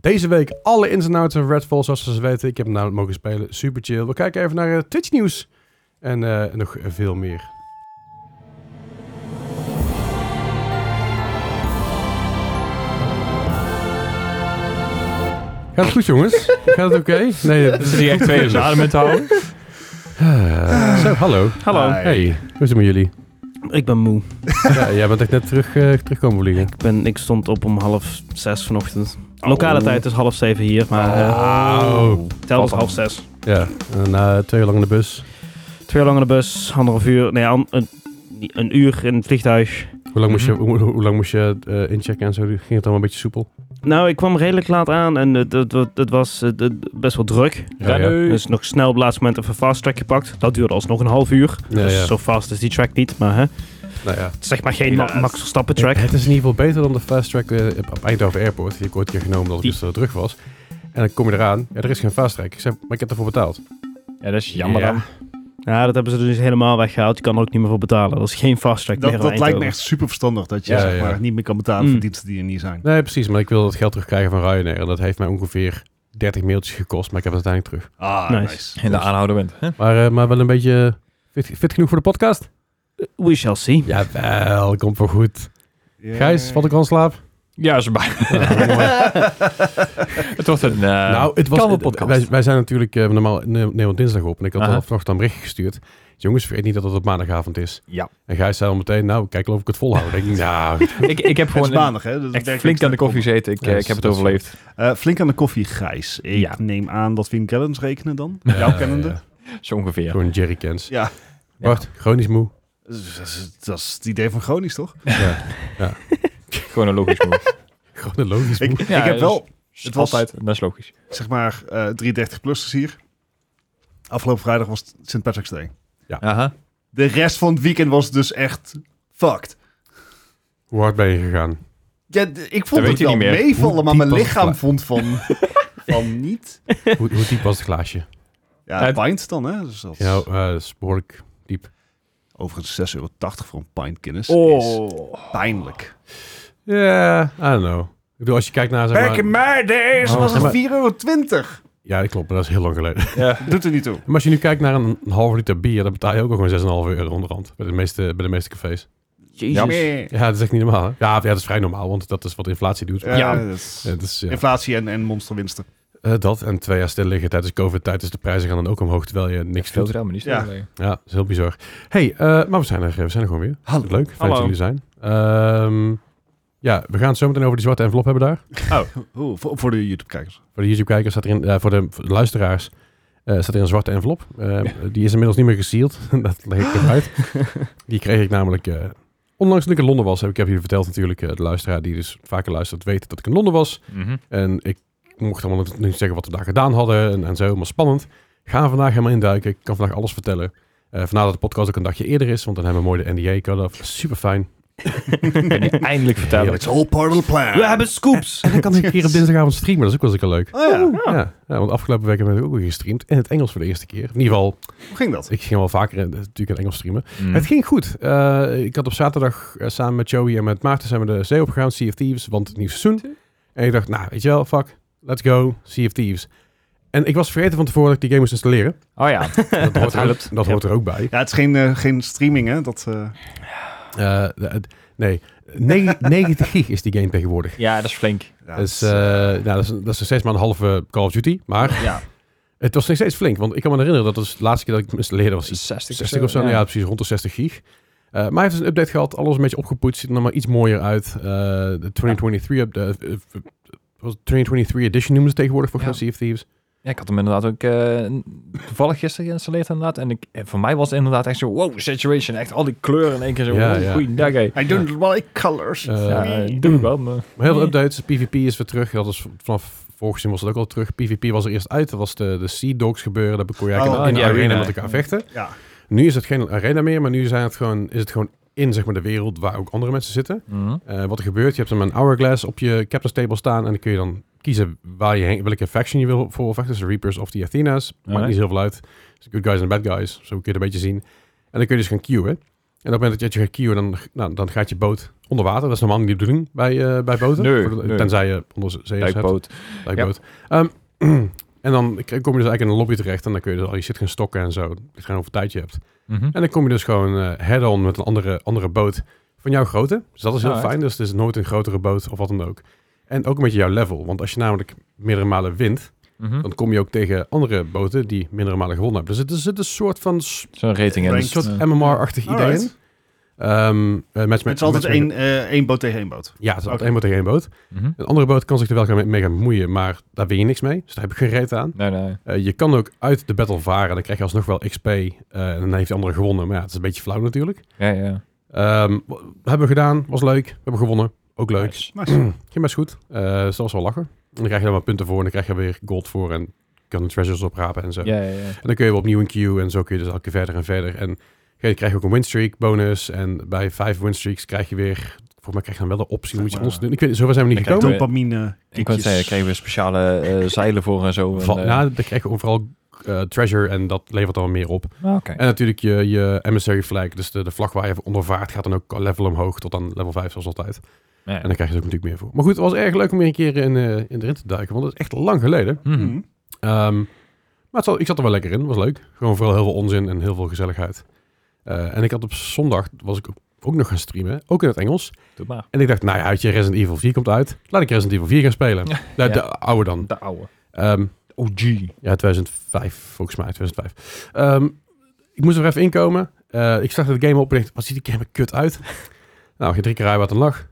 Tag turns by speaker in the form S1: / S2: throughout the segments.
S1: Deze week alle ins en outs van Redfall, zoals we ze weten. Ik heb hem namelijk mogen spelen. Super chill. We kijken even naar eh, Twitch nieuws. En eh, nog veel meer. Gaat het goed, jongens? Gaat het oké? Nee,
S2: Er zitten hier echt twee Ah. in de adem in te houden.
S1: Eh, Zo, hallo.
S2: Hallo.
S3: Hi.
S1: Hey, hoe is het met jullie?
S4: Ik ben moe.
S1: ja, jij bent echt net terug, eh, terugkomen vliegen.
S4: Ik, ben, ik stond op om half zes vanochtend.
S3: Oh.
S4: Lokale tijd is half zeven hier, maar
S3: Ah,
S4: eh
S1: Au.
S4: tel was half zes.
S1: Ja, en na twee uur lang in de bus.
S4: Twee uur lang in de bus, anderhalf uur, nee, an- een, een uur in het vliegtuig.
S1: Hoe lang moest je,
S2: Mhm.
S1: hoe, hoe- hoe lang moest je eh, inchecken en zo? Ging het allemaal een beetje soepel?
S4: Nou, ik kwam redelijk laat aan en het, het, het- het was eh, het- best wel druk.
S1: Ja, ja.
S2: Rennen.
S4: Dus nog snel op het laatste moment even fast track gepakt. Dat duurde alsnog een half uur.
S1: Ja,
S4: dus
S1: ja.
S4: zo fast is die track niet, maar hè, het
S1: Nou ja.
S4: is zeg maar geen ma
S2: Helaas.
S4: Max Verstappen track.
S1: Het is in ieder geval beter dan de fast track eh, op Eindhoven Airport. Die heb ik ooit een keer genomen omdat ik
S4: Die-
S1: dus terug was. En dan kom je eraan. Ja, er is geen fast track. Ik zeg, maar ik heb ervoor betaald.
S2: Ja, dat is jammer
S1: Ja.
S2: dan.
S4: Ja, dat hebben ze dus helemaal weggehaald. Je kan er ook niet meer voor betalen. Dat is geen fast track
S3: Dat,
S4: meer in
S3: dat lijkt me
S4: Eindhoven.
S3: echt super verstandig dat je
S1: Ja,
S3: zeg
S1: ja.
S3: maar, niet meer kan betalen
S4: Mm.
S3: voor diensten die er niet zijn.
S1: Nee, precies. Maar ik wil dat geld terugkrijgen van Ryanair. En dat heeft mij ongeveer 30 mailtjes gekost. Maar ik heb het uiteindelijk terug.
S3: Ah,
S4: Nice.
S3: nice.
S2: In de aanhouden bent. hè?
S1: Maar, eh, maar wel een beetje fit, fit genoeg voor de podcast?
S4: We shall see.
S1: Jawel, komt wel goed.
S3: Yeah.
S1: Gijs, val ik al in slaap?
S2: Ja, ze bij.
S1: Ja, mooi.
S2: Het wordt een. eh,
S1: nou, het was,
S2: kan wel
S1: eh,
S2: podcast.
S1: Wij, wij zijn natuurlijk eh, normaal ne- nemen we dinsdag op. En ik had
S2: Aha.
S1: al vanochtend een berichtje gestuurd. Jongens, vergeet niet dat het op maandagavond is.
S2: Ja.
S1: En Gijs zei al meteen, nou, kijk wel of ik het volhoud. Ik denk, nou,
S2: ik, ik heb
S3: Het is
S2: gewoon een-
S3: maandag, hè? Dus
S2: echt
S3: werkt
S2: flink aan de
S3: extra
S2: koffie gezeten. Ik, eh,
S1: Ja,
S2: ik heb het
S1: dat is-
S2: overleefd.
S3: Eh, flink aan de koffie, Gijs. Ik
S2: Ja.
S3: neem aan dat we in gallons rekenen dan.
S1: Ja,
S3: Jouw kennende.
S1: ja.
S2: Zo ongeveer.
S1: Gewoon Jerry Cans.
S3: Ja.
S1: Bart, chronisch moe.
S3: Dat is- dat is- Dat is het idee van Gronings, toch?
S1: Ja.
S2: Gewoon een logisch move.
S1: Chronologisch moe.
S3: Ik,
S2: Ja,
S3: ik heb
S2: dus-
S3: wel,
S2: Het
S3: Het
S2: was
S3: was-
S2: altijd, dat is logisch.
S3: zeg maar, eh 330-plussers hier. Afgelopen vrijdag was het St. Patrick's Day.
S2: Aha.
S3: De rest van het weekend was dus echt fucked.
S1: Hoe hard ben je gegaan?
S3: Ja, d- ik vond
S2: weet
S3: het
S2: je
S3: wel
S2: niet meer.
S1: Hoe
S3: meevallen, maar mijn
S1: diep was het
S3: lichaam
S1: gla-
S3: vond van, van niet.
S1: Hoe, hoe diep was het glaasje?
S3: Ja,
S2: Het-
S3: het pint dan, hè? Dus dat is
S1: Ja, eh, dat is behoorlijk diep.
S3: overigens 6,80 euro voor een pint Guinness. Is
S2: Oh.
S3: pijnlijk.
S1: Ja, I don't know. Ik bedoel, als je kijkt naar... Zeg maar-
S3: my days
S1: Oh, zeg maar-
S3: 4,20 euro.
S1: ja, dat klopt, maar dat is heel lang geleden.
S2: Ja.
S3: Doet er niet toe.
S1: Maar als je nu kijkt naar een, een halve liter bier, dan betaal je ook al gewoon 6,5 euro onderhand. Bij de meeste, bij de meeste cafés.
S4: Jezus.
S3: Nee.
S1: Ja, dat is echt niet normaal. Hè? Ja, ja, dat is vrij normaal, want dat is wat inflatie doet.
S3: Ja,
S2: Ja.
S3: dat is-
S1: Ja, dat, is, ja.
S3: Inflatie en, en monsterwinsten.
S1: Eh, dat en twee jaar stil liggen tijdens COVID-tijd, dus de prijzen gaan dan ook omhoog, terwijl je niks
S2: Veel
S1: doet.
S2: te maar niet
S3: Ja.
S2: stil. Ja.
S1: Ja, dat is heel bizar. hey, eh, maar we zijn, er, we zijn er gewoon weer.
S3: Hallo.
S1: Leuk, fijn
S2: Hallo.
S1: dat jullie zijn. Ehm, ja, we gaan het zo meteen over die zwarte envelop hebben daar.
S3: Oh, voor, voor de YouTube-kijkers.
S1: Voor de YouTube-kijkers staat erin, eh, voor, de, voor de luisteraars, eh, staat er een zwarte envelop. Eh, Die is inmiddels niet meer gesealed, dat leg ik even uit. Die kreeg ik namelijk, eh, onlangs toen ik in Londen was, heb ik heb jullie verteld natuurlijk, eh, de luisteraar die dus vaker luistert weet dat ik in Londen was.
S2: Mhm.
S1: En ik mocht allemaal nog niet zeggen wat we daar gedaan hadden en, en zo, maar spannend. Gaan we vandaag helemaal induiken. Ik kan vandaag alles vertellen. Eh vandaar dat de podcast ook een dagje eerder is, want dan hebben we mooi de NDA cut-off. Super fijn.
S2: Kan je eindelijk vertellen.
S1: Heerlijk.
S3: It's all part of the plan.
S4: We hebben scoops.
S1: En dan kan ik een keer op dinsdagavond streamen, dat is ook wel eens een keer leuk.
S3: Oh ja,
S1: Ja. ja, want afgelopen week hebben we ook weer gestreamd. In het Engels voor de eerste keer. In ieder geval,
S3: hoe ging dat?
S1: ik ging wel vaker in, natuurlijk in het Engels streamen.
S2: Mm.
S1: Het ging goed. Eh, ik had op zaterdag eh, samen met Joey en met Maarten zijn we de zee opgegaan, Sea of Thieves, want het nieuwe seizoen. En ik dacht, nou, weet je wel, fuck, let's go, Sea of Thieves. En ik was vergeten van tevoren dat ik die game moest installeren.
S2: Oh ja.
S1: Dat hoort, er,
S2: helpt.
S1: ook- dat hoort er ook bij.
S3: Ja, het is geen, eh, geen streaming, hè? Dat, eh,
S1: Eh, de- de- nee, Ne- 90 gig is die game tegenwoordig.
S2: Ja, dat is flink.
S3: ja,
S1: Dus,
S3: het
S1: eh, nou,
S3: is-
S1: dat, is, dat is nog steeds maar een halve Call of Duty. Maar
S3: ja.
S1: het was nog steeds flink. Want ik kan me herinneren dat het was de laatste keer dat ik hem installeerde was iets
S2: 60,
S1: 60 of zo. nou Ja, precies, rond de 60 gig. Eh, maar hij heeft dus een update gehad. Alles een beetje opgepoetst. Ziet er nog maar iets mooier uit. Eh, de 2023, up- de, eh, eh, was het 2023 edition noemen ze tegenwoordig voor
S2: Ja.
S1: ja. Sea of Thieves.
S2: Ja, ik had hem inderdaad ook eh, toevallig gisteren geïnstalleerd inderdaad. En ik, eh, voor mij was het inderdaad echt zo, wow, saturation. Echt al die kleuren in één keer zo,
S1: Ja,
S2: wow,
S1: ja.
S2: goeiedag hé.
S3: I don't like colors.
S1: Eh,
S2: Ja,
S3: Nee.
S2: eh, doe ik wel, maar...
S1: Maar heel veel updates. PvP is weer terug. Dat is v- vanaf vorig seizoen was dat ook al terug. PvP was er eerst uit. Dat was de, de Sea Dogs gebeuren. Daar kon je eigenlijk
S3: Oh,
S1: in de
S2: in die
S1: arena,
S2: arena.
S1: met elkaar vechten.
S3: ja.
S1: Nu is het geen arena meer. Maar nu zijn het gewoon, is het gewoon in zeg maar, de wereld waar ook andere mensen zitten.
S2: Mhm.
S1: Eh, wat er gebeurt, je hebt hem een hourglass op je captain's table staan. En dan kun je dan kiezen waar je heen, welke faction je wil voor wil vechten. Dus de Reapers of de Athena's. Maakt
S2: Alright.
S1: niet zoveel uit. Dus de good guys en de bad guys. Zo kun je het een beetje zien. En dan kun je dus gaan queuen. En op het moment dat je uit je gaat kieuwen, dan, nou, dan gaat je boot onder water. Dat is normaal niet de bedoeling bij, eh, bij boten.
S2: Nee,
S1: Voor de-
S2: nee.
S1: Tenzij je onder zee hebt.
S2: Dijkboot.
S1: Dijkboot. Ehm, en dan k- kom je dus eigenlijk in een lobby terecht. En dan kun je dus al je shit gaan stokken en zo. Het gaan over tijd je hebt.
S2: Mhm.
S1: En dan kom je dus gewoon eh, head-on met een andere, andere boot van jouw grootte. Dus dat is heel
S2: Ah, echt?
S1: fijn. Dus het is nooit een grotere boot of wat dan ook. En ook met jouw level. Want als je namelijk meerdere malen wint,
S2: Mhm.
S1: dan kom je ook tegen andere boten die meerdere malen gewonnen hebben. Dus het is, het is een soort van s-
S2: Zo'n rating in.
S3: Rank
S2: dus,
S3: tot
S2: eh,
S1: MMR-achtig idee in.
S3: Alright.
S1: Ehm, eh, matchmaking-
S3: Het is altijd één,
S1: matchmaking-
S3: eh, één boot tegen één boot.
S1: Ja, het is altijd
S3: Oké.
S1: één boot tegen één boot.
S2: mhm.
S1: Een andere boot kan zich er wel gaan- mee gaan bemoeien, maar daar win je niks mee. Dus daar heb ik geen reet aan.
S2: Nee, nee.
S1: Eh, je kan ook uit de battle varen. Dan krijg je alsnog wel XP. eh, en dan heeft de andere gewonnen. Maar ja, het is een beetje flauw natuurlijk.
S2: Ja, ja.
S1: Ehm, w- hebben we gedaan. Was leuk. We hebben gewonnen. Ook leuk.
S2: Nice. Hm.
S3: Nice.
S1: Ging best goed. Eh, dus dat was wel lachen. En dan krijg je dan wat punten voor. En dan krijg je weer gold voor. En kan de treasures oprapen en zo.
S2: Ja, ja, ja.
S1: En dan kun je weer opnieuw een queue. En zo kun je dus elke keer verder en verder. En je krijgt ook een winstreak bonus. En bij vijf winstreaks krijg je weer... Volgens mij krijg je dan wel de optie. Moet je
S3: maar-
S1: ons doen. Ik weet zover zijn we niet
S2: Ik krijg
S1: gekomen.
S2: doe-
S3: Dopamine.
S2: Ik kan
S3: kickjes.
S2: zeggen, kregen we speciale eh, zeilen voor en zo. en,
S1: Van,
S2: eh,
S1: nou, dan krijg je overal eh, treasure. En dat levert dan meer op.
S2: ah, Oké.
S1: En natuurlijk je, je emissary flag, dus de, de vlag waar je onder vaart, gaat dan ook level omhoog tot aan level 5 zoals altijd.
S2: Ja.
S1: En dan krijg je er ook natuurlijk meer voor. Maar goed, het was erg leuk om weer een keer in, eh in erin te duiken, want het is echt lang geleden.
S2: Mhm.
S3: Mhm.
S1: Ehm, maar het zat- ik zat er wel lekker in, was leuk. Gewoon vooral heel veel onzin en heel veel gezelligheid. Eh, en ik had op zondag, was ik ook- ook nog gaan streamen, ook in het Engels.
S2: Doe maar.
S1: En ik dacht, nou ja, weet je, Resident Evil 4 komt uit. Laat ik Resident Evil 4 gaan spelen. Nou,
S2: Ja.
S1: De,
S2: Ja.
S1: de oude dan.
S2: De Oh, oude.
S1: Ehm,
S2: OG.
S1: ja, 2005, volgens mij, 2005. Ehm, ik moest er even inkomen. Eh, ik startte de game op en dacht, wat ziet die game er kut uit? nou, geen drie keer rijden wat er lag.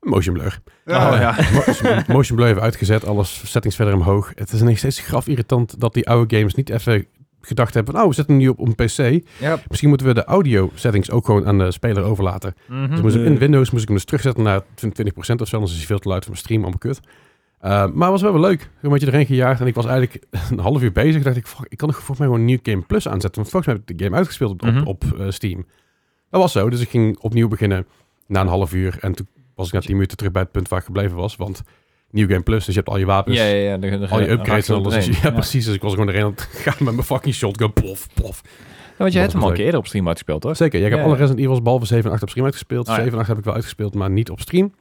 S1: Motion blur.
S3: Ja.
S1: Ah,
S2: Oh, ja.
S1: Mo- Dus Motion blur even uitgezet, alles settings verder omhoog. Het is nog steeds graf irritant dat die oude games niet even gedacht hebben van, oh, we zetten hem nu op een PC.
S2: Ja.
S1: Misschien moeten we de audio settings ook gewoon aan de speler overlaten.
S2: Mhm. Hm.
S1: Dus moest ik- in
S4: Nee.
S1: Windows moest ik hem dus terugzetten naar 20% of zo, anders is hij veel te luid voor mijn stream, allemaal kut. Eh, maar het was wel wel leuk. Een beetje erin gejaagd en ik was eigenlijk een half uur bezig. dacht ik, fuck, ik kan nog volgens mij gewoon New Game Plus aanzetten. Want volgens mij heb ik de game uitgespeeld op, op-
S2: Mhm.
S1: op, eh, Steam. Dat was zo, dus ik ging opnieuw beginnen na een half uur. En toen was ik na 10 minuten terug bij het punt waar ik gebleven was. Want New Game Plus, dus je hebt al je wapens,
S2: Ja, ja, ja. de- de-
S1: al je
S2: de-
S1: upgrades en
S2: raakt
S1: alles.
S2: erin.
S1: Dus- ja, precies. Dus ik was gewoon erin aan het gaan met mijn fucking shotgun. Plof, plof.
S2: Ja, want je hebt hem al een
S1: leuk.
S2: keer eerder op stream uitgespeeld, hoor.
S1: Oh, Zeker. Ja, ik heb
S2: Ja,
S1: alle
S2: ja.
S1: Resident Evils behalve 7 en 8 op stream uitgespeeld.
S2: Ah, ja.
S1: 7 en 8 heb ik wel uitgespeeld, maar niet op stream.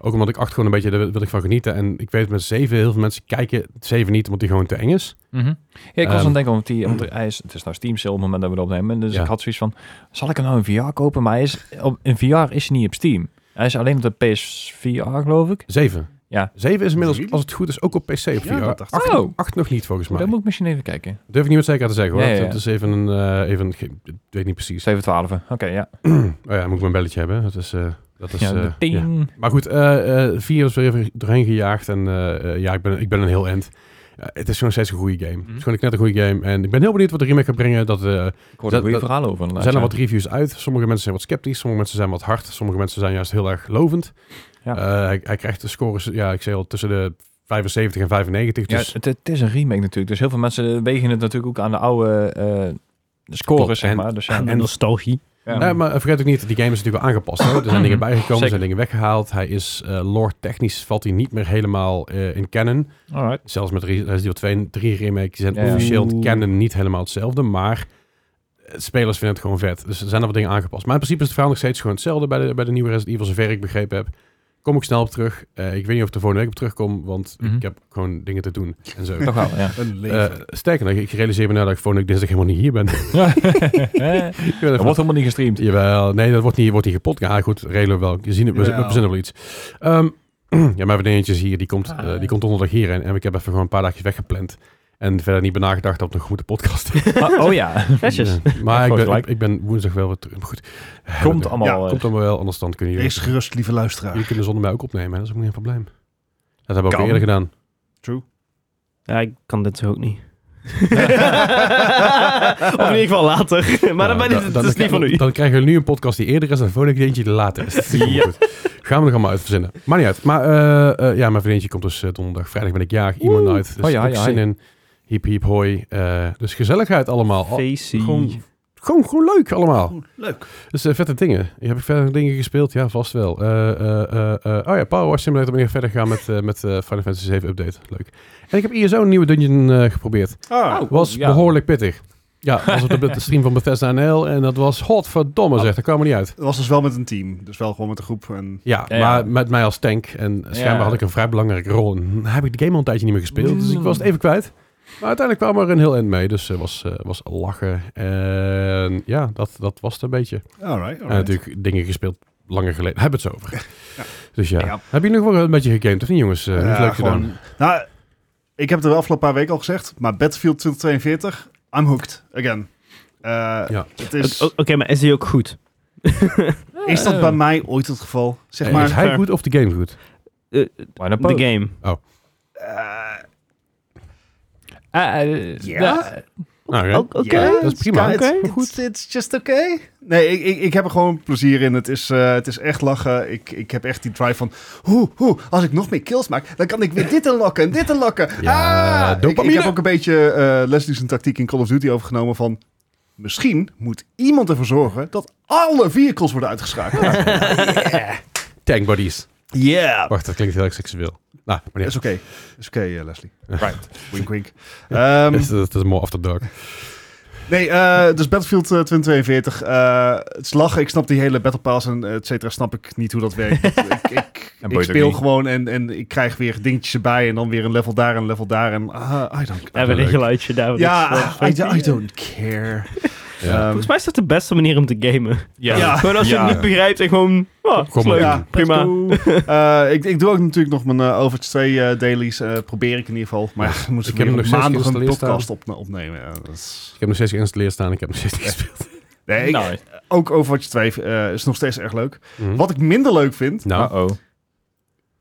S1: Ook omdat ik 8 gewoon een beetje, daar wil wil ik van genieten. En ik weet met 7, heel veel mensen kijken 7 niet, omdat die gewoon te eng is.
S2: Mhm. Ja, ik was
S1: Ehm.
S2: aan het denken, want, die, want hij is, het is nou Steam sale op het moment dat we het opnemen. Dus
S1: Ja.
S2: ik had zoiets van, zal ik hem nou in VR kopen? Maar hij is, op, in VR is hij niet op Steam. Hij is alleen op de PSVR, geloof ik.
S1: 7.
S2: Ja.
S1: 7 is inmiddels,
S3: Really?
S1: als het goed is, ook op PC op
S3: Ja, dat
S1: VR.
S3: dacht ik.
S1: 8,
S2: Oh.
S1: nog niet, volgens mij.
S2: Dat moet ik misschien even kijken.
S1: Durf ik niet met zekerheid te zeggen, hoor.
S2: Ja, ja, ja.
S1: Het is even een... eh, even, een ge- ik weet niet precies.
S2: 712. Oké, ja. Dus,
S1: Oh ja, moet ik mijn belletje hebben. Dat is... eh, dat is
S2: ja, de
S1: eh, ja.
S2: ting.
S1: Maar goed, eh eh, vier is weer even doorheen gejaagd. En eh, eh, ja, ik ben, ik ben een heel end. Ja, het is gewoon steeds een goede game. Het
S2: Mhm.
S1: is gewoon een knettergoede game. En ik ben heel benieuwd wat de remake gaat brengen. Dat, eh,
S2: Ik hoorde
S1: dat-
S2: een goede
S1: dat-
S2: verhaal over.
S1: er
S2: inderdaad,
S1: zijn er
S2: ja.
S1: wat reviews uit. Sommige mensen zijn wat sceptisch. Sommige mensen zijn wat hard. Sommige mensen zijn juist heel erg lovend.
S2: Ja.
S1: Eh, hij, hij krijgt de scores, ja, ik zei al, tussen de 75 en 95.
S2: Ja,
S1: Dus
S2: het, het is een remake natuurlijk. Dus heel veel mensen wegen het natuurlijk ook aan de oude eh
S1: Klopt,
S2: scores, zeg
S1: en-
S2: maar. Dus ja,
S4: En nostalgie.
S2: ja.
S1: Nee, maar vergeet ook niet, die game is natuurlijk wel aangepast. Hè? Er zijn dingen bijgekomen, er
S2: ehm, Mhm. Zeker.
S1: zijn dingen weggehaald. Hij is eh lore technisch, valt hij niet meer helemaal eh, in canon.
S2: Alright.
S1: Zelfs met Re- Resident Evil 2 en 3 remakes zijn
S2: Ja, ja.
S1: officieel het
S4: Oeh.
S1: canon niet helemaal hetzelfde, maar eh, spelers vinden het gewoon vet. Dus er zijn er wat dingen aangepast. Maar in principe is het verhaal nog steeds gewoon hetzelfde bij de, bij de nieuwe Resident Evil, zover ik begrepen heb. Kom ik snel op terug. Eh, ik weet niet of ik er volgende week op terugkom, want
S2: Mhm.
S1: ik heb gewoon dingen te doen en zo.
S2: Toch wel, ja.
S3: Een
S1: Eh,
S3: leven.
S1: sterker nog, ik realiseer me nou dat ik volgende week dinsdag helemaal niet hier ben. ik
S2: Er
S1: ben even-
S2: wordt helemaal niet gestreamd.
S1: Jawel, nee, dat wordt niet, wordt niet gepot. Ja, goed, regelen we wel. Je ziet, het- we, we
S3: Jawel.
S1: verzinnen wel iets. Ehm, ja, mijn vriendinnetje is hier, die komt,
S2: Ah,
S1: eh,
S2: ja.
S1: die komt donderdag hier. En, en ik heb even gewoon een paar dagjes weggepland. En verder niet benagedacht op een goede podcast.
S2: Ah, oh ja.
S4: Netjes.
S1: Ja, maar ik
S2: Gewoon
S1: ben,
S2: gelijk.
S1: ik, ik ben woensdag wel weer terug. Maar Goed.
S2: Komt
S1: Ja,
S2: allemaal. eh,
S1: Komt allemaal wel, anders dan kunnen jullie,
S3: Wees gerust, lieve luisteraar.
S1: jullie kunnen zonder mij ook opnemen. hè. Dat is ook niet een probleem. Dat hebben we ook
S2: Kan.
S1: eerder gedaan.
S3: True.
S4: Ja, ik kan dit zo ook niet. of in ieder geval later. maar dat,
S1: Nou,
S4: ben ik- dat is niet van u.
S1: Dan krijgen we nu een podcast die eerder is en volgende keer eentje die later is. Dat is helemaal goed. Gaan we nog allemaal uitverzinnen. Maar niet uit. Maar eh, eh, ja, mijn vriendje komt dus eh, donderdag. Vrijdag ben ik jaag. Iemand uit. Dus
S2: Hoi, hoi,
S1: ook
S2: hoi.
S1: zin in. Hiep, hiep, hoi. Eh, dus gezelligheid allemaal. Al-
S4: Facey.
S1: Oh, gewoon, gewoon, gewoon leuk allemaal.
S3: Leuk.
S1: Dus eh, vette dingen. Heb ik verder dingen gespeeld? Ja, vast wel. Eh, eh, eh, eh, oh ja, Power Wash Simulator ben ik verder gegaan met, eh, met eh, Final Fantasy 7 update. Leuk. En ik heb ISO een nieuwe dungeon eh, geprobeerd.
S3: Ah,
S2: Oh,
S1: Was
S2: ja.
S1: behoorlijk pittig. Ja, was op de, de stream van Bethesda NL en dat was godverdomme zeg, dat kwam er niet uit.
S3: Het was dus wel met een team. Dus wel gewoon met een groep. En
S1: Ja,
S2: Ja, ja.
S1: maar met mij als tank en schijnbaar
S2: Ja.
S1: had ik een vrij belangrijke rol. En heb ik de game al een tijdje niet meer gespeeld, dus ik was het even kwijt. Maar uiteindelijk kwam er een heel eind mee, dus het was, eh, was lachen. En ja, dat, dat was het een beetje.
S3: alright,
S1: En
S3: alright.
S1: natuurlijk dingen gespeeld langer geleden. Hebben we het zo over. Dus ja.
S3: Ja.
S1: Heb je nog wel een beetje gegamed of niet jongens? Eh,
S3: Ja,
S1: Hoe is het leuk
S3: gewoon-
S1: gedaan?
S3: Nou, ik heb het er de afgelopen paar weken al gezegd. Maar Battlefield 2042, I'm hooked. Again. Eh, het is,
S4: O- o- Oké, maar is die ook goed?
S2: eh, oh,
S3: is dat bij mij ooit het geval? Zeg maar,
S1: Eh, is hij
S4: Ver.
S1: goed of de game goed?
S2: Why not
S4: De
S2: both?
S4: game.
S3: eh,
S2: Ah, eh,
S3: Ja?
S2: nou,
S1: Nou, ja.
S4: Ook Oké.
S3: Ja,
S1: dat is prima.
S3: it's-
S1: Oké,
S3: it's- It's, just oké. Nee, ik, ik, ik heb er gewoon plezier in. Het is, eh, het is echt lachen. Ik, ik heb echt die drive van... Hoe, hoe, als ik nog meer kills maak, dan kan ik weer dit unlocken en dit unlocken.
S1: Ja,
S3: ah! ik, ik
S1: dopamine.
S3: heb ook een beetje eh Leslie's tactiek in Call of Duty overgenomen van... Misschien moet iemand ervoor zorgen dat alle vehicles worden uitgeschakeld.
S1: Tank buddies.
S3: Yeah.
S1: Wacht, dat klinkt heel erg seksueel. Nou, maar
S3: Dat
S1: niet.
S3: is oké. Dat is oké, eh, Leslie.
S2: right.
S3: Wink, wink. Ehm,
S1: Dat is- dat is mooi after dark.
S3: Nee, eh, dus Battlefield eh, 2042. eh, het is lachen. Ik snap die hele Battle Pass en eh, et cetera. Snap ik niet hoe dat werkt. ik ik,
S2: En
S3: ik
S2: boeit ook
S3: speel
S2: niet.
S3: gewoon en, en ik krijg weer dingetjes erbij. En dan weer een level daar en een level daar. En ah, I don't
S4: En weer
S1: leuk.
S4: een geluidje daar.
S3: Ja,
S4: Dat is, eh, funky.
S3: I, do- I don't care.
S1: Ja.
S3: Ehm,
S4: Volgens mij is dat de beste manier om te gamen.
S2: Ja.
S3: Ja.
S4: Gewoon als je
S2: Ja.
S4: het niet begrijpt en gewoon... Oh, is
S1: Gewoon
S4: leuk.
S1: maar
S3: ja,
S1: doen.
S4: prima.
S3: eh, ik, ik doe ook natuurlijk nog mijn eh, Overwatch 2 eh, dailies. eh, probeer ik in ieder geval. Maar ja, dan moet
S1: Ik
S3: ik
S1: heb hem nog
S3: weer
S1: steeds
S3: maandag een
S1: geïnstalleerd staan.
S3: podcast op, opnemen. Ja, dat is-
S1: Ik heb nog steeds geïnstalleerd staan. Ik heb nog steeds niet gespeeld.
S3: Nee, ik-
S2: Nou,
S3: ook Overwatch 2 eh, is nog steeds erg leuk.
S1: Mhm.
S3: Wat ik minder leuk vind...
S1: Nou,
S2: uh-oh.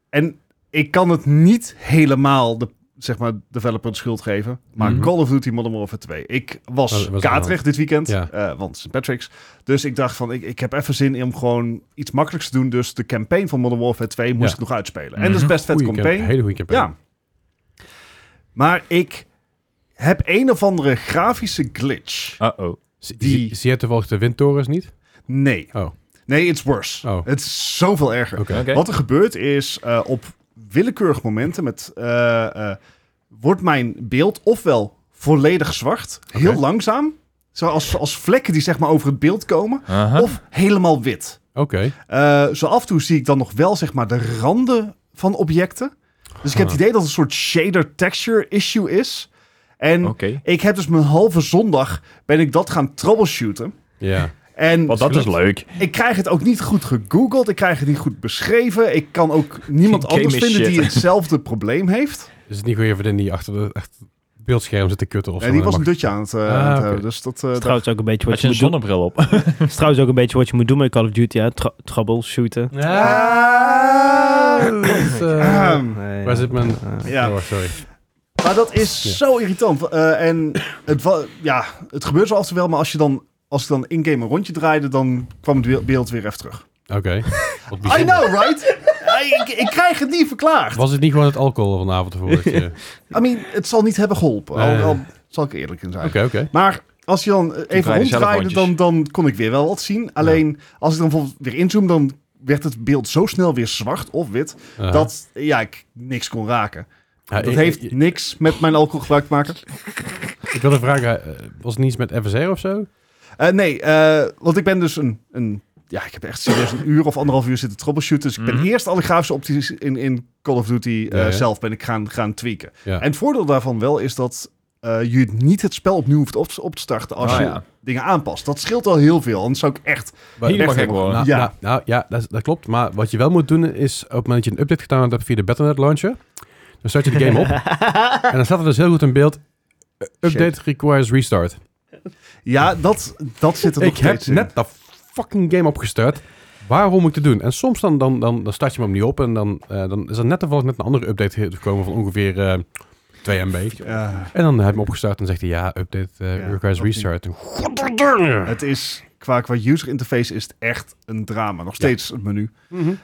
S3: En ik kan het niet helemaal de zeg maar, developer de schuld geven. Maar
S1: Mhm.
S3: Call of Duty Modern Warfare 2. Ik
S1: Was- was
S3: was
S1: aan de
S3: katerig dit weekend,
S1: Ja.
S3: eh, want St. Patrick's. Dus ik dacht van, ik, ik heb even zin in om gewoon iets makkelijks te doen. Dus de campaign van Modern Warfare 2 moest
S1: Ja.
S3: ik nog uitspelen.
S2: Mhm.
S3: En dat is best vet
S1: goeie
S3: campaign.
S1: camp- hele goede campaign.
S3: Ja. Maar ik heb een of andere grafische glitch.
S1: Oh.
S2: Uh-oh.
S1: Zie-
S3: Die-
S1: Zie zie jij toevallig de windtorens niet?
S3: Nee.
S1: Oh.
S3: Nee, it's worse.
S1: Oh.
S3: Het is zoveel erger.
S1: Oké.
S2: Oké.
S3: Wat er gebeurt is, eh, op willekeurige momenten met, eh, eh, wordt mijn beeld ofwel volledig zwart, heel langzaam, zoals als vlekken die zeg maar over het beeld komen,
S2: Aha.
S3: of helemaal wit.
S1: Oké.
S3: Eh, zo af en toe zie ik dan nog wel zeg maar de randen van objecten. Dus ik heb het idee dat het een soort shader texture issue is. En
S2: Oké.
S3: ik heb dus mijn halve zondag ben ik dat gaan troubleshooten.
S1: Ja.
S3: En
S2: Want dat is leuk.
S3: ik krijg het ook niet goed gegoogeld. Ik krijg het niet goed beschreven. Ik kan ook niemand
S2: Game
S3: anders
S2: is
S3: vinden
S2: shit.
S3: die hetzelfde probleem heeft.
S1: Is het niet gewoon even dat die achter de achter het beeldscherm zit te kutten of
S3: Nee,
S1: zo?
S3: die
S1: maar
S3: was een
S1: dat
S3: dutje aan het eh,
S1: Ah,
S3: aan het
S1: oké.
S3: houden. Dus dat... eh,
S4: is trouwens ook een beetje wat
S2: Had
S4: je
S2: je een
S4: moet doen.
S2: zonnebril op?
S4: is trouwens ook een beetje wat je moet doen met Call of Duty, hè? Tra- troubleshooten.
S1: mag-
S3: daar-
S1: Ja.
S3: Ah.
S1: dat, eh,
S3: Ahem.
S4: Nee,
S1: Waar zit mijn...
S3: Ja.
S1: Oh, sorry.
S3: Maar dat is
S1: Ja.
S3: zo irritant. Eh, en het, wa- ja, het gebeurt zo af en toe wel, maar als, je dan, als ik dan in-game een rondje draaide, dan kwam het be- beeld weer even terug.
S1: Oké. Wat
S3: I
S1: bijzonder.
S3: know, right? ik, ik krijg het niet verklaard.
S1: Was het niet gewoon het alcohol vanavond ervoor? dat je-
S3: I mean, het zal niet hebben geholpen. Al,
S1: Nee.
S3: al zal ik eerlijk in zijn.
S1: Oké, oké.
S3: Maar als je dan eh, even
S2: draaide zelf
S3: ronddraaide,
S2: rondjes.
S3: dan, dan kon ik weer wel wat zien. Alleen als ik dan bijvoorbeeld weer inzoom, dan werd het beeld zo snel weer zwart of wit
S1: Aha.
S3: dat eh, ja, ik niks kon raken.
S1: Ja,
S3: dat
S1: ik-
S3: heeft
S1: ik-
S3: niks met mijn alcoholgebruik te maken.
S1: Ik wilde vragen, eh, was het niets met FSR of zo?
S3: Eh, nee, eh, want ik ben dus een, een. Ja, ik heb echt serieus een uur of anderhalf uur zitten troubleshooten. Dus ik ben
S2: Mhm.
S3: eerst alle grafische opties in, in Call of Duty eh,
S1: Ja, ja.
S3: zelf ben ik gaan, gaan tweaken.
S1: Ja.
S3: En het voordeel daarvan wel is dat eh, je niet het spel opnieuw hoeft op, op te starten als
S2: Ah,
S3: je
S2: ja.
S3: dingen aanpast. Dat scheelt al heel veel. Anders zou ik echt
S1: Maar-
S2: Helemaal
S3: echt
S2: gek
S3: helemaal-
S2: worden.
S1: Nou
S3: Ja.
S1: ja, nou, ja dat, is- dat klopt. Maar wat je wel moet doen is, op het moment dat je een update gedaan hebt via de Battle.net launcher, dan start je de game op. en dan staat er dus heel goed in beeld, eh, update requires restart.
S3: Ja, dat, dat zit er nog
S1: Ik heb
S3: steeds in.
S1: net dat fucking game opgestart. Waarom moet ik het doen? En soms dan, dan, dan, dan start je hem opnieuw op en dan, eh, dan is er net toevallig net een andere update gekomen van ongeveer eh 2 MB.
S3: Ja,
S1: En dan heb je hem opgestart en zegt hij, ja, update eh,
S3: Ja,
S1: requires
S3: dat niet.
S1: restart. En
S3: het is qua, qua user interface is het echt een drama. Nog steeds het menu.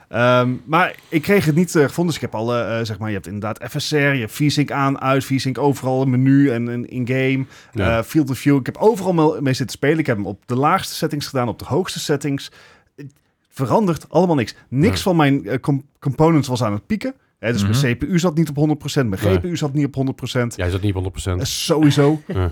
S3: Ehm, maar ik kreeg het niet eh, gevonden. Dus ik heb alle, eh, zeg maar, je hebt inderdaad FSR, je hebt VSync aan, uit, VSync overal, een menu en een in-game,
S1: Ja.
S3: eh, field of view. Ik heb overal me- mee zitten spelen. Ik heb hem op de laagste settings gedaan, op de hoogste settings. Het verandert allemaal niks. Niks
S1: Ja.
S3: van mijn eh, com- components was aan het pieken. Hè, dus
S2: Mhm.
S3: mijn CPU zat niet op 100%, mijn
S1: Nee.
S3: GPU zat niet op 100%.
S1: Jij zat niet op 100%.
S3: Eh, Sowieso.
S1: Ja.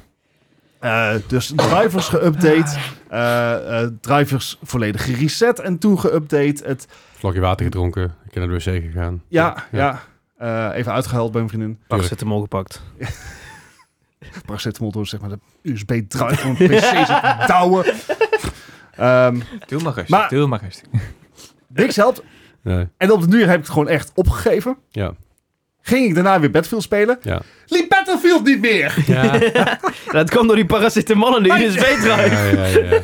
S3: Eh, dus drivers geüpdate, eh, eh, drivers volledig gereset en toen geüpdate. Het,
S1: Slokje water gedronken. Ik ben naar de wc gegaan.
S3: ja, ja. eh, even uitgehuild bij mijn vriendin.
S4: Paracetamol gepakt.
S3: Paracetamol door zeg maar de USB-drive van mijn pc zit te douwen. Ehm,
S2: Doe maar rustig,
S3: Maar-
S2: doe maar rustig.
S3: niks helpt.
S1: Nee.
S3: En op de duur heb ik het gewoon echt opgegeven.
S1: Ja.
S3: Ging ik daarna weer Battlefield spelen.
S1: Ja.
S3: Liep Battlefield niet meer!
S1: Ja.
S4: Dat kwam door die paracetamol en die USB-drive.
S1: ja, ja, ja.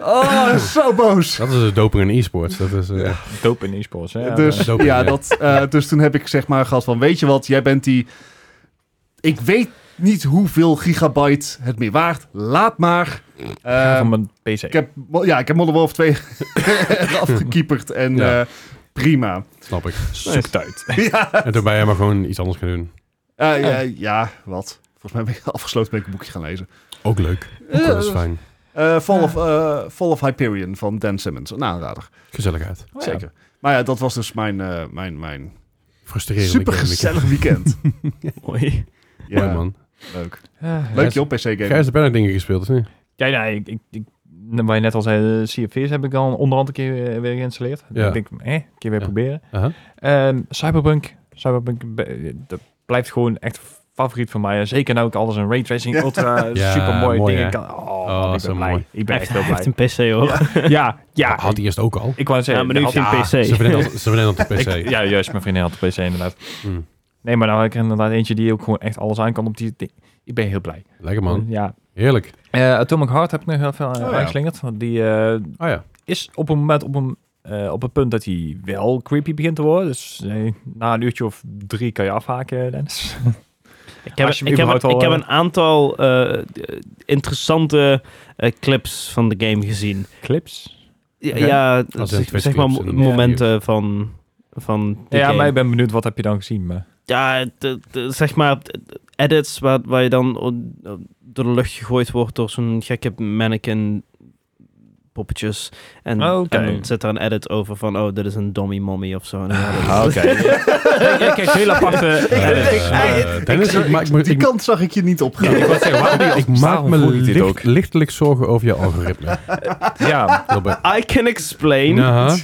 S3: Oh, zo boos.
S1: Dat is de doping in e-sports. Dat is... eh,
S2: Dope in e-sports, hè?
S3: dus,
S1: doping,
S3: ja,
S1: ja.
S3: dat, eh, dus toen heb ik zeg maar gehad van, weet je wat, jij bent die... Ik weet niet hoeveel gigabyte het meer waard. Laat maar.
S2: Ja,
S3: Ehm,
S2: van mijn PC.
S3: ik, heb, mo- ja, ik heb Modern Warfare 2 afgekieperd en
S1: Ja.
S3: eh, prima.
S1: snap ik.
S2: Zoek het uit.
S3: ja,
S1: En toen ben jij maar gewoon iets anders gaan doen.
S3: Eh, ja, ja, wat? Volgens mij ben ik afgesloten ben ik een boekje gaan lezen.
S1: Ook leuk. Ook dat is fijn.
S3: Eh, Fall, of, eh, Fall of Hyperion van Dan Simmons. Nou, Een aanrader,
S1: Gezelligheid.
S2: Oh, ja.
S3: zeker. Maar ja, dat was dus mijn, eh mijn, mijn
S1: Frustrerend.
S3: supergezellig weekend.
S4: Mooi.
S1: Ja,
S3: ja,
S1: man.
S3: leuk.
S2: Ja,
S3: Leuk joh, PC-game.
S1: Gijs, de bijna dingen gespeeld, of niet?
S2: Ja, ja, ik, ik, ik, waar je net al zei, eh, Sea of Thieves heb ik al onderhand een keer eh, weer geïnstalleerd.
S1: Ja.
S2: Ik denk, eh, een keer weer
S1: Ja.
S2: proberen.
S1: Aha.
S2: Ehm, Cyberpunk, Cyberpunk be- dat blijft gewoon echt favoriet van mij. Zeker nu ik alles in raytracing, ultra,
S1: Ja,
S2: super mooie
S1: mooi,
S2: dingen
S1: hè?
S2: kan. Oh,
S1: Oh,
S2: ik
S1: zo
S2: ben blij.
S1: mooi.
S2: Ik ben echt heel
S4: Hij heeft
S2: blij.
S4: een PC hoor.
S2: Ja, ja.
S1: Had hij eerst ook al.
S2: Ik wou
S4: Ja,
S2: zeggen,
S4: maar nu heeft hij een
S2: had- Ah,
S1: Ze
S4: PC.
S1: vernemen ze vernemen op de PC.
S2: Ik- ja, juist. Mijn vriendin had een PC inderdaad.
S1: Hmm.
S2: Nee, maar nou heb ik er inderdaad eentje die ook gewoon echt alles aan kan op die ding. Ik ben heel blij.
S1: Lekker, man.
S2: Ja.
S1: Heerlijk.
S2: Eh, Atomic Heart heb ik nog heel veel eh,
S3: Oh, ja.
S2: aangeslingerd. Want die eh,
S1: Oh ja.
S2: is op een moment op een, eh, op het punt dat hij wel creepy begint te worden. Dus eh, na een uurtje of drie kan je afhaken, Dennis.
S4: Ik heb,
S2: Als je hem
S4: ik heb,
S2: überhaupt al,
S4: ik heb
S2: eh,
S4: een aantal eh, d- interessante eh, clips van de game gezien.
S2: Clips?
S4: Ja,
S1: Oké.
S4: ja
S1: Als in
S4: zeg,
S1: Twitch
S4: zeg maar
S1: clips en dan
S4: momenten van, van die
S2: Ja,
S4: game.
S2: maar ik ben benieuwd wat heb je dan gezien. Maar...
S4: Ja, de- de- zeg maar de- de edits waar, waar je dan o- o- door de lucht gegooid wordt door zo'n gekke mannequin poppetjes. En,
S2: Oh, oké.
S4: en dan zit daar een edit over van, oh, dit is een dummy mommy of zo. En dan-
S3: Ah,
S2: Oké. Kijk, kijk, heel aparte...
S1: Eh, Dennis, ik maak me...
S3: Die
S1: ik-
S3: kant zag ik je niet opgaan.
S2: Ik wou zeggen, waarom-
S1: Ik maak
S2: waarom
S1: me
S2: voel je dit
S1: licht-
S2: ook?
S1: lichtelijk zorgen over jouw algoritme.
S2: Ja,
S1: Robert.
S4: I can explain.
S1: Aha,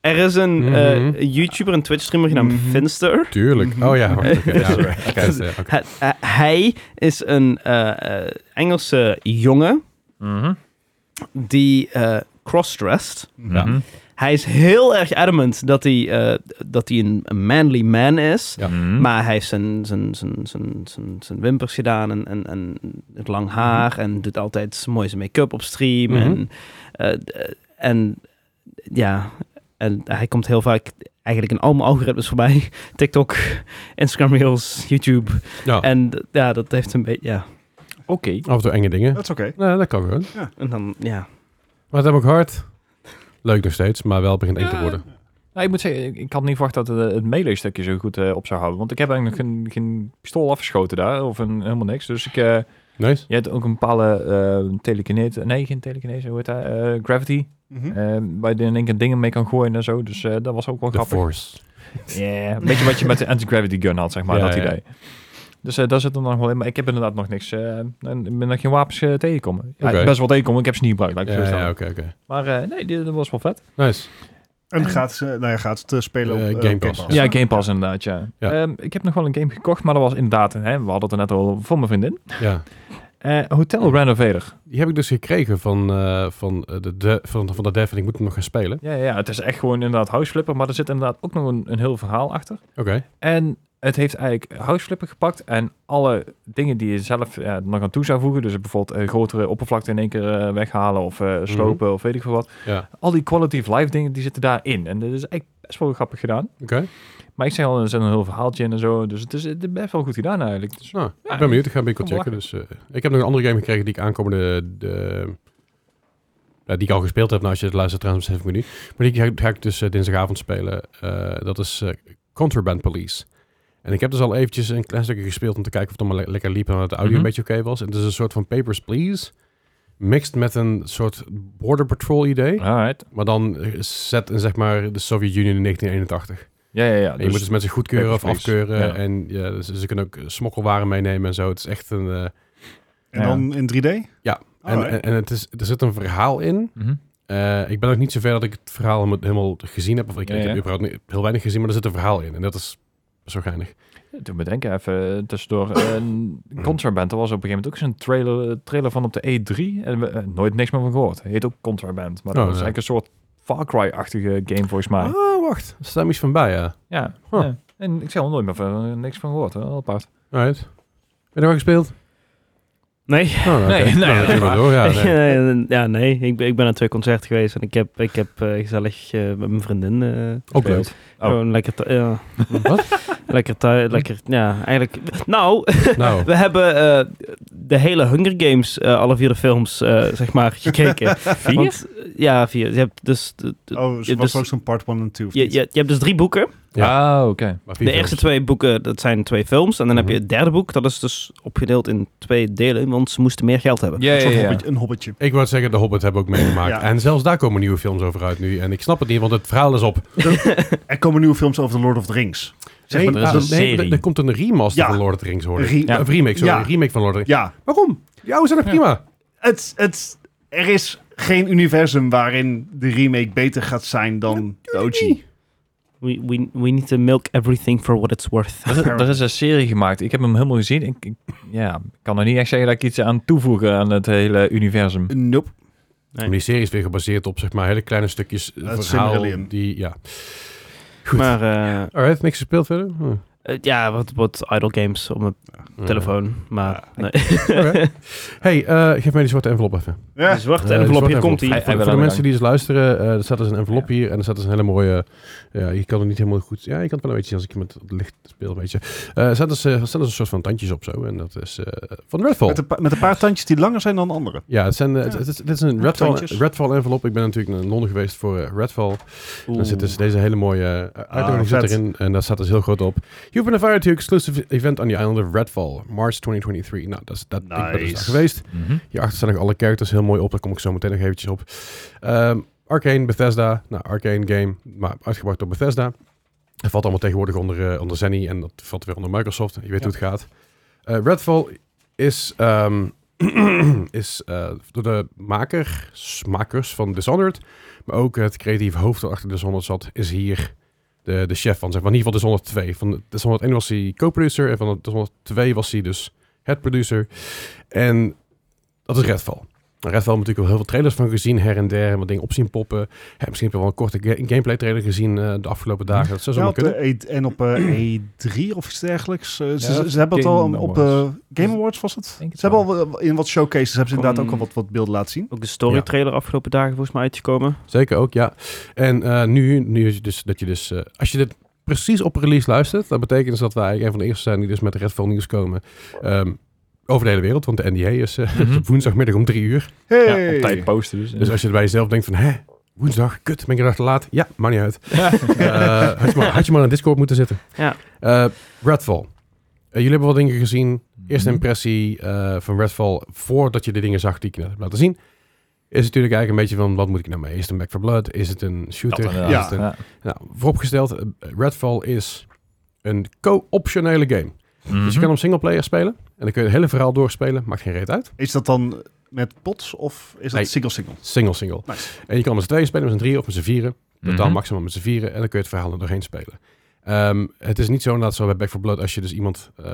S4: Er is een
S1: Mhm.
S4: eh, YouTuber en Twitch-streamer genaamd
S3: Mhm.
S4: Finster.
S1: tuurlijk. Oh ja, wacht, oké, ja.
S4: Sorry.
S1: Oké, dus, eh, oké.
S4: Hij- eh, hij is een eh, eh, Engelse jongen
S2: Mhm.
S4: die eh crossdressed.
S1: Ja.
S2: Mhm.
S4: Hij is heel erg adamant dat hij, eh, dat hij een, een manly man is.
S1: Ja.
S2: Mhm.
S4: Maar hij heeft zijn, zijn, zijn, zijn, zijn, zijn wimpers gedaan en, en, en het lang haar. En doet altijd zijn mooie make-up op stream.
S1: Mhm.
S4: En, eh, d- en ja, en hij komt heel vaak eigenlijk in al mijn algoritmes voorbij. TikTok, Instagram Reels, YouTube.
S1: Ja,
S4: En d- ja, dat heeft een beetje, ja.
S2: Oké.
S1: af en toe enge dingen.
S3: Dat is oké.
S1: Nee, dat kan gewoon.
S4: En dan, ja.
S1: Maar het heb ik hard. Leuk nog steeds, maar wel begint eng te worden.
S2: Nou, ik moet zeggen, ik- ik had niet verwacht dat het, eh, het melee-stukje zo goed eh, op zou houden. Want ik heb eigenlijk nog geen, geen pistool afgeschoten daar, of een, helemaal niks. Dus ik, eh,
S1: Nice.
S2: je hebt ook een bepaalde eh telekinese, nee, geen telekinese, hoe heet dat? Eh, gravity,
S3: Mhm.
S2: eh, waar je in één keer dingen mee kan gooien en zo. Dus eh, dat was ook wel
S1: The
S2: grappig.
S1: Force.
S2: Ja, Een beetje wat je met de anti-gravity gun had, zeg maar,
S1: Ja,
S2: dat
S1: ja.
S2: idee. Dus eh, daar zit er nog wel in. Maar ik heb inderdaad nog niks, eh, en ik ben nog geen wapens eh, tegengekomen. Ja,
S1: Oké.
S2: Best wel tegenkomen, ik heb ze niet gebruikt, laat ik het
S1: Ja,
S2: zo
S1: ja,
S2: stellen.
S1: oké, oké.
S2: Maar eh, nee, dit, dit was wel vet.
S1: Nice.
S3: En gaat ze, nou ja, gaat het eh, spelen op
S1: Eh,
S3: eh,
S1: Game Pass.
S2: Ja, Game Pass inderdaad, ja.
S1: Ja.
S2: Ehm, ik heb nog wel een game gekocht, maar dat was inderdaad, hè, we hadden het er net al over voor mijn vriendin.
S1: Ja.
S2: Eh, Hotel Renovator.
S1: Die heb ik dus gekregen van, eh, van, eh, de, de, van, van de dev en ik moet hem nog gaan spelen.
S2: Ja, ja, het is echt gewoon inderdaad House Flipper, maar er zit inderdaad ook nog een, een heel verhaal achter.
S1: Oké.
S2: En het heeft eigenlijk House Flipper gepakt en alle dingen die je zelf eh, er nog aan toe zou voegen, dus bijvoorbeeld eh, grotere oppervlakte in één keer eh, weghalen of eh, slopen of weet ik veel wat.
S1: Mhm. Ja.
S2: Al die quality of life dingen, die zitten daarin. En dat is echt best wel grappig gedaan.
S1: Oké.
S2: Maar ik zei al, er zit een heel verhaaltje in en zo, dus het is, het is best wel goed gedaan eigenlijk. Dus,
S1: Nou,
S2: Ja,
S1: ik ben benieuwd. Ik ga binnenkort
S2: kan
S1: checken. Dus, eh, ik heb nog een andere game gekregen die ik aankomende... De, ja, die ik al gespeeld heb. Nou, als je het luistert trouwens, besef ik me niet. Maar die ga, ga ik dus eh, dinsdagavond spelen. Eh, dat is eh, Contraband Police. En ik heb dus al eventjes een klein stukje gespeeld om te kijken of het allemaal le- lekker liep en dat de audio
S2: Mhm.
S1: een beetje oké was. En het is een soort van Papers, Please. Mixed met een soort Border Patrol idee.
S2: Alright.
S1: Maar dan eh, zet in zeg maar de Sovjet-Unie in 1981.
S2: Ja, ja, ja.
S1: En je moet dus mensen goedkeuren of
S2: Papers, please.
S1: afkeuren. dus
S2: Ja.
S1: En ja, ze, ze kunnen ook smokkelwaren meenemen en zo. Het is echt een... eh,
S3: En
S2: Ja.
S3: dan in Oh, 3D?
S1: Ja. En,
S3: Alright.
S1: en, en het is, er zit een verhaal in.
S2: Mhm.
S1: Eh, ik ben ook niet zover dat ik het verhaal helemaal- helemaal gezien heb. Of ik,
S2: Ja,
S1: ik heb
S2: ja.
S1: überhaupt niet- heel weinig gezien, maar er zit een verhaal in. En dat is best wel geinig.
S2: Toen bedenken even eh, tussendoor. Een contraband, er was op een gegeven moment ook zo'n trailer, eh, trailer van op de E3. En we, eh, nooit niks meer van gehoord. Heet ook Contraband. Maar dat
S1: Oh,
S2: was
S1: ja.
S2: eigenlijk een soort Far Cry-achtige game volgens mij.
S1: Oh, wacht. Er staat iets van bij, ja.
S2: Ja,
S1: Huh.
S2: ja. En ik zei al nooit meer van, eh, niks van gehoord. Hè? Apart.
S1: Alright. Heb je er wel gespeeld?
S4: Nee.
S1: Oh, oké.
S2: Nee, nee,
S1: Nou, dan
S2: Ah, nee,
S1: kunnen we
S2: maar-
S1: door. Ja, nee.
S4: Nee. ja, nee. Ik ben, ik ben naar twee concerten geweest en ik heb, ik heb eh, gezellig eh, met mijn vriendin eh,
S1: Ook leuk.
S2: Oh.
S4: Gewoon lekker... thu- Ja.
S1: Wat?
S4: Lekker thuis, lekker... Ja, eigenlijk... Nou,
S1: Nou,
S4: we hebben eh, de hele Hunger Games, eh, alle vier de films, eh, zeg maar, gekeken.
S2: Vier?
S4: Want, eh, ja, vier. Je hebt dus, de-
S1: eh,
S4: de-
S3: Oh, dus
S4: Ja,
S3: was
S4: dus-
S3: ook zo'n part 1 en 2.
S4: je, je, je hebt dus drie boeken.
S2: Ah, oké.
S1: maar
S4: De eerste twee boeken, dat zijn twee films. En dan heb
S2: Mhm.
S4: je het derde boek, dat is dus opgedeeld in twee delen, want ze moesten meer geld hebben.
S2: Ja, ja, ja.
S3: Een hobbitje.
S1: Ik wou zeggen, de Hobbit hebben we ook meegemaakt.
S3: Ja.
S1: En zelfs daar komen nieuwe films over uit nu. En ik snap het niet, want het verhaal is op.
S3: Er komen nieuwe films over The Lord of the Rings. Zeg
S1: Nee,
S3: maar,
S1: er is
S3: ah,
S1: een serie. er- er komt een remaster
S3: Ja.
S1: van Lord of the Rings, hoor ik.
S3: Re-
S1: Ja, Of remake, sorry.
S3: Ja.
S1: Een remake van Lord of the Rings.
S3: Ja,
S1: Waarom? Die oude zijn er prima.
S3: het, het, er is geen universum waarin de remake beter gaat zijn dan de OG.
S4: We, we, we need to milk everything for what it's worth.
S2: Er, is- er is een serie gemaakt. Ik heb hem helemaal gezien. Ik, ik- ja, ik kan er niet echt zeggen dat ik iets aan toevoegen aan het hele universum.
S3: Nope.
S1: Maar die serie is weer gebaseerd op, zeg maar, hele kleine stukjes eh,
S3: Het
S1: verhaal.
S3: Silmarillion.
S1: Die, ja.
S4: Maar eh,
S1: Alright, niks gespeeld verder? Hm.
S4: eh, ja, wat, wat idle games op mijn
S1: Ja.
S4: telefoon. Maar nee.
S1: Oké. hey, eh, geef mij die zwarte envelop even.
S4: De
S3: Ja.
S4: zwarte
S1: Eh, die
S4: envelop,
S1: zwarte
S4: hier
S1: envelop.
S4: komt hij.
S2: Hij-
S1: Voor,
S2: wil
S1: voor de
S2: aan de
S1: mensen die eens luisteren, eh, er staat dus een envelop hier en er staat dus een hele mooie... Ja, je kan het niet helemaal goed... Ja, je kan het wel een beetje zien als ik met het licht speel, weet je. Eh, er staat dus, eh, er staan dus een soort van tandjes op zo en dat is eh, van Redfall.
S3: Met, een pa- met een paar tandjes die langer zijn dan andere.
S1: Ja, het zijn, eh,
S3: Ja.
S1: het- het- dit is een Redfall,
S3: Tandjes.
S1: Redfall envelop. Ik ben natuurlijk naar Londen geweest voor eh, Redfall. Dan zit dus deze hele mooie eh, uitnodiging zit
S3: Ah, vet.
S1: erin. En daar staat dus heel groot op. You've been invited to an exclusive event on the island of Redfall, March 2023. Nou, dat is dat. Ik ben dus
S3: Nice.
S1: daar geweest.
S2: Mhm.
S1: Hierachter staan nog alle characters heel mooi op. Daar kom ik zo meteen nog eventjes op. Ehm, Arcane, Bethesda. Nou, Arcane game, maar uitgebracht door Bethesda. Dat valt allemaal tegenwoordig onder, eh, onder Zenny en dat valt weer onder Microsoft. Je weet hoe het gaat. Eh, Redfall is, ehm, is eh, door de makers, makers van Dishonored, maar ook het creatief hoofd dat achter Dishonored zat, is hier de, de chef van. Zeg maar, in ieder geval Dishonored 2. Van Dishonored 1 was hij co-producer en van Dishonored 2 was hij dus het producer. En dat is Redfall. Nou, Redfall hebben we natuurlijk wel heel veel trailers van gezien, her en der, en wat dingen op zien poppen. Hè, misschien heb je wel een korte ga- gameplay trailer gezien eh, de afgelopen dagen. Dat zou
S3: Ja,
S1: zomaar
S3: op
S1: kunnen.
S3: de E- en op eh, E3 of iets dergelijks. Eh, ze,
S2: Ja,
S3: ze- ze hebben het
S2: Game
S3: al op eh,
S2: Awards.
S3: Game Awards was het. Ze
S2: Denk het
S3: hebben al wel- in wat showcases hebben ze
S4: Kom-
S3: inderdaad ook al wat, wat beelden laten zien.
S4: Ook de story
S1: Ja.
S4: trailer afgelopen dagen volgens mij uitgekomen.
S1: Zeker ook, ja. En eh, nu, nu is het dus dat je dus, eh, als je dit precies op release luistert, dat betekent dus dat wij een van de eerste zijn die dus met Redfall nieuws komen. ehm, over de hele wereld, want de NDA is eh,
S2: Mhm.
S1: op woensdagmiddag om drie uur.
S3: Hey!
S2: Ja, op tijd posten dus.
S1: Dus als je bij jezelf denkt van, hè, woensdag, kut, ben ik een dag te laat? Ja, maakt niet uit.
S2: Ja.
S1: Eh, had, je maar, had je maar aan Discord moeten zitten.
S4: Ja.
S1: Eh, Redfall. Eh, jullie hebben wat dingen gezien.
S2: Mhm.
S1: Eerste impressie eh, van Redfall, voordat je de dingen zag die ik net heb laten zien, is natuurlijk eigenlijk een beetje van, wat moet ik nou mee? Is het een Back for Blood? Is het een
S2: Dat
S1: shooter?
S2: inderdaad.
S1: Is het een-
S2: Ja.
S1: nou, vooropgesteld, eh, Redfall is een co-optionele game. Dus
S2: Mhm.
S1: je kan hem singleplayer spelen en dan kun je het hele verhaal doorspelen, maakt geen reet uit.
S3: Is dat dan met pots of is dat
S1: Nee.
S3: single-single?
S1: Single, single.
S3: Nice.
S1: En je kan met z'n tweeën spelen, met z'n drieën of met z'n vieren.
S2: Mhm.
S1: Totaal maximaal met z'n vieren. En dan kun je het verhaal er doorheen spelen. Ehm, het is niet zo inderdaad zo bij Back 4 Blood. Als je dus iemand, eh,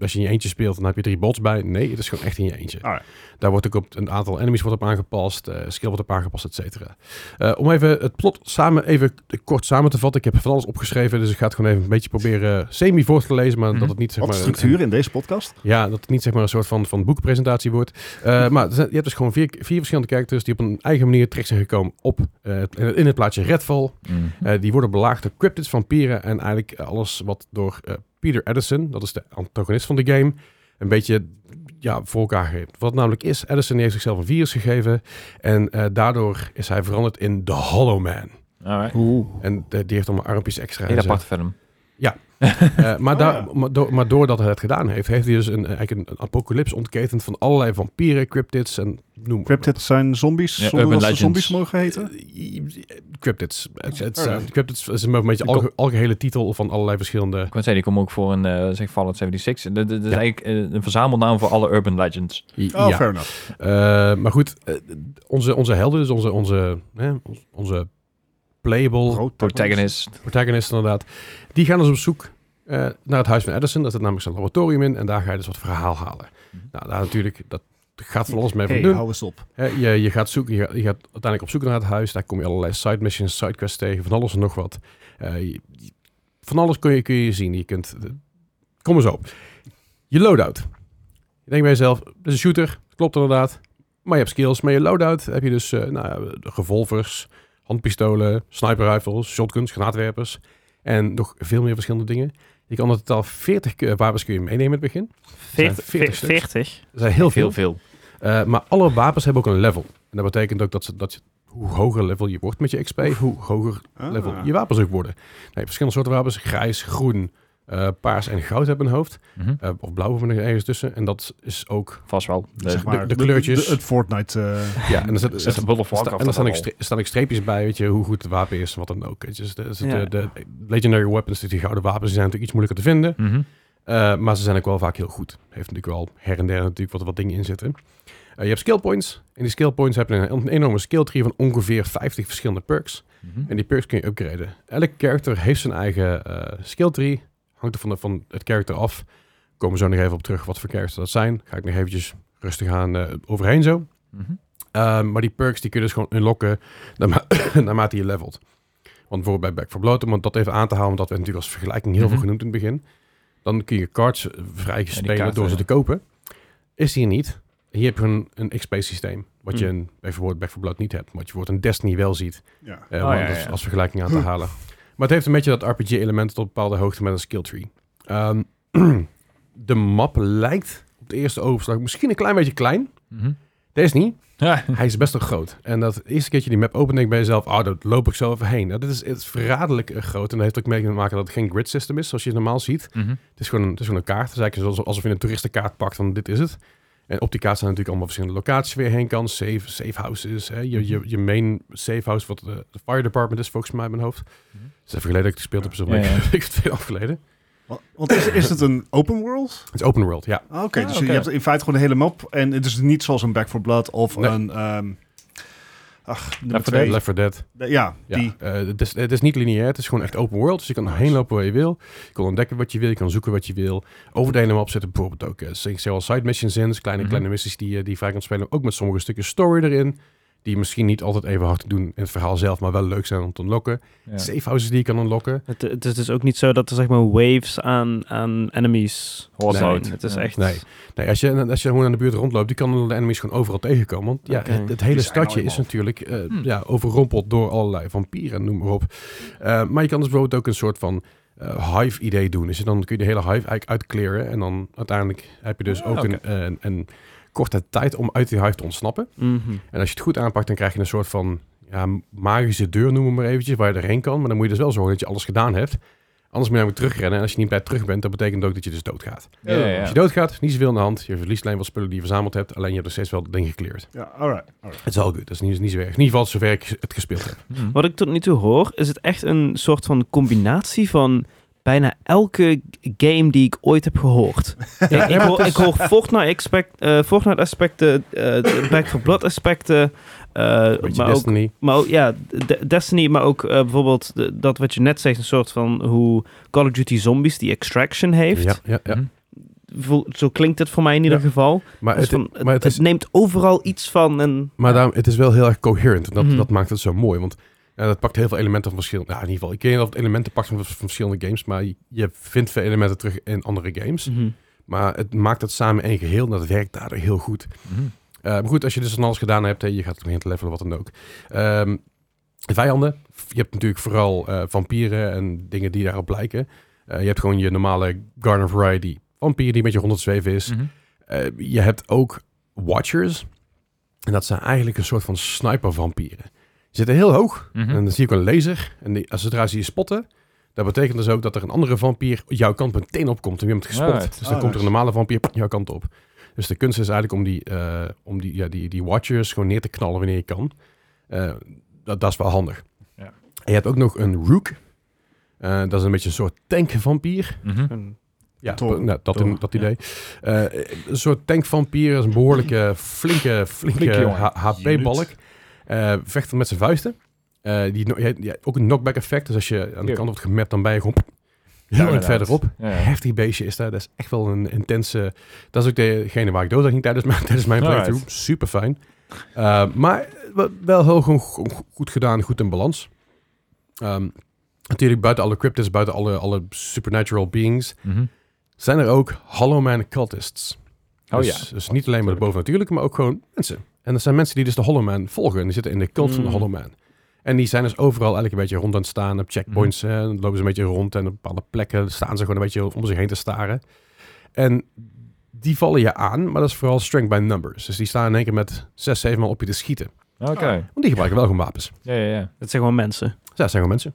S1: als je in je eentje speelt, dan heb je drie bots bij. Nee, het is gewoon echt in je eentje.
S3: Alright.
S1: Daar wordt ook op een aantal enemies wordt op aangepast, eh, skill wordt op aangepast, et cetera. Eh, om even het plot samen even kort samen te vatten. Ik heb van alles opgeschreven, dus ik ga het gewoon even een beetje proberen semi voor te lezen, maar
S2: Mhm.
S1: dat het niet zeg
S3: Wat
S1: maar eh, een-
S3: structuur in deze podcast?
S1: ja, dat het niet zeg maar een soort van, van boekpresentatie wordt.
S3: Mhm.
S1: Eh, maar er zijn- je hebt dus gewoon vier, vier verschillende characters die op een eigen manier terecht zijn gekomen op, eh, het- in het plaatje Redfall.
S2: Mhm.
S1: Eh, die worden belaagd door cryptids, vampieren en eigenlijk alles wat door eh, Peter Edison, dat is de antagonist van de game, een beetje ja, voor elkaar geeft. Wat namelijk is, Edison die heeft zichzelf een virus gegeven en eh, daardoor is hij veranderd in de Hollow Man.
S2: Alright.
S1: En eh, die heeft allemaal armpjes extra. en
S2: Heel
S1: zo.
S2: apart film.
S1: Eh, maar,
S3: Oh,
S1: daar,
S3: ja.
S1: maar, door- maar doordat hij het gedaan heeft, heeft hij dus een, eigenlijk een, een apocalyps ontketend van allerlei vampieren, cryptids en noem maar.
S3: Cryptids zijn zombies,
S2: Ja,
S3: zonder
S2: urban
S3: dat ze
S2: legends.
S3: zombies mogen heten.
S1: Eh, Cryptids. Het- eh, het-
S3: Alright.
S1: Cryptids is een beetje alge- algehele titel van allerlei verschillende...
S2: Ik wou zeggen, die komen ook voor een eh zeg Fallout 76. Dat, dat is
S1: Ja.
S2: eigenlijk eh, een verzamelnaam voor alle urban legends.
S3: Oh,
S1: ja.
S3: fair enough.
S1: Eh, maar goed, eh, onze, onze helden, dus onze, onze, hè, ons- onze playable
S2: Protagonist.
S1: protagonisten inderdaad, die gaan dus op zoek eh, naar het huis van Edison. Dat zit namelijk zijn laboratorium in en daar ga je dus wat verhaal halen. Nou, daar natuurlijk, dat gaat van alles mee van
S3: Mhm. Hey,
S1: doen.
S3: hou eens op.
S1: Hè, je, je, gaat zoeken, je, gaat, je gaat uiteindelijk op zoek naar het huis. Daar kom je allerlei side missions, side quests tegen, van alles en nog wat. Eh, je- je- van alles kun je, kun je zien. Je kunt, eh, kom eens op. Je loadout. Je denkt bij jezelf, dat is een shooter. Klopt inderdaad. Maar je hebt skills. Maar je loadout heb je dus eh, nou, ja, de revolvers, handpistolen, sniper rifles, shotguns, granaatwerpers. En nog veel meer verschillende dingen. Je kan in totaal 40 ke- wapens kun je meenemen in het begin. zijn
S4: 40.
S1: 40
S4: ve-
S1: stuks.
S4: 40?
S1: Dat zijn heel veel.
S2: Heel veel.
S1: Eh, maar alle wapens hebben ook een level. En dat betekent ook dat, ze, dat je, hoe hoger level je wordt met je XP, hoe hoger
S3: Ah.
S1: level je wapens ook worden. Nou, je hebt verschillende soorten wapens. Grijs, groen, eh, paars en goud hebben een hoofd.
S2: Mhm.
S1: Eh, of blauw hebben we er ergens tussen. En dat is ook...
S2: Vast wel. De,
S3: zeg maar,
S1: de kleurtjes.
S3: het Fortnite. eh,
S1: Ja, en er zit- er
S2: de
S1: zit-
S2: World of
S1: sta-
S2: Warcraft.
S1: en daar staan,
S2: dat
S1: ook
S2: al.
S1: stre- staan ook streepjes bij, weet je, hoe goed het wapen is, wat dan ook. weet je. Dus de, dus de-
S4: Ja.
S1: de legendary weapons, dus die gouden wapens, die zijn natuurlijk iets moeilijker te vinden.
S2: Mhm.
S1: Eh, maar ze zijn ook wel vaak heel goed. Heeft natuurlijk wel her en der natuurlijk wat, wat dingen in zitten. Eh, je hebt skill points. En die skill points hebben een, een enorme skill tree van ongeveer 50 verschillende perks.
S2: Mhm.
S1: En die perks kun je upgraden. Elk character heeft zijn eigen eh skill tree. Hangt er van, de- van het character af. Komen we zo nog even op terug wat voor characters dat zijn. Ga ik nog eventjes rustig aan eh, overheen zo.
S2: Mhm.
S1: Eh, maar die perks die kun je dus gewoon unlocken naarma- naarmate je levelt. Want bijvoorbeeld bij Back for Blood, om dat even aan te halen, want dat werd natuurlijk als vergelijking heel
S2: Mhm.
S1: veel genoemd in het begin. Dan kun je cards eh, vrij spelen
S2: kaarten,
S1: door ze
S2: ja.
S1: te kopen. Is hier niet. Hier heb je een, een XP systeem, wat je
S4: Hm.
S2: Mhm.
S1: in bijvoorbeeld Back for Blood niet hebt. Wat je wordt in Destiny wel ziet,
S3: ja.
S1: eh,
S2: Oh,
S1: om
S2: ja,
S1: dat
S2: ja.
S1: als vergelijking aan te halen. Maar het heeft een beetje dat RPG-element tot een bepaalde hoogte met een skill tree. Ehm, de map lijkt op de eerste overslag misschien een klein beetje klein.
S2: Mhm.
S1: Deze niet.
S2: Ja.
S1: Hij is best wel groot. En dat eerste keertje die map opent, denk ik bij jezelf, ah, dat loop ik zo even heen. Nou, dit is, het is verraderlijk eh, groot. En dat heeft ook mee te maken dat het geen grid system is, zoals je het normaal ziet.
S2: Mhm.
S1: Het is gewoon, het is gewoon een kaart. Het is eigenlijk alsof- alsof je een toeristenkaart pakt, van dit is het. En op die kaart zijn natuurlijk allemaal verschillende locaties waar je heen kan. Safe, safe houses. Hè. Je,
S2: Mhm.
S1: je, je main safe house, wat eh, de, de fire department is, volgens mij in mijn hoofd.
S2: Mhm.
S1: Dat is even geleden dat ik het gespeeld heb, zo'n
S2: Ja, ja.
S1: week of twee afgeleden.
S3: Wa- Want is, is het een open world?
S1: Het is open world, ja.
S3: Ah, Oké,
S2: Ah,
S3: dus
S2: oké.
S3: je hebt in feite gewoon de hele map. En het is niet zoals een Back for Blood of
S1: Nee.
S3: een... ehm, ach, nummer
S2: Left 4
S3: twee.
S1: Left 4 Dead.
S3: Ja,
S1: Ja,
S3: die.
S1: eh, het, is, het is niet lineair, het is gewoon echt open world. Dus je kan heen lopen waar je wil. Je kan ontdekken wat je wil, je kan zoeken wat je wil. Over de hele map zitten bijvoorbeeld ook eh, zeg- zowel side missions in, dus kleine,
S2: Mhm.
S1: kleine missies die, eh, die je vrij kan spelen. Ook met sommige stukken story erin, die misschien niet altijd even hard te doen in het verhaal zelf, maar wel leuk zijn om te unlocken.
S2: Ja.
S1: Safe houses die je kan unlocken.
S4: Het, het is dus ook niet zo dat er zeg maar waves aan, aan enemies
S2: Horde
S4: zijn.
S2: mode.
S4: Het is
S2: Ja.
S4: echt...
S1: Nee. Nee, als je, als je gewoon aan de buurt rondloopt, die kan de enemies gewoon overal tegenkomen. Want ja,
S4: Oké.
S1: het, het hele
S3: Die zijn
S1: stadje
S3: allemaal.
S1: is natuurlijk eh,
S2: Hmm.
S1: ja, overrompeld door allerlei vampieren, noem maar op. Eh, maar je kan dus bijvoorbeeld ook een soort van eh, hive-idee doen. Dus dan kun je de hele hive eigenlijk uitkleren. En dan uiteindelijk heb je dus
S2: Ah,
S1: ook een, een, een korte tijd om uit die hive te ontsnappen.
S4: Mhm.
S1: En als je het goed aanpakt, dan krijg je een soort van ja, magische deur, noem het maar eventjes, waar je erheen kan. Maar dan moet je dus wel zorgen dat je alles gedaan hebt. Anders moet je namelijk terugrennen. En als je niet bij terug bent, dat betekent ook dat je dus doodgaat.
S2: Ja, ja, ja.
S1: Als je doodgaat, is niet zoveel aan de hand. Je verliest alleen wat spullen die je verzameld hebt. Alleen je hebt er steeds wel dingen gecleared.
S3: Ja, alright. alright.
S1: Het is al goed. Dat is niet, niet zo erg. In ieder geval zover ik het gespeeld heb.
S2: Mhm.
S4: Wat ik tot nu toe hoor, is het echt een soort van combinatie van bijna elke game die ik ooit heb gehoord. ik, ik, hoor, ik hoor Fortnite, expect, eh, Fortnite aspecten, eh, Back for Blood aspecten, eh,
S1: Beetje
S4: maar, ook,
S1: Destiny.
S4: maar ook, ja, De- Destiny, maar ook eh, bijvoorbeeld de- dat wat je net zegt, een soort van hoe Call of Duty Zombies die Extraction heeft.
S1: Ja, ja, ja.
S2: Mhm.
S4: Voel- Zo klinkt het voor mij in ieder
S1: Ja.
S4: geval.
S1: Maar,
S4: Dus
S1: het,
S4: van,
S1: maar het is,
S4: neemt overal iets van en...
S1: maar daarom, het is wel heel erg coherent. En Dat,
S4: Mhm.
S1: dat maakt het zo mooi. Want ja, dat pakt heel veel elementen van verschillende... Nou, in ieder geval, ik weet niet of het elementen pakt van, van verschillende games. Maar je, je vindt veel elementen terug in andere games.
S4: Mhm.
S1: Maar het maakt het samen één geheel. En dat werkt daardoor heel goed.
S2: Mhm.
S1: Eh, maar goed, als je dus van alles gedaan hebt, hè, je gaat begint te levelen, wat dan ook. Ehm, vijanden. Je hebt natuurlijk vooral eh, vampieren en dingen die daarop lijken. Eh, je hebt gewoon je normale Garden Variety vampier die met je honderd zweven is.
S2: Mhm.
S1: Eh, je hebt ook Watchers. En dat zijn eigenlijk een soort van sniper vampieren. Die zitten heel hoog.
S2: Mhm.
S1: En dan zie ik een laser. En die, als zodra ze je spotten, Dat betekent dus ook dat er een andere vampier jouw kant meteen opkomt. En je hebt hem gespot.
S2: Right.
S1: Dus dan
S3: Ah,
S1: komt er een
S3: nice.
S1: normale vampier jouw kant op. Dus de kunst is eigenlijk om die, eh, om die, ja, die, die watchers gewoon neer te knallen wanneer je kan. Eh, dat, dat is wel handig.
S2: Ja.
S1: En je hebt ook nog een rook. Eh, dat is een beetje een soort tankvampier.
S2: Mhm.
S4: Een-
S1: Ja,
S3: Toch.
S1: nou, dat,
S3: Toch.
S1: dat idee. Eh, een soort tankvampier dat is een behoorlijke flinke, flinke
S2: Flinke jongen.
S1: HP-balk. Eh vecht met zijn vuisten. Eh, die, no- ja, ja, ook een knockback effect. Dus als je aan de
S2: Ja.
S1: kant wordt gemapt, dan ben je gewoon heel erg
S2: inderdaad.
S1: verderop.
S2: Ja, ja.
S1: Heftig beestje is dat. Dat is echt wel een intense... Dat is ook degene waar ik dood aan ging tijdens mijn, tijdens mijn
S2: Alright.
S1: playthrough. Super fijn. maar wel- wel heel gewoon go- goed gedaan, goed in balans. Ehm, natuurlijk buiten alle cryptids, buiten alle, alle supernatural beings
S2: Mhm.
S1: zijn er ook Hollow Man cultists.
S2: Oh
S1: dus,
S2: ja.
S1: Dus niet alleen maar de
S2: Tuurlijk.
S1: bovennatuurlijke, maar ook gewoon mensen. En dat zijn mensen die dus de Hollow Man volgen. En die zitten in de cult van de
S2: Hmm.
S4: Mm.
S1: Hollow Man. En die zijn dus overal eigenlijk een beetje rond aan het staan op checkpoints.
S2: Hmm.
S1: hè. Dan lopen ze een beetje rond en op bepaalde plekken staan ze gewoon een beetje om zich heen te staren. En die vallen je aan, maar dat is vooral strength by numbers. Dus die staan in één keer met zes, zeven man op je te schieten.
S2: Oké.
S1: Want die gebruiken wel gewoon wapens.
S2: Ja, ja, ja.
S4: Dat zijn gewoon mensen.
S1: Dus ja, dat zijn gewoon mensen.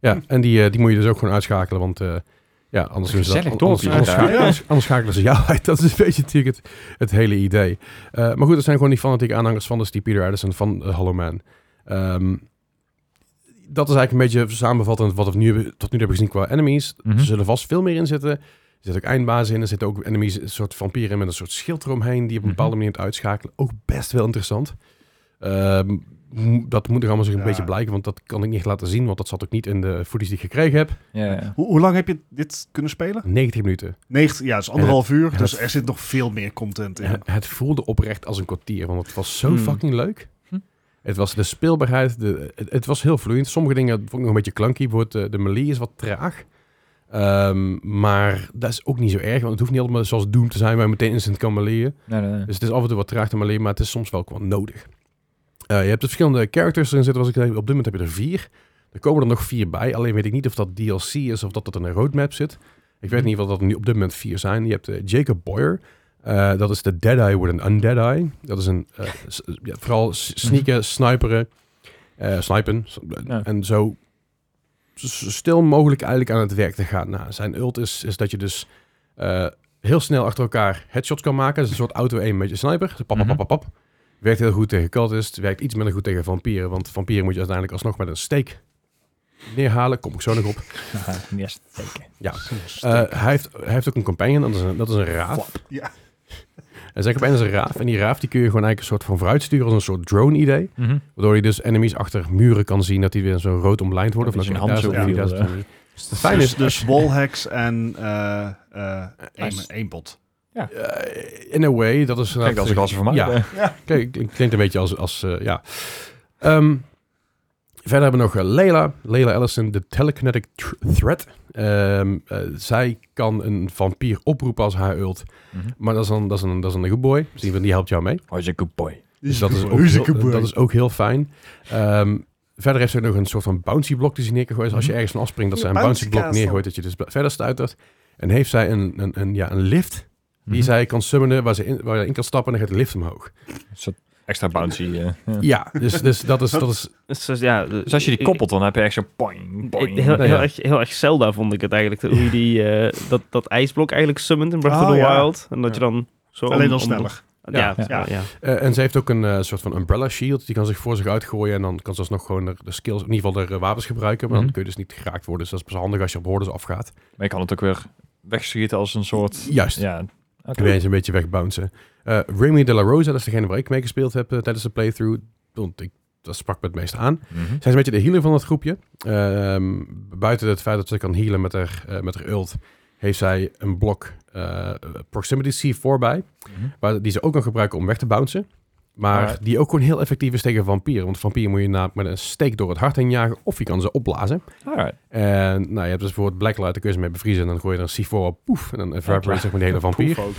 S1: Ja, en die, eh, die moet je dus ook gewoon uitschakelen, want eh, ja, anders doen ze dat.
S2: Gezellig
S1: Anders,
S2: dorpje,
S1: anders,
S2: ja.
S1: scha- anders- anders schakelen ze jou uit. Dat is een beetje natuurlijk het, het hele idee. Eh, maar goed, dat zijn gewoon die fanatieke aanhangers van de Steve Peter Addison van eh, Hollow Man. Ehm, dat is eigenlijk een beetje samenvattend wat we nu, tot nu toe hebben gezien qua enemies.
S2: Mhm.
S1: Er zullen vast veel meer in zitten. Er zitten ook eindbazen in. Er zitten ook enemies, een soort vampieren met een soort schild eromheen... die op een
S2: Mhm.
S1: bepaalde manier het uitschakelen. Ook best wel interessant. Ehm, m- dat moet nog allemaal zich een
S3: Ja.
S1: beetje blijken... want dat kan ik niet laten zien... want dat zat ook niet in de footage die ik gekregen heb.
S2: ja, ja.
S3: Hoe, hoe lang heb je dit kunnen spelen?
S1: 90 minuten.
S3: 90, ja, dat is anderhalf uur.
S1: ja,
S3: Dus
S1: dat-
S3: er zit nog veel meer content in.
S1: En het voelde oprecht als een kwartier, want het was zo
S4: Hmm.
S1: fucking leuk.
S2: Hm.
S1: Het was de speelbaarheid, de, het, het was heel vloeiend. Sommige dingen vond ik nog een beetje clunky, bijvoorbeeld eh, de melee is wat traag. Ehm, maar dat is ook niet zo erg, want het hoeft niet allemaal zoals Doom te zijn, waar je meteen instant kan meleeën.
S2: Nee, nee, nee.
S1: Dus het is af en toe wat traag te meleeën, maar het is soms wel gewoon nodig. Eh, je hebt de verschillende characters erin zitten, zoals ik zei, op dit moment heb je er vier. Er komen er nog vier bij, alleen weet ik niet of dat DLC is of dat dat in een roadmap zit. Ik weet in ieder geval dat er nu op dit moment vier zijn. Je hebt eh, Jacob Boyer. Eh, dat is de Dead Eye with an Undead Eye. Dat is een eh, s- ja, vooral s- sneaken, sniperen, eh, snipen. s-
S2: Ja.
S1: En zo s- stil mogelijk eigenlijk aan het werk te gaan. Nou, zijn ult is, is dat je dus eh, heel snel achter elkaar headshots kan maken. Dat is een soort auto 1 met je sniper. Pap, pap,
S2: Mhm.
S1: pap, pap, pap. Werkt heel goed tegen cultist. Werkt iets minder goed tegen vampieren. Want vampieren moet je uiteindelijk alsnog met een steek neerhalen. Kom ik zo nog op.
S2: Haha, Yes, zeker.
S3: Dus
S1: Eh, ah, hij, heeft, hij heeft ook een companion. Dat is een, dat is een raaf.
S3: ja.
S1: En zijn companion is een raaf. En die raaf die kun je gewoon eigenlijk een soort van vooruit sturen. Als een soort drone idee.
S2: Mhm.
S1: Waardoor je dus enemies achter muren kan zien. Dat die weer zo rood omlijnd worden.
S2: Dat
S1: Of
S2: is
S1: dat
S2: een
S1: je daar
S2: hand
S1: staat,
S2: zo
S1: daar
S2: viel,
S1: staat.
S2: hè.
S1: Het fijne is
S3: dus, dus wallhacks en eh eh
S1: Nice.
S3: één bot.
S1: eh, in a way. Dat is
S2: dus- Kijk, als ik was er van mij.
S1: Ja, Kijk, het klinkt een beetje als... als eh, ja. Ehm, verder hebben we nog eh, Leila. Leila Ellison, de telekinetic thr- threat. Ehm, eh, zij kan een vampier oproepen als haar ult.
S2: Mhm.
S1: Maar dat is, dan, dat, is een, dat is een good boy. Dus die, die helpt jou mee.
S2: Oh, is een good boy.
S1: Dus dat is, ook heel, dat is ook heel fijn. Ehm, verder heeft ze ook nog een soort van bouncy blok die ze neergegooid. Dus als je
S2: Mhm.
S1: ergens van afspringt, dat
S3: Ja,
S1: zij een bouncy
S3: bouncy
S1: blok
S3: castle.
S1: neergooit, dat je dus b- verder stuitert. En heeft zij een, een, een, ja, een lift die
S2: Mhm.
S1: zij kan summonen, waar ze in, waar je in kan stappen en dan gaat de lift omhoog.
S2: Extra bouncy. eh, ja.
S1: Ja, dus, dus dat is... Dat is
S4: Dus, dus ja,
S2: Dus als je die
S4: ik-
S2: koppelt, dan heb je echt zo'n poing,
S4: ik-
S2: poing.
S4: Heel,
S1: Ja,
S4: heel,
S1: ja.
S4: Erg, heel erg Zelda vond ik het eigenlijk. Hoe je die, eh, dat, dat ijsblok eigenlijk summont in Breath
S3: Ah,
S4: of the
S3: ja.
S4: Wild. En dat je dan zo... om-
S3: Alleen dan
S4: om-
S3: sneller.
S4: Ja,
S2: Ja.
S4: ja, ja.
S1: Eh, en ze heeft ook een eh, soort van umbrella shield. Die kan zich voor zich uitgooien. En dan kan ze alsnog gewoon de, de skills, in ieder geval de eh, wapens gebruiken. Maar
S2: Mhm.
S1: dan kun je dus niet geraakt worden. Dus dat is best handig als je op hordes afgaat.
S2: Maar je kan het ook weer wegschieten als een soort...
S1: Juist.
S2: Ja, oké.
S1: Kun je eens een beetje wegbouncen. Eh Remy de la Rosa, dat is degene waar ik mee gespeeld heb eh, tijdens de playthrough. Want ik, dat sprak me het meest aan.
S2: Mhm.
S1: Zij is een beetje de healer van het groepje. Ehm, buiten het feit dat ze kan healen met haar, eh, met haar ult... heeft zij een blok eh, proximity C4 bij.
S2: Mhm.
S1: Waar, die ze ook kan gebruiken om weg te bouncen. Maar
S2: Alright.
S1: die ook gewoon heel effectief is tegen vampieren. Want vampieren moet je na, met een steek door het hart heen jagen. Of je kan ze opblazen.
S2: Alright.
S1: En nou, je hebt dus bijvoorbeeld Blacklight. Daar kun je ze mee bevriezen. En dan gooi je er een C4 op. Poef. En dan evaporate
S2: Ja,
S1: zeg maar die hele vampier.
S2: Poef ook.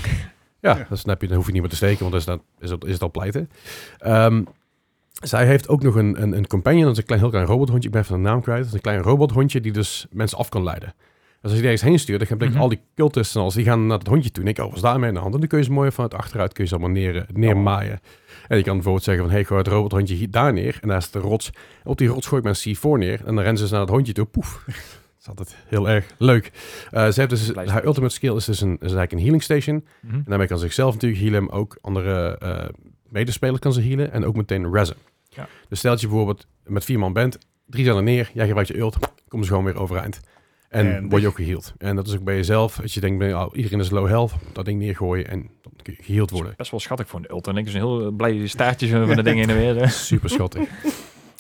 S1: Ja,
S3: Ja.
S1: dat snap je. Dan hoef je niet meer te steken, want dan is, dat, is, dat, is het al pleiten. Ehm, zij heeft ook nog een, een, een companion, dat is een klein, heel klein robothondje. Ik ben even de naam kwijt. Dat is een klein robothondje die dus mensen af kan leiden. Dus als je die ergens heen stuurt, dan gaan blijkbaar
S2: Mhm.
S1: al die cultisten en alles, die gaan naar dat hondje toe. En ik, oh, wat is daarmee aan de hand? En dan kun je ze mooi vanuit achteruit kun je ze allemaal neer, eh, neermaaien. En je kan bijvoorbeeld zeggen van, hey, gooi het robothondje hier, daar neer. En daar is de rots. En op die rots gooi ik mijn C4 neer. En dan rennen ze dus naar dat hondje toe. Poef. is altijd heel erg leuk. Eh, ze heeft dus,
S2: Blijft
S1: haar
S2: goed.
S1: ultimate skill is dus een, is eigenlijk een healing station.
S2: Mhm.
S1: En daarmee kan ze zichzelf natuurlijk healen, maar ook andere eh, medespelers kan ze healen. En ook meteen rezen.
S2: Ja.
S1: Dus stel dat je bijvoorbeeld met vier man bent, drie zijn er neer, jij gebruikt je ult, komen ze gewoon weer overeind. En,
S3: En
S1: word je ook geheeld. En dat is ook bij jezelf. Als je denkt, ben je, oh, iedereen is low health, dat ding neergooien en dan kun je geheeld worden.
S2: Best wel schattig voor een ultra. En ik dus een heel blij staartje zo van de dingen in de weer. hè.
S1: Super schattig.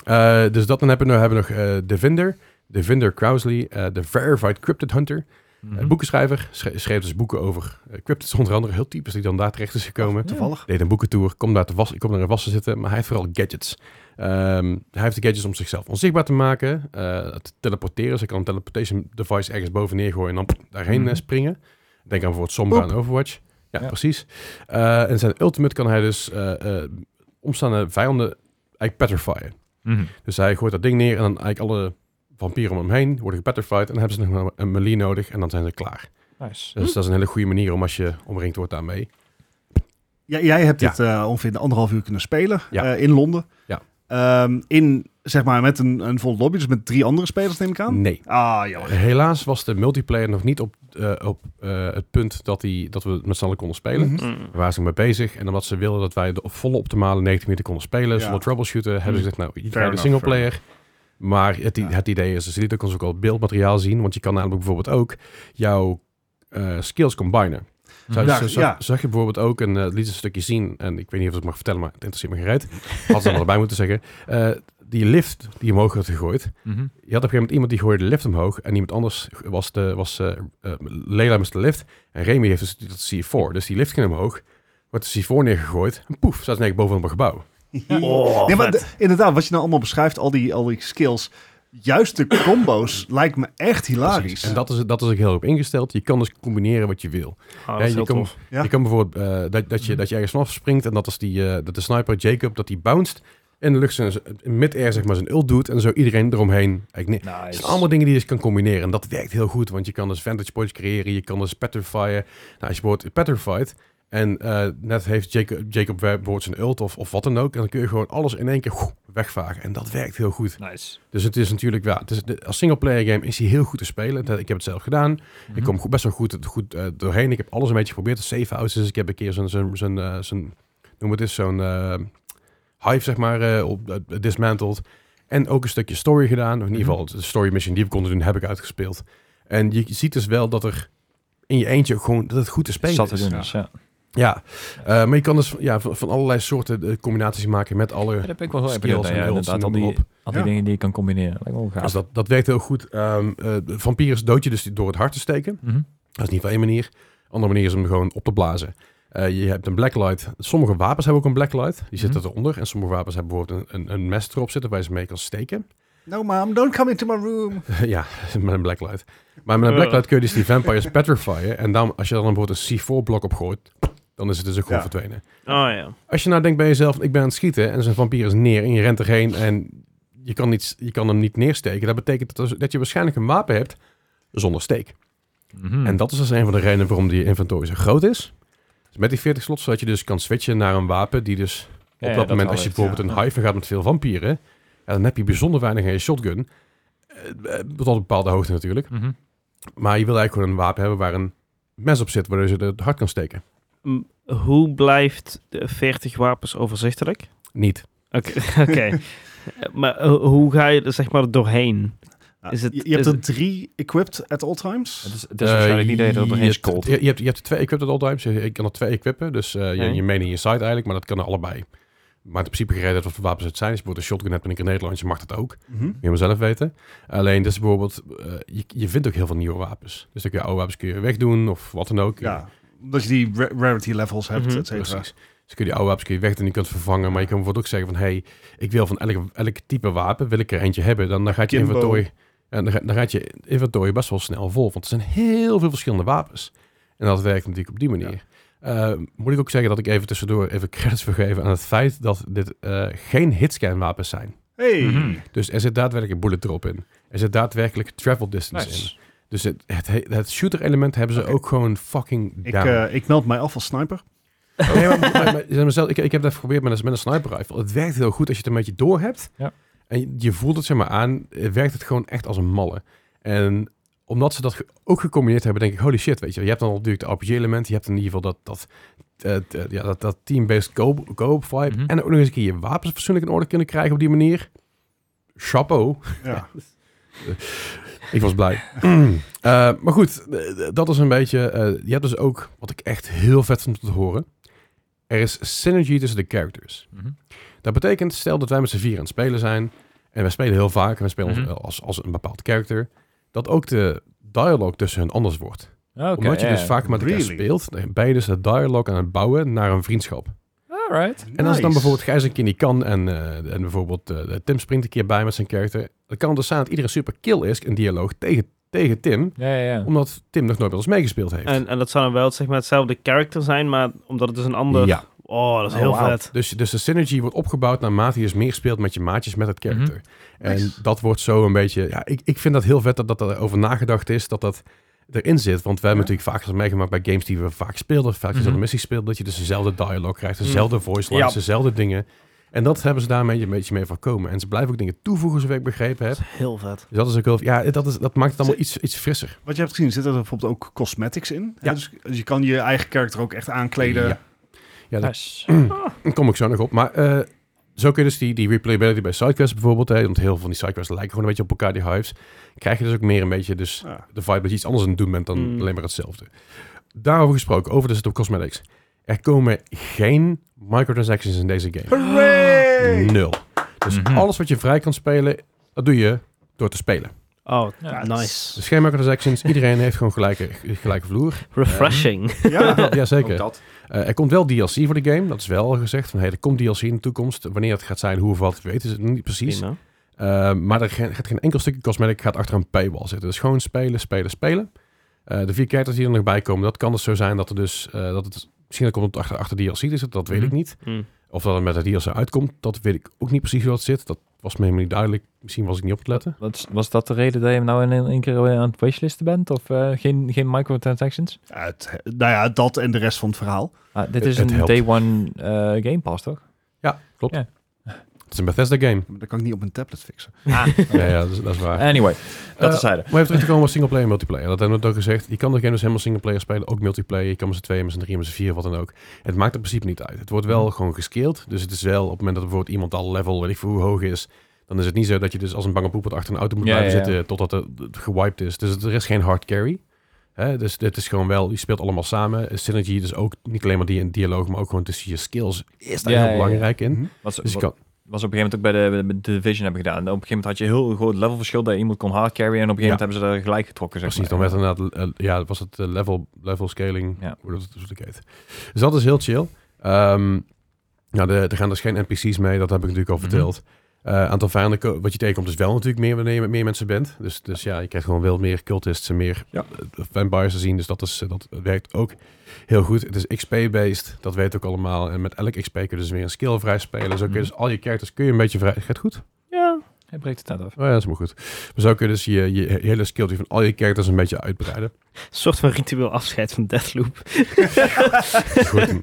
S1: Eh, dus dat dan hebben we, hebben we nog eh, de Vinder. De Vinder Crowsley, eh, de Verified Cryptid Hunter.
S2: Mhm.
S1: Eh, boekenschrijver, schre- schreef dus boeken over eh, cryptids onder andere. Heel typisch dat hij dan daar terecht is gekomen.
S3: Toevallig.
S1: Deed een boekentour, kom daar te was, ik kom naar een was te zitten. Maar hij heeft vooral gadgets. Ehm, hij heeft de gadgets om zichzelf onzichtbaar te maken. eh, te teleporteren. Dus hij kan een teleportation device ergens boven neergooien en dan pff, daarheen
S2: Mhm.
S1: eh, springen. Denk aan bijvoorbeeld Sombra en Overwatch. Ja,
S2: Ja.
S1: precies. Eh, en zijn ultimate kan hij dus eh, eh, omstaande vijanden eigenlijk petrifyen.
S2: Mhm.
S1: Dus hij gooit dat ding neer en dan eigenlijk alle vampieren om hem heen worden gepetrified. En dan hebben ze nog maar een melee nodig en dan zijn ze klaar.
S2: Nice.
S1: Dus dat is een hele goede manier om als je omringd wordt daarmee.
S3: Jij- jij hebt
S1: Ja.
S3: dit eh, ongeveer een anderhalf uur kunnen spelen
S1: Ja.
S3: eh, in Londen.
S1: Ja.
S3: Ehm, in, zeg maar, met een, een vol lobby, dus met drie andere spelers neem ik aan.
S1: Nee.
S3: Ah, jammer.
S1: Helaas was de multiplayer nog niet op, eh, op eh, het punt dat, die, dat we met z'n allen konden spelen.
S3: Mhm.
S4: Mm.
S1: Daar waren ze mee bezig. En omdat ze wilden dat wij de volle optimale 90 minuten konden spelen,
S3: Ja. Mhm.
S1: zonder troubleshooten, hebben ze gezegd, nou, je krijgt de
S3: enough,
S1: singleplayer. Maar het, i-
S3: Ja.
S1: het idee is, dus ze lieten ons ook al beeldmateriaal zien, want je kan namelijk bijvoorbeeld ook jouw eh, skills combinen. Zou,
S2: Mhm.
S3: Ja,
S1: zo- zo-
S3: ja.
S1: Zag je bijvoorbeeld ook een, eh liet een stukje zien, en ik weet niet of ik het mag vertellen, maar het interesseert me gereed. Had ze er erbij moeten zeggen. Eh, die lift die omhoog had gegooid,
S2: Mhm.
S1: je had op een gegeven moment iemand die gooide de lift omhoog. En iemand anders was, de, was eh eh, Leila was de lift. En Remy heeft dus dat C4. Dus die lift ging omhoog. Wordt de C4 neergegooid. En poef, staat ze ineens bovenop een gebouw.
S4: Oh,
S3: nee, maar
S4: vet.
S3: de- inderdaad, wat je nou allemaal beschrijft, al die, al die skills, juist de combo's, lijkt me echt hilarisch.
S1: En dat is, dat is ook heel erg op ingesteld. Je kan dus combineren wat je wil.
S4: Ah,
S1: Ja,
S4: dat is
S1: je
S4: heel
S1: kan-
S4: tof. Mhm.
S3: Ja.
S1: Je kan bijvoorbeeld eh, dat, dat, je, dat je ergens vanaf springt. En dat is die, eh, dat de sniper Jacob, dat die bounced. En de lucht zijn, in mid-air zeg maar zijn ult doet. En zo iedereen eromheen. Eigenlijk ne- Het
S2: Nice.
S1: zijn allemaal dingen die je dus kan combineren. En dat werkt heel goed, want je kan dus vantage points creëren, je kan dus petrifyen. Nou, als je bijvoorbeeld petrified en eh, net heeft Jacob, Jacob bijvoorbeeld zijn ult of, of wat dan ook, en dan kun je gewoon alles in één keer oeh, wegvagen. En dat werkt heel goed.
S2: Nice.
S1: Dus het is natuurlijk, ja, het is, de- als singleplayer game is hij heel goed te spelen. Dat- Ik heb het zelf gedaan. Ik
S2: Mhm.
S1: kom goed- best wel goed, goed eh, doorheen. Ik heb alles een beetje geprobeerd. De safe houses, ik heb een keer zo'n, zo'n, zo'n, eh, zo'n noem het eens, zo'n eh, hive, zeg maar, eh, op, eh, dismantled. En ook een stukje story gedaan. In ieder
S2: Mhm.
S1: geval, de story mission die we konden doen, heb ik uitgespeeld. En je ziet dus wel dat er in je eentje ook gewoon, dat het goed te spelen
S2: Zat te
S1: is.
S2: doen, dus, ja.
S1: Ja, Eh, maar je kan dus ja, van, van allerlei soorten eh, combinaties maken met alle...
S2: Ja, Daar ben ik wel heel erg
S1: Skills
S2: benieuwd naar,
S1: en
S2: ja,
S1: hulps en
S2: inderdaad. Al
S1: noem
S2: die,
S1: maar
S2: al die
S3: Ja.
S2: dingen die je kan combineren. Lijkt me wel gaaf.
S1: Dus dat, dat werkt heel goed. Ehm eh, vampiers dood je dus door het hart te steken.
S2: Mhm.
S1: Dat is niet van één manier. andere manier is om gewoon op te blazen. Eh, je hebt een blacklight. Sommige wapens hebben ook een blacklight. Die zitten
S2: Mhm.
S1: eronder. En sommige wapens hebben bijvoorbeeld een, een, een mes erop zitten waar je ze mee kan steken.
S3: No mom, don't come into my room.
S1: ja, met een blacklight. Maar met een blacklight kun je dus die vampires petrifyen. En dan, als je dan bijvoorbeeld een C4-blok op gooit, dan is het dus ook gewoon
S3: Ja.
S1: verdwenen.
S4: Oh ja.
S1: Als je nou denkt bij jezelf, ik ben aan het schieten en zo'n vampier is neer en je rent erheen en je kan, niet, je kan hem niet neersteken. Dat betekent dat, dat je waarschijnlijk een wapen hebt zonder steek.
S2: Mhm.
S1: En dat is dus een van de redenen waarom die inventory zo groot is. Dus met die 40 slots, zodat je dus kan switchen naar een wapen die dus op
S2: Ja, ja,
S1: dat moment,
S2: wel
S1: als je
S2: heeft,
S1: bijvoorbeeld
S2: ja.
S1: een hive gaat met veel vampieren, ja, dan heb je bijzonder weinig aan je shotgun. Eh, eh, Tot een bepaalde hoogte natuurlijk.
S2: Mhm.
S1: Maar je wil eigenlijk gewoon een wapen hebben waar een mes op zit, waardoor je ze het hart kan steken.
S4: M, Hoe blijft de 40 wapens overzichtelijk?
S1: Niet.
S4: Oké. Oké. Eh, maar eh, hoe ga je er zeg maar doorheen?
S3: Nou,
S4: Is het-
S3: je, je hebt
S4: is
S3: er drie equipped at all times.
S2: Het is, het is waarschijnlijk niet dat je
S1: Eh,
S2: dat
S1: je,
S2: opeens
S1: hebt-
S2: cold.
S1: je, je hebt, je hebt twee equipped at all times. Je je kan er twee equippen. Dus eh,
S4: Oké.
S2: Mhm.
S1: je, je main en je side eigenlijk, maar dat kan er allebei. Maar in principe gereden dat wat voor wapens het zijn. Als je bijvoorbeeld een shotgun hebt en een grenade launcher, mag dat ook.
S3: Mhm.
S1: Moet je maar zelf weten. Alleen, dus bijvoorbeeld, eh, je, je vindt ook heel veel nieuwe wapens. Dus dan kun je oude wapens kun je wegdoen of wat dan ook.
S3: Ja, omdat je die ra- rarity levels hebt,
S4: Mhm,
S3: et cetera.
S1: precies. Dus kun je die oude wapens kun je wegdoen en die kunt vervangen. Maar je kan bijvoorbeeld ook zeggen van, hey, ik wil van elk, elk type wapen, wil ik er eentje hebben. Dan, dan gaat je
S3: Kimbo.
S1: inventory, en dan, ga- dan gaat je inventory best wel snel vol. Want er zijn heel veel verschillende wapens. En dat werkt natuurlijk op die manier. Eh, moet ik ook zeggen dat ik even tussendoor even credits wil geven aan het feit dat dit eh, geen hitscan wapens zijn.
S3: Hey,
S2: Mhm.
S1: Dus er zit daadwerkelijk een bullet drop in. Er zit daadwerkelijk travel distance in.
S2: Nice.
S1: Dus het, het, he- het shooter-element hebben ze ook gewoon fucking
S3: ik,
S1: down.
S3: eh, ik meld mij af als sniper.
S1: Nee, maar- maar- maar- zeg maar zelf, ik, ik heb dat geprobeerd met een, met een sniper rifle. Het werkt heel goed als je het een beetje door hebt.
S2: Ja.
S1: En je, je voelt het zeg maar aan. eh, Werkt het gewoon echt als een malle. En omdat ze dat ge- ook gecombineerd hebben, denk ik, holy shit, weet je. wel. Je hebt dan natuurlijk de RPG-element, je hebt in ieder geval dat, dat, eh, eh, ja, dat, dat team-based co- co-op vibe.
S2: Mhm.
S1: En ook nog eens een keer je wapens fatsoenlijk in orde kunnen krijgen op die manier. Chapeau.
S3: Ja.
S1: Ik was blij. Eh, maar goed, eh, dat is een beetje... eh, je hebt dus ook, wat ik echt heel vet vond om te horen... Er is synergy tussen de characters.
S2: Mhm.
S1: Dat betekent, stel dat wij met z'n vier aan het spelen zijn... en wij spelen heel vaak en we spelen ons-
S2: Mhm.
S1: als, als een bepaald character... dat ook de dialoog tussen hen anders wordt.
S2: Oké,
S1: Omdat je
S2: ja.
S1: dus vaak met elkaar
S3: Really?
S1: speelt, dan ben je dus dat dialoog aan het bouwen naar een vriendschap.
S2: Alright.
S1: En als het dan
S3: Nice.
S1: bijvoorbeeld Gijs een keer niet kan en, eh, en bijvoorbeeld eh, Tim springt een keer bij met zijn character, dan kan het dus zijn dat iedereen super kill is in dialoog tegen, tegen Tim,
S2: Ja, ja, ja.
S1: omdat Tim nog nooit met ons meegespeeld heeft.
S4: En, en dat zou dan wel zeg maar, hetzelfde karakter zijn, maar omdat het dus een ander...
S1: Ja,
S4: Oh, dat is heel
S2: Oh, wauw.
S4: vet.
S1: dus, dus de synergy wordt opgebouwd naarmate je dus meer speelt met je maatjes met het character.
S3: Nice.
S1: En dat wordt zo een beetje, ja, ik, ik vind dat heel vet dat dat erover nagedacht is, dat dat erin zit. Want we hebben
S3: Ja.
S1: natuurlijk vaak eens meegemaakt bij games die we vaak speelden, vaak dezelfde
S2: Mhm.
S1: missies speelden, dat je dus dezelfde dialoog krijgt,
S4: Mm.
S1: dezelfde voice lines,
S2: Ja.
S1: dezelfde dingen. En dat hebben ze daarmee een beetje mee voorkomen. En ze blijven ook dingen toevoegen, zover ik begrepen
S4: Dat
S1: heb.
S4: is heel vet.
S1: Dus dat is ook heel, ja, dat, is, dat maakt het allemaal iets, iets frisser.
S3: Wat je hebt gezien, zit er bijvoorbeeld ook cosmetics in.
S1: Ja.
S3: Ja. Dus je kan je eigen karakter ook echt aankleden.
S1: Ja. Ja, dat-
S2: Nice.
S1: Daar kom ik zo nog op. Maar eh, zo kun je dus die, die replayability bij sidequests bijvoorbeeld, hè, want heel veel van die sidequests lijken gewoon een beetje op elkaar, die hives. Krijg je dus ook meer een beetje dus
S3: Ja.
S1: de vibe dat je iets anders aan het doen bent dan
S4: Mm.
S1: alleen maar hetzelfde. Daarover gesproken, over de zit op cosmetics. Er komen geen microtransactions in deze game.
S3: Hooray!
S1: Nul. Dus
S2: Mhm.
S1: alles wat je vrij kan spelen, dat doe je door te spelen.
S4: Oh,
S2: Ja,
S4: nice.
S1: Dus geen microtransactions. Iedereen heeft gewoon gelijke, gelijke vloer.
S4: Refreshing.
S3: Ja.
S1: Ja, zeker.
S2: Ook dat.
S1: Eh, er komt wel DLC voor de game. Dat is wel al gezegd. Van, hey, er komt DLC in de toekomst. Wanneer het gaat zijn, hoe of wat, weten ze niet precies.
S4: Prima.
S1: Eh, maar er ge- gaat geen enkel stukje cosmetic gaat achter een paywall zitten. Dus gewoon spelen, spelen, spelen. Eh, de vier characters die er nog bij komen, dat kan dus zo zijn dat er dus... eh, dat het, misschien dat komt het achter, achter DLC, dus dat, dat weet
S2: Mhm.
S1: ik niet.
S4: Mm.
S1: Of dat het met de DLC uitkomt, dat weet ik ook niet precies hoe dat zit. Dat was me helemaal niet duidelijk. Misschien was ik niet op het letten.
S2: Wat is- was dat de reden dat je nou in één keer eh, aan het washlisten bent? Of eh, geen, geen microtransactions?
S3: Ja, het- nou ja, dat en de rest van het verhaal.
S2: Ah, dit
S1: Het-
S2: is
S1: het
S2: een
S1: helpt.
S2: day one eh, game pass, toch?
S1: Ja, klopt.
S2: Ja.
S1: Het is een Bethesda game.
S3: Maar Dat kan ik niet op mijn tablet fixen.
S1: ja, ja, dat, is, dat is waar.
S2: Anyway, dat
S1: Eh,
S2: is zijde.
S1: Maar even terug te komen op singleplayer en multiplayer. Dat hebben we ook gezegd. Je kan de game dus helemaal singleplayer spelen, ook multiplayer. Je kan met z'n tweeën, met z'n drieën, met z'n vier, wat dan ook. Het maakt in principe niet uit. Het wordt wel
S2: Mm.
S1: gewoon gescaled. Dus het is wel op het moment dat bijvoorbeeld iemand al level, weet ik veel hoe hoog is, dan is het niet zo dat je dus als een bange poepert achter een auto moet
S2: Ja,
S1: blijven
S2: ja, ja.
S1: zitten totdat het het gewiped is. Dus het- er is geen hard carry. Hè, dus dit is gewoon wel, je speelt allemaal samen. Synergy dus ook niet alleen maar die in dialoog, maar ook gewoon tussen je skills is daar
S2: Ja,
S1: heel
S2: ja, ja.
S1: belangrijk in.
S3: Mhm.
S2: Wat, ze-
S1: Dus je
S2: wat,
S1: kan,
S2: wat ze op een gegeven moment ook bij de, bij de Division hebben gedaan. Op een gegeven moment had je heel groot levelverschil dat je iemand kon hardcarryen. En op een gegeven moment hebben ze daar gelijk getrokken. Zeg
S1: Precies, dan
S2: maar.
S1: werd inderdaad, eh, ja, was het eh, level, level scaling,
S2: Ja.
S1: hoe dat het heet. Dus dat is heel chill. Ehm, nou, de, er gaan dus geen NPC's mee, dat heb ik natuurlijk al
S2: Mhm.
S1: verteld. Eh, aantal vijanden, ko- wat je tegenkomt is wel natuurlijk meer wanneer je met meer mensen bent. Dus, dus ja, je krijgt gewoon wel meer cultists en meer
S3: Ja.
S1: eh, vampires te zien. Dus dat, is, eh, dat werkt ook heel goed. Het is XP-based, dat weet ook allemaal. En met elk XP kun je dus weer een skill vrij spelen. Zo kun je
S2: Mhm.
S1: dus al je characters kun je een beetje vrij... Gaat het goed?
S4: Ja.
S2: Hij breekt het net af.
S1: Oh ja, dat is maar goed. Maar zo kun je dus je, je hele skill tree van al je characters een beetje uitbreiden.
S4: Een soort van ritueel afscheid van Deathloop.
S1: Je gooit hem,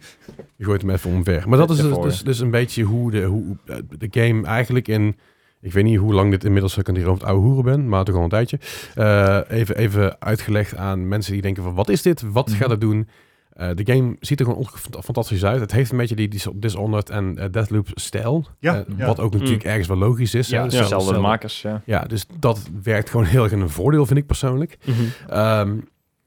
S1: je gooit hem even omver. Maar dat is dus,
S2: Daarvoor,
S1: dus, dus een beetje hoe de, hoe eh, de game eigenlijk in... Ik weet niet hoe lang dit inmiddels, ik kan hier over het oude hoeren ben, maar toch al een tijdje. eh, even, even uitgelegd aan mensen die denken van, wat is dit? Wat
S2: Mhm.
S1: gaat het doen? Eh, de game ziet er gewoon onge- fantastisch uit. Het heeft een beetje die, die Dishonored en eh, Deathloop stijl.
S3: Ja,
S1: Eh,
S3: ja.
S1: Wat ook natuurlijk ergens wel logisch is. hè.
S2: Ja,
S1: Dus
S2: dezelfde
S1: zelfs- zelfs-
S2: makers. Ja.
S1: Ja, dus dat werkt gewoon heel erg in een voordeel, vind ik persoonlijk. Ehm,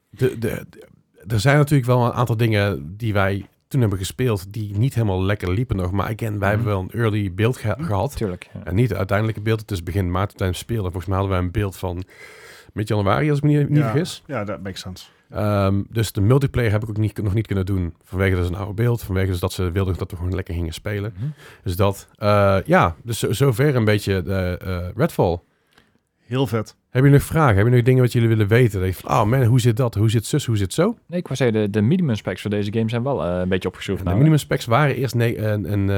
S1: de, de, de- er zijn natuurlijk wel een aantal dingen die wij toen hebben gespeeld die niet helemaal lekker liepen nog. Maar again, wij hebben wel een early beeld geha- gehad.
S2: Tuurlijk. Ja.
S1: En niet het uiteindelijke beeld. Het is begin maart toen we speelden. Volgens mij hadden wij een beeld van mid januari, als ik me niet, niet
S3: Ja.
S1: vergis.
S3: Ja, dat makes sense.
S1: Ehm, dus de multiplayer heb ik ook niet, nog niet kunnen doen. Vanwege dus een oude beeld. Vanwege dus dat ze wilden dat we gewoon lekker gingen spelen.
S2: Mhm.
S1: Dus dat. eh, ja, dus zo- zover een beetje de, eh, Redfall.
S3: Heel vet.
S1: Hebben jullie nog vragen? Hebben jullie nog dingen wat jullie willen weten? Dat je van, oh man, hoe zit dat? Hoe zit zus? Hoe zit zo?
S2: Nee, ik wou zeggen, de, de minimum specs voor deze game zijn wel eh, een beetje opgeschroefd.
S1: En de minimum specs waren eerst ne- een, een,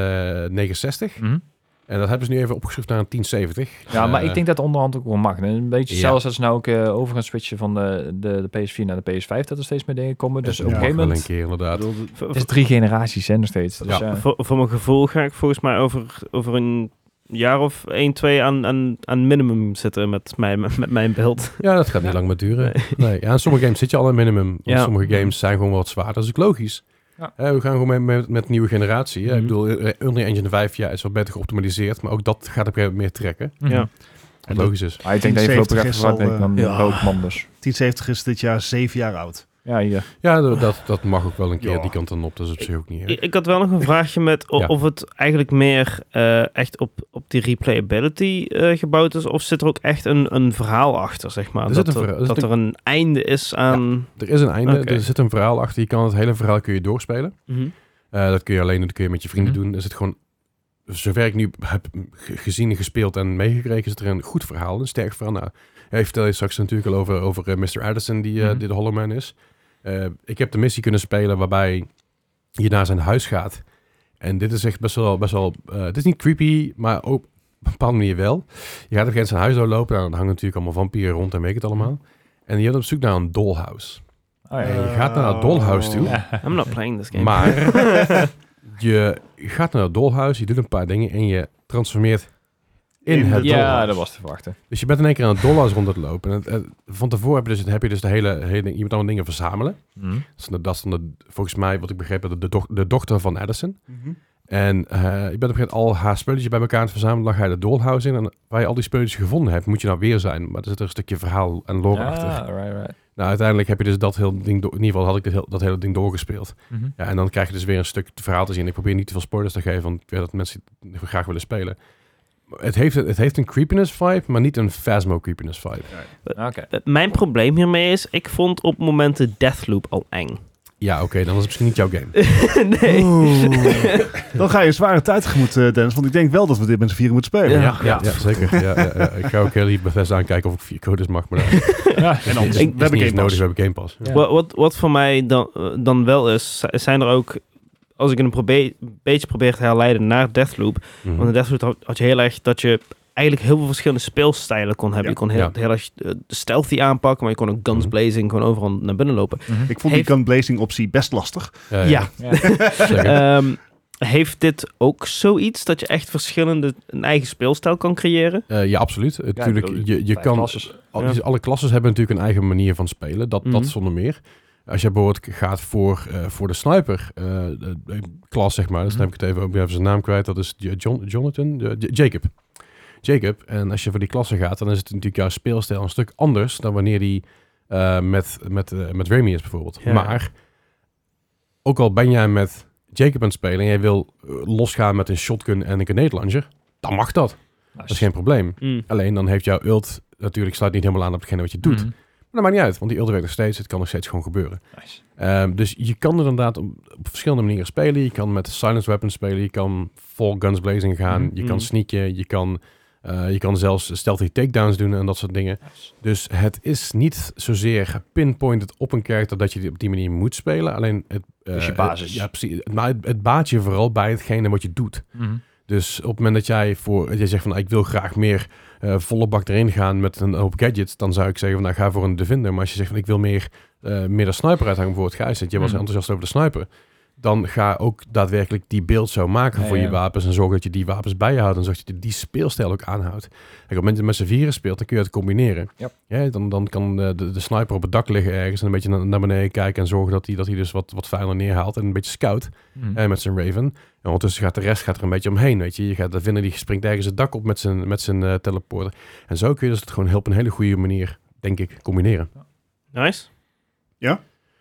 S1: eh, 69.
S2: Mhm.
S1: En dat hebben ze nu even opgeschroefd naar een 1070.
S2: Ja, maar
S1: Eh,
S2: ik denk dat onderhand ook wel mag. En Een beetje
S1: Ja.
S2: zelfs als ze nou ook eh, over gaan switchen van de, de, de PS4 naar de PS5, dat er steeds meer dingen komen. Dus
S1: het
S2: op een
S1: mag
S2: gegeven
S1: wel
S2: moment...
S1: een keer
S3: Ik
S1: inderdaad.
S3: bedoel, de-
S4: Voor,
S2: Het is drie generaties, hè, nog steeds. Dus,
S1: Ja.
S2: ja.
S4: voor, voor mijn gevoel ga ik volgens mij over, over een jaar of 1, 2 aan, aan, aan minimum zitten met mijn, met mijn beeld.
S1: Ja, dat gaat niet lang meer duren. Nee. ja, aan sommige games zit je al aan minimum. Want
S4: Ja.
S1: Sommige games zijn gewoon wat zwaarder. Dat is ook logisch.
S2: Ja.
S1: Hè, we gaan gewoon mee met, met nieuwe generatie. hè. Ik
S4: Mhm.
S1: bedoel, eh, Unreal Engine 5 ja, is wel beter geoptimaliseerd. Maar ook dat gaat op een gegeven moment meer trekken.
S2: Mhm.
S4: Ja.
S1: Wat
S3: dat-
S1: logisch is.
S2: Maar ik denk dat je
S3: 1070
S2: voorlopig even
S3: is
S2: zwart
S3: al,
S2: bent, dan
S4: eh, ja.
S2: rood man dus.
S3: 1070 is dit jaar zeven jaar oud.
S2: Ja, hier.
S1: Ja, d- dat, dat mag ook wel een keer
S3: Ja.
S1: die kant dan op. Dat is op zich ook niet erg.
S4: Ik, ik had wel nog een vraagje met o-
S1: Ja.
S4: of het eigenlijk meer eh, echt op, op die replayability eh, gebouwd is. Of zit er ook echt een, een verhaal achter, zeg maar.
S1: Er zit
S4: dat
S1: een verhaal- er
S4: er, dat
S1: zit
S4: er een einde is aan...
S1: Er is een einde.
S4: Oké.
S1: Er zit een verhaal achter. Je kan het hele verhaal kun je doorspelen.
S4: Mhm.
S1: Eh, dat kun je alleen dat kun je met je vrienden
S2: Mhm.
S1: doen. Er zit gewoon, zover ik nu heb ge- gezien, en gespeeld en meegekregen, is er een goed verhaal, een sterk verhaal. Nou, hij vertelde je straks natuurlijk al over, over eh, Mr. Addison, die, eh,
S2: Mhm.
S1: die de Hollow Man is. Eh, ik heb de missie kunnen spelen waarbij je naar zijn huis gaat. En dit is echt best wel, best wel eh, het is niet creepy, maar ook op een bepaalde manier wel. Je gaat op een gegeven moment zijn huis doorlopen, nou, dan hangen natuurlijk allemaal vampieren rond en weet ik het allemaal.
S2: Mhm.
S1: En je bent op zoek naar een dollhouse.
S2: Oh, ja.
S1: En je gaat naar dat dollhouse toe.
S3: Eh,
S4: I'm not playing this game.
S1: Maar je gaat naar het dolhuis, je doet een paar dingen en je transformeert in,
S3: In
S1: het
S3: de-
S2: Ja,
S1: dolhuis.
S2: dat was te verwachten.
S1: Dus je bent in één keer aan het dolhuis rond het lopen. En het- het- van tevoren heb je dus, heb je dus de hele, hele je moet allemaal dingen verzamelen.
S2: Mhm.
S1: Dat is, de- dat is dan de, volgens mij, wat ik begreep, de, de, doch- de dochter van Addison. En eh, je bent op een gegeven moment al haar spulletjes bij elkaar aan het verzamelen. Dan ga je de dolhuis in. En waar je al die spulletjes gevonden hebt, moet je nou weer zijn. Maar er zit er een stukje verhaal en lore
S2: Ah.
S1: achter.
S2: Ja, right, right.
S1: Nou, uiteindelijk heb je dus dat hele ding, door- in ieder geval had ik dit heel- dat hele ding doorgespeeld.
S2: Mhm.
S1: Ja, en dan krijg je dus weer een stuk verhaal te zien. Ik probeer niet te veel spoilers te geven, want ik weet dat mensen het graag willen spelen. Maar Het heeft, het heeft een creepiness vibe, maar niet een Phasmo creepiness vibe.
S2: Oké.
S4: Eh, Mijn probleem hiermee is, ik vond op momenten Deathloop al eng.
S1: Ja, oké, dan was het misschien niet jouw game.
S4: nee.
S3: Dan ga je een zware tijd tegemoet, eh, Dennis. Want ik denk wel dat we dit met z'n vieren moeten spelen.
S1: Ja,
S4: Ja.
S1: ja, zeker. Ja, ja, ja. Ik ga ook heel lief Bethesda aankijken of ik vier codes mag, maar dat
S3: En anders,
S1: is,
S3: we
S1: is
S3: hebben
S1: niet eens
S3: Game
S1: nodig,
S3: Pass.
S1: we hebben Game Pass.
S2: Ja.
S4: Wat, wat, wat voor mij dan, eh, dan wel is, z- zijn er ook, als ik een probe- beetje probeer te herleiden naar Deathloop.
S1: Mhm.
S4: Want in Deathloop had, had je heel erg dat je eigenlijk heel veel verschillende speelstijlen kon hebben.
S3: Ja.
S4: Je kon heel,
S1: Ja.
S4: heel erg eh, stealthy aanpakken, maar je kon ook guns
S1: Mhm.
S4: blazing, gewoon overal naar binnen lopen.
S3: Ik vond
S4: Heeft-
S3: die gunblazing optie best lastig.
S1: Ja,
S4: ja.
S2: Mhm. Ja.
S1: zeker.
S4: Ehm, heeft dit ook zoiets dat je echt verschillende, een eigen speelstijl kan creëren?
S1: Eh, ja, absoluut. Eh, Tuurlijk,
S2: bedoel,
S1: je, je
S2: vijf
S1: kan,
S2: klasses.
S1: al-
S4: Ja.
S1: dus alle klasses hebben natuurlijk een eigen manier van spelen. Dat,
S4: Mhm.
S1: dat zonder meer. Als je bijvoorbeeld gaat voor, eh, voor de sniper eh, de- de klas, zeg maar. Dan
S2: Mhm.
S1: heb ik het even, ik ben even zijn naam kwijt. Dat is J- John, Jonathan? Eh, J- Jacob. Jacob. En als je voor die klasse gaat, dan is het natuurlijk jouw speelstijl een stuk anders dan wanneer die eh, met, met, eh, met Remy is bijvoorbeeld.
S4: Ja.
S1: Maar ook al ben jij met Jacob aan het spelen en jij wil eh, losgaan met een shotgun en een grenade launcher, dan mag dat. Dat is geen probleem.
S4: Mm.
S1: Alleen dan heeft jouw ult natuurlijk sluit niet helemaal aan op hetgene wat je doet.
S2: Mhm.
S1: Maar dat maakt niet uit, want die ult werkt nog steeds. Het kan nog steeds gewoon gebeuren.
S2: Nice.
S1: Ehm, dus je kan er inderdaad op, op verschillende manieren spelen. Je kan met silence weapons spelen. Je kan vol guns blazing gaan.
S2: Mhm.
S1: Je kan sneaken. Je kan, eh, je kan zelfs stealthy takedowns doen en dat soort dingen.
S2: Nice.
S1: Dus het is niet zozeer gepinpointed op een character dat je die op die manier moet spelen. Alleen het... eh,
S2: Dus je basis.
S1: het- ja, precies. Maar het, het baat je vooral bij hetgene wat je doet.
S2: Mhm.
S1: Dus op het moment dat jij voor dat jij zegt van nou, ik wil graag meer eh, volle bak erin gaan met een hoop gadgets, dan zou ik zeggen van nou ga voor een Defender. Maar als je zegt van ik wil meer, eh, meer de sniper uithangen voor het gijs, dat je was
S2: Hmm.
S1: enthousiast over de sniper, dan ga ook daadwerkelijk die beeld zo maken
S2: Ja,
S1: voor
S2: ja.
S1: je wapens en zorg dat je die wapens bij je houdt en zorg dat je die speelstijl ook aanhoudt. Kijk, op het moment dat je met z'n vieren speelt, dan kun je het combineren.
S2: Ja.
S1: Ja, dan, dan kan eh, de, de sniper op het dak liggen ergens en een beetje naar, naar beneden kijken en zorgen dat hij dat hij dus wat, wat fijner neerhaalt en een beetje scout.
S2: Mhm.
S1: Eh, met zijn Raven. En ondertussen gaat de rest gaat er een beetje omheen. Weet je. je gaat de vinden die springt ergens het dak op met zijn, met zijn eh, teleporter. En zo kun je dus het gewoon heel, op een hele goede manier, denk ik, combineren.
S4: Nice.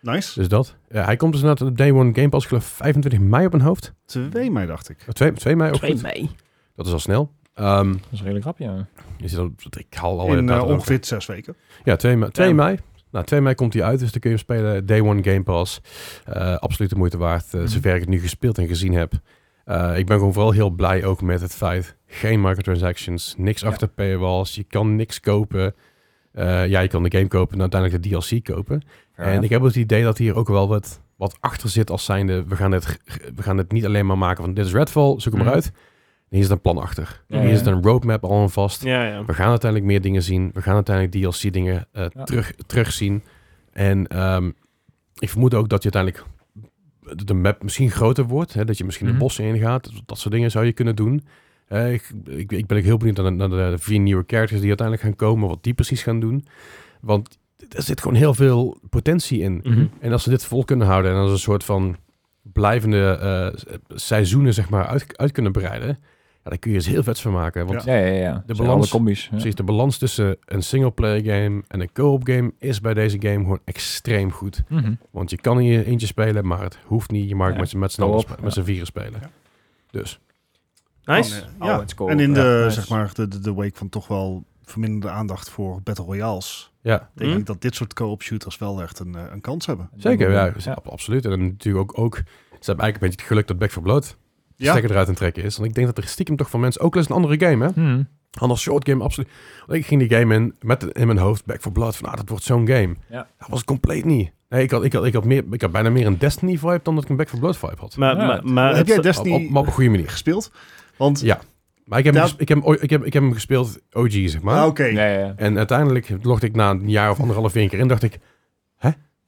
S3: Nice.
S1: Dus dat. Ja, hij komt dus inderdaad op Day One Game Pass, ik geloof 25 mei op mijn hoofd.
S3: 2 mei, dacht ik.
S1: Of 2, 2 mei, ook
S4: 2
S1: goed.
S4: mei.
S1: Dat is al snel. Ehm,
S2: Dat is een redelijk grapje. ja.
S1: je ziet al, ik haal al
S3: In
S1: inderdaad
S3: eh,
S1: ook-
S3: ongeveer zes weken.
S1: Ja, 2 mei. 2
S4: Ja.
S1: mei. Nou, 2 mei komt hij uit, dus dan kun je hem spelen. Day One Game Pass. Eh, absoluut de moeite waard, eh,
S2: Mhm.
S1: zover ik het nu gespeeld en gezien heb. Eh, ik ben gewoon vooral heel blij ook met het feit... geen microtransactions, niks
S2: Ja.
S1: achter paywalls, je kan niks kopen. Eh, ja, je kan de game kopen en uiteindelijk de DLC kopen.
S2: Fair
S1: En
S2: enough.
S1: ik heb het idee dat hier ook wel wat, wat achter zit als zijnde... We gaan, het, we gaan het niet alleen maar maken van dit is Redfall, zoek hem
S2: Mhm.
S1: maar uit. Hier zit een plan achter.
S2: Ja,
S1: Hier
S2: ja.
S1: zit een roadmap al aan vast.
S4: Ja, ja.
S1: We gaan uiteindelijk meer dingen zien. We gaan uiteindelijk DLC-dingen
S2: Ja.
S1: eh, terug, terugzien. En ehm, ik vermoed ook dat je uiteindelijk de map misschien groter wordt. Hè? Dat je misschien
S2: Mhm.
S1: de bossen ingaat. Dat soort dingen zou je kunnen doen. Eh, Eh, ik, ik, ik ben ook heel benieuwd naar, de- naar de vier nieuwe characters die uiteindelijk gaan komen, wat die precies gaan doen. Want er zit gewoon heel veel potentie in.
S4: Mhm.
S1: En als ze dit vol kunnen houden en als een soort van blijvende eh, seizoenen zeg maar, uit, uit kunnen breiden, ja, dan kun je er heel vets van maken. Want
S3: Ja.
S2: Ja, ja, ja.
S1: De
S2: De
S1: balans-
S2: balans. combi's. Ja.
S1: precies de balans tussen een singleplayer game en een co-op game is bij deze game gewoon extreem goed.
S2: Mhm.
S1: Want je kan in je eentje spelen, maar het hoeft niet. Je mag het
S2: Ja,
S1: met z'n- met z'n allen
S2: co-op,
S1: spe- met z'n vieren spelen.
S3: Ja.
S1: Dus.
S4: Nice.
S3: Kan, eh,
S2: Oh,
S3: ja.
S2: het is cool.
S3: En in
S2: Ja,
S3: de,
S2: nice.
S3: zeg maar, de, de, de week van toch wel verminderde aandacht voor Battle Royales.
S1: Ja,
S3: Denk
S4: Mhm.
S3: ik dat dit soort co-op shooters wel echt een, eh, een kans hebben.
S1: zeker. Ja,
S2: Ja.
S1: ab- absoluut. En dan natuurlijk ook, ook, ze hebben eigenlijk een beetje het geluk dat Back for Blood
S3: Ja.
S1: stekker eruit aan het trekken is. Want ik denk dat er stiekem toch van mensen, ook al is het een andere game hè.
S2: Mhm.
S1: Anders short game, absoluut. Want ik ging die game in met in mijn hoofd, Back for Blood, van ah, dat wordt zo'n game.
S2: Ja.
S1: Dat was het compleet niet. Nee, ik had, ik, had, ik, had meer, ik had bijna meer een Destiny vibe dan dat ik een Back for Blood vibe had.
S4: Maar,
S2: Ja.
S4: maar, maar
S3: heb
S4: het-
S3: jij
S1: Op, eh, op,
S3: Destiny
S1: maar op een goede manier.
S3: gespeeld? Want,
S1: Ja, Maar ik heb, hem
S3: Ja.
S1: ges- ik, heb, hem ooit- ik, heb, ik heb hem gespeeld OG, zeg maar.
S3: Ah, oké.
S2: Ja, ja, ja.
S1: En uiteindelijk logde ik na een jaar of anderhalf weer een keer in, dacht ik,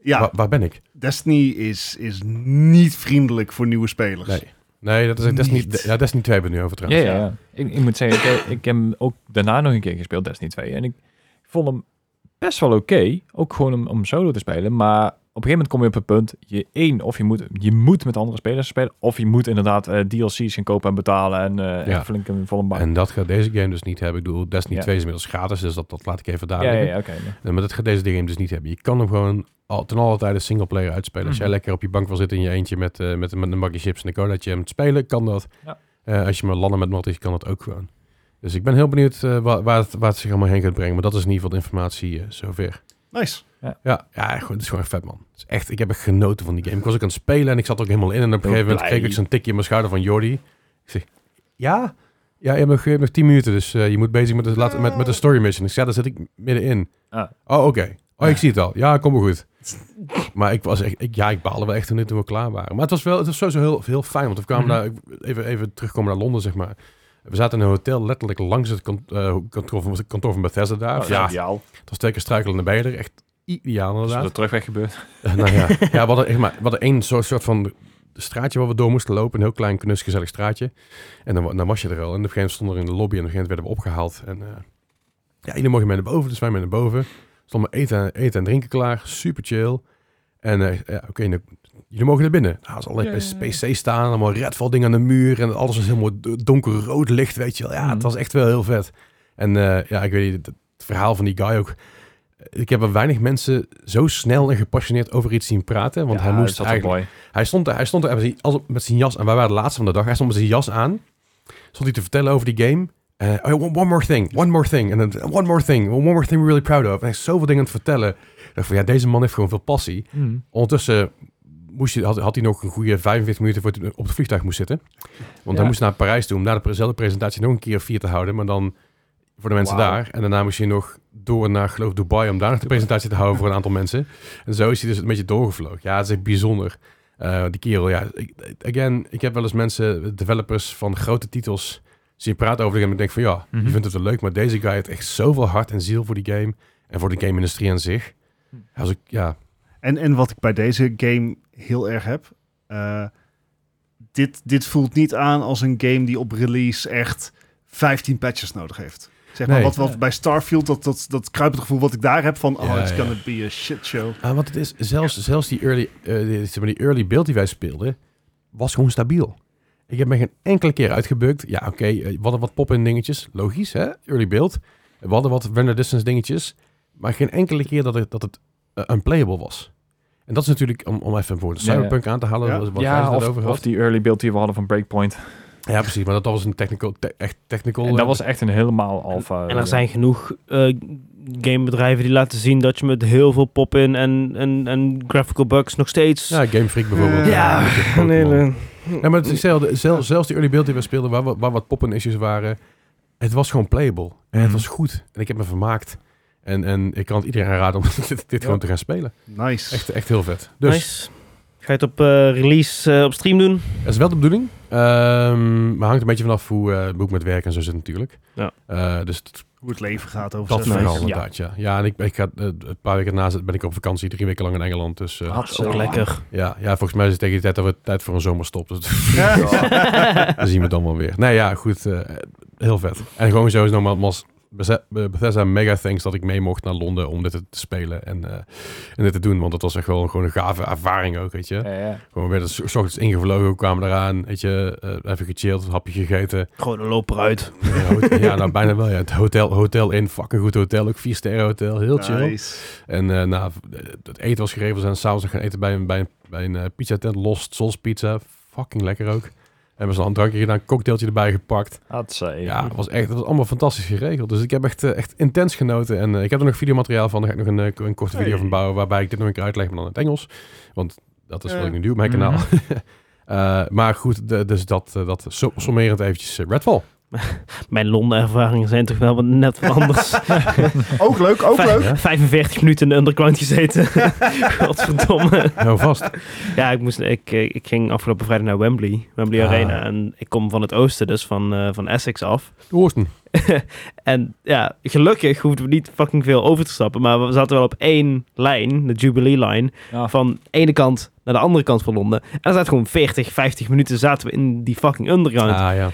S3: Ja,
S1: "Wa- waar ben ik?
S3: Destiny is, is niet vriendelijk voor nieuwe spelers.
S1: Nee, nee dat is
S3: Niet.
S1: Destiny, ja, Destiny 2 ben ik nu over
S2: Ja,
S1: trouwens.
S2: ja, ja. Ik, ik moet zeggen, ik, ik heb hem ook daarna nog een keer gespeeld, Destiny 2. En ik vond hem best wel oké. ook gewoon om, om solo te spelen. Maar op een gegeven moment kom je op het punt, je één, of je moet, je moet met andere spelers spelen. Of je moet inderdaad eh, DLC's gaan kopen en betalen. En eh
S1: Ja.
S2: echt flink een volle bak.
S1: En dat gaat deze game dus niet hebben. Ik bedoel, Destiny
S2: Ja.
S1: 2 is inmiddels gratis, dus dat, dat laat ik even daar
S2: ja, ja,
S1: liggen.
S2: ja, oké. Oh, ja.
S1: Nee, Maar dat gaat deze game dus niet hebben. Je kan hem gewoon al, ten alle tijde singleplayer uitspelen. Als jij
S2: Mhm.
S1: lekker op je bank wil zitten in je eentje met, eh, met, met een bakje chips en een colaatje en het spelen, kan dat.
S2: Ja.
S1: Eh, als je maar landen met Mortis, kan dat ook gewoon. Dus ik ben heel benieuwd eh, waar, waar, het, waar het zich allemaal heen gaat brengen. Maar dat is in ieder geval de informatie eh, zover.
S3: Nice.
S1: Ja, ja gewoon, het is gewoon echt vet, man. Het is echt, ik heb echt genoten van die game. Ik was ook aan het spelen en ik zat er ook helemaal in. En op een gegeven moment
S4: blij.
S1: kreeg ik zo'n tikje in mijn schouder van Jordi. Ik zeg, ja? Ja, je hebt nog, je hebt nog 10 minuten, dus eh, je moet bezig met de, laat, met, met de story mission. Ik zei, daar zit ik middenin.
S2: Ah.
S1: Oh, oké. Oh, ik zie het al. Ja, kom maar goed. Maar ik was echt, ik, ja, ik baalde wel echt toen toen we klaar waren. Maar het was wel, het was sowieso heel, heel fijn, want we kwamen
S2: Mhm.
S1: daar, even, even terugkomen naar Londen, zeg maar. We zaten in een hotel, letterlijk langs het kant- eh, kantoor, van, het kantoor van Bethesda daar.
S2: Oh,
S1: ja,
S2: dat is ideaal.
S1: het was twee keer struikelende beider. Echt ideaal
S2: Als
S1: inderdaad.
S2: er terugweg gebeurt.
S1: Eh, nou ja, ja we, hadden, echt maar, we hadden één soort, soort van straatje waar we door moesten lopen. Een heel klein, knus, gezellig straatje. En dan, wa- dan was je er al. En op een gegeven moment stonden we in de lobby en op een gegeven moment werden we opgehaald. En eh, ja, iedereen mocht mee naar boven, dus wij mee naar boven. Stonden eten, eten en drinken klaar. Super chill. En eh, ja, oké, nou, jullie mogen naar binnen. Nou, ze allerlei
S2: Yay.
S1: PC staan, allemaal Redfall dingen aan de muur. En alles was helemaal d- donkerrood licht, weet je wel. Ja, het
S2: Mhm.
S1: was echt wel heel vet. En eh, ja, ik weet niet, het, het verhaal van die guy ook. Ik heb er weinig mensen zo snel en gepassioneerd over iets zien praten. Want
S2: Ja,
S1: hij moest
S2: dat is
S1: eigenlijk...
S2: mooi.
S1: Hij stond, er- hij stond er met zijn- als- met zijn jas aan. Wij waren de laatste van de dag. Hij stond met zijn jas aan. Stond hij te vertellen over die game. Eh, oh, ja, one, one more thing, one more thing. En dan one more thing, one more thing we're really proud of. En hij is zoveel dingen aan het vertellen. Ik dacht van, ja, deze man heeft gewoon veel passie.
S2: Mhm.
S1: Ondertussen moest hij, had, had hij nog een goede 45 minuten voordat hij op het vliegtuig moest zitten. Want
S2: Ja.
S1: hij moest naar Parijs toe om na dezelfde presentatie nog een keer vier te houden. Maar dan voor de mensen
S2: Wauw.
S1: daar. En daarna moest hij nog door naar, geloof ik, Dubai om daar nog de presentatie te houden voor een aantal mensen. En zo is hij dus een beetje doorgevlogen. Ja, het is echt bijzonder. Eh, die kerel, ja. Ik, again, ik heb wel eens mensen, developers van grote titels, zien praten over de game. En ik denk van ja,
S2: Mhm.
S1: je vindt het wel leuk. Maar deze guy heeft echt zoveel hart en ziel voor die game. En voor de game-industrie aan zich.
S2: Hm.
S1: Hij was ook, ja,
S3: En, en wat ik bij deze game heel erg heb. eh, dit, dit voelt niet aan als een game die op release echt 15 patches nodig heeft. Zeg maar,
S1: Nee.
S3: wat, wat
S2: Ja.
S3: bij Starfield, dat, dat, dat kruipend gevoel wat ik daar heb van... Oh,
S1: Ja,
S3: it's
S1: ja.
S3: gonna be a shit show.
S1: Ah, want het is, zelfs, zelfs die early, eh, die, zeg maar, die early build die wij speelden, was gewoon stabiel. Ik heb me geen enkele keer uitgebukt. Ja, oké, eh, we hadden wat pop-in dingetjes. Logisch, hè? Early build. We hadden wat render distance dingetjes. Maar geen enkele keer dat het, dat het eh, unplayable was. En dat is natuurlijk, om, om even voor de
S2: Ja, ja.
S1: cyberpunk aan te halen,
S3: Ja.
S1: wat wat Gijs
S2: Ja,
S1: net
S2: of,
S1: over
S2: of
S1: had.
S2: die early build die we hadden van Breakpoint.
S1: Ja, precies. Maar dat, dat was een technical, te- echt technical.
S2: En
S1: eh,
S2: dat was echt een helemaal alfa.
S4: En er zijn genoeg eh, gamebedrijven die laten zien dat je met heel veel pop-in en, en, en graphical bugs nog steeds...
S1: Ja, Game Freak bijvoorbeeld.
S4: Ja,
S1: Eh, met de
S4: een
S1: Pokémon.
S4: hele...
S1: Ja, maar het is hetzelfde. Zel- zelfs die early build die we speelden, waar, wa- waar wat poppen issues waren, het was gewoon playable. En het
S2: Mhm.
S1: was goed. En ik heb me vermaakt. En, en ik kan het iedereen aanraden om dit, dit gewoon te gaan spelen.
S3: Nice.
S1: Echt, echt heel vet. Dus
S4: Nice. Ga je het op eh, release eh, op stream doen?
S1: dat is wel de bedoeling. Ehm, maar hangt een beetje vanaf hoe eh het boek met werk en zo zit natuurlijk.
S4: Ja.
S1: Eh, dus het
S3: hoe het leven gaat over
S1: Dat nou
S3: zes
S1: verhaal
S3: weken.
S4: nice.
S1: inderdaad, ja. Ja, en ik, ik ga, eh, een paar weken daarna ben ik op vakantie, drie weken lang in Engeland. Dus eh,
S4: Dat is ook lekker.
S1: ja, ja, volgens mij is het tegen die tijd dat we tijd voor een zomerstop. Dus
S3: Ja.
S1: dan zien we het dan wel weer. Nee, ja, goed. eh, heel vet. En gewoon zo is nogmaals Beth- Bethesda mega thanks dat ik mee mocht naar Londen om dit te spelen en, eh, en dit te doen. Want dat was echt wel gewoon een gave ervaring ook, weet je.
S2: Ja, ja.
S1: Gewoon weer s ochtends ingevlogen, kwamen eraan, weet je, eh, even gechilled, een hapje gegeten.
S4: Gewoon een loper uit.
S1: Ja, hot- ja, nou bijna wel. Ja. Het hotel, hotel in, fucking goed hotel, ook vier sterren hotel, heel chill.
S3: Nice.
S1: En eh nou, het eten was geregeld. We zijn s'avonds nog gaan eten bij een, bij een, bij een eh, pizza tent. Lost Souls Pizza. Fucking lekker ook. Hebben ze al een drankje gedaan, een cocktailtje erbij gepakt.
S2: Hatsé.
S1: Ja, het was, echt, het was allemaal fantastisch geregeld. Dus ik heb echt, eh, echt intens genoten. En eh, ik heb er nog videomateriaal van. Daar ga ik nog een, eh, een korte video
S3: Hey.
S1: van bouwen. Waarbij ik dit nog een keer uitleg, maar dan in het Engels. Want dat is wat
S3: Ja.
S1: ik nu doe op mijn kanaal. Eh, maar goed, de- dus dat, eh, dat som- sommerend eventjes eh, Redfall.
S4: Mijn Londen ervaringen zijn toch wel wat net wat anders.
S3: Ook leuk, ook
S4: Vij-
S3: leuk.
S1: Ja.
S4: 45 minuten in de underground gezeten. Godverdomme.
S1: Nou vast.
S4: Ja, ik, moest, ik, eh, ik ging afgelopen vrijdag naar Wembley. Wembley
S1: Ah.
S4: Arena. En ik kom van het oosten dus, van, eh, van Essex af.
S1: Oorsten.
S4: En ja, gelukkig hoefden we niet fucking veel over te stappen. Maar we zaten wel op één lijn, de Jubilee Line.
S2: Ja.
S4: Van de ene kant naar de andere kant van Londen. En dan zaten gewoon 40, 50 minuten zaten we in die fucking underground.
S1: Ah ja.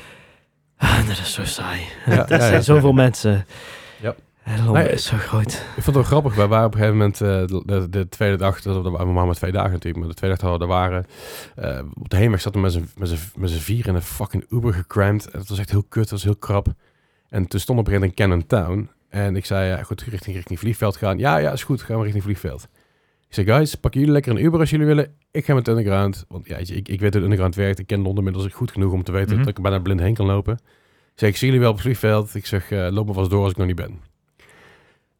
S4: Ah, dat is zo saai.
S1: Ja,
S4: er
S1: ja, ja,
S4: zijn
S1: ja.
S4: zoveel mensen.
S1: Ja.
S4: En Londen
S1: Nee.
S4: is zo groot.
S1: Ik vond het wel grappig. Wij waren op een gegeven moment eh, de, de tweede dag, dat we maar maar twee dagen natuurlijk, maar de tweede dag dat we er waren. eh, op de heenweg zaten we met z'n- met z'n- met z'n vier in een fucking Uber gecramd. En dat was echt heel kut, dat was heel krap. En toen stond op een gegeven moment in Cannon Town. En ik zei, ja, goed, richting, richting vliegveld gaan. Ja, ja, is goed, gaan we richting vliegveld. Ik zei, guys, pakken jullie lekker een Uber als jullie willen. Ik ga met de Underground. Want ja, weet je, ik, ik weet hoe de Underground werkt. Ik ken Londen inmiddels goed genoeg om te weten
S2: Mhm.
S1: dat ik er bijna blind heen kan lopen. Ik zeg, ik zie jullie wel op het vliegveld. Ik zeg, eh, loop maar vast door als ik nog niet ben.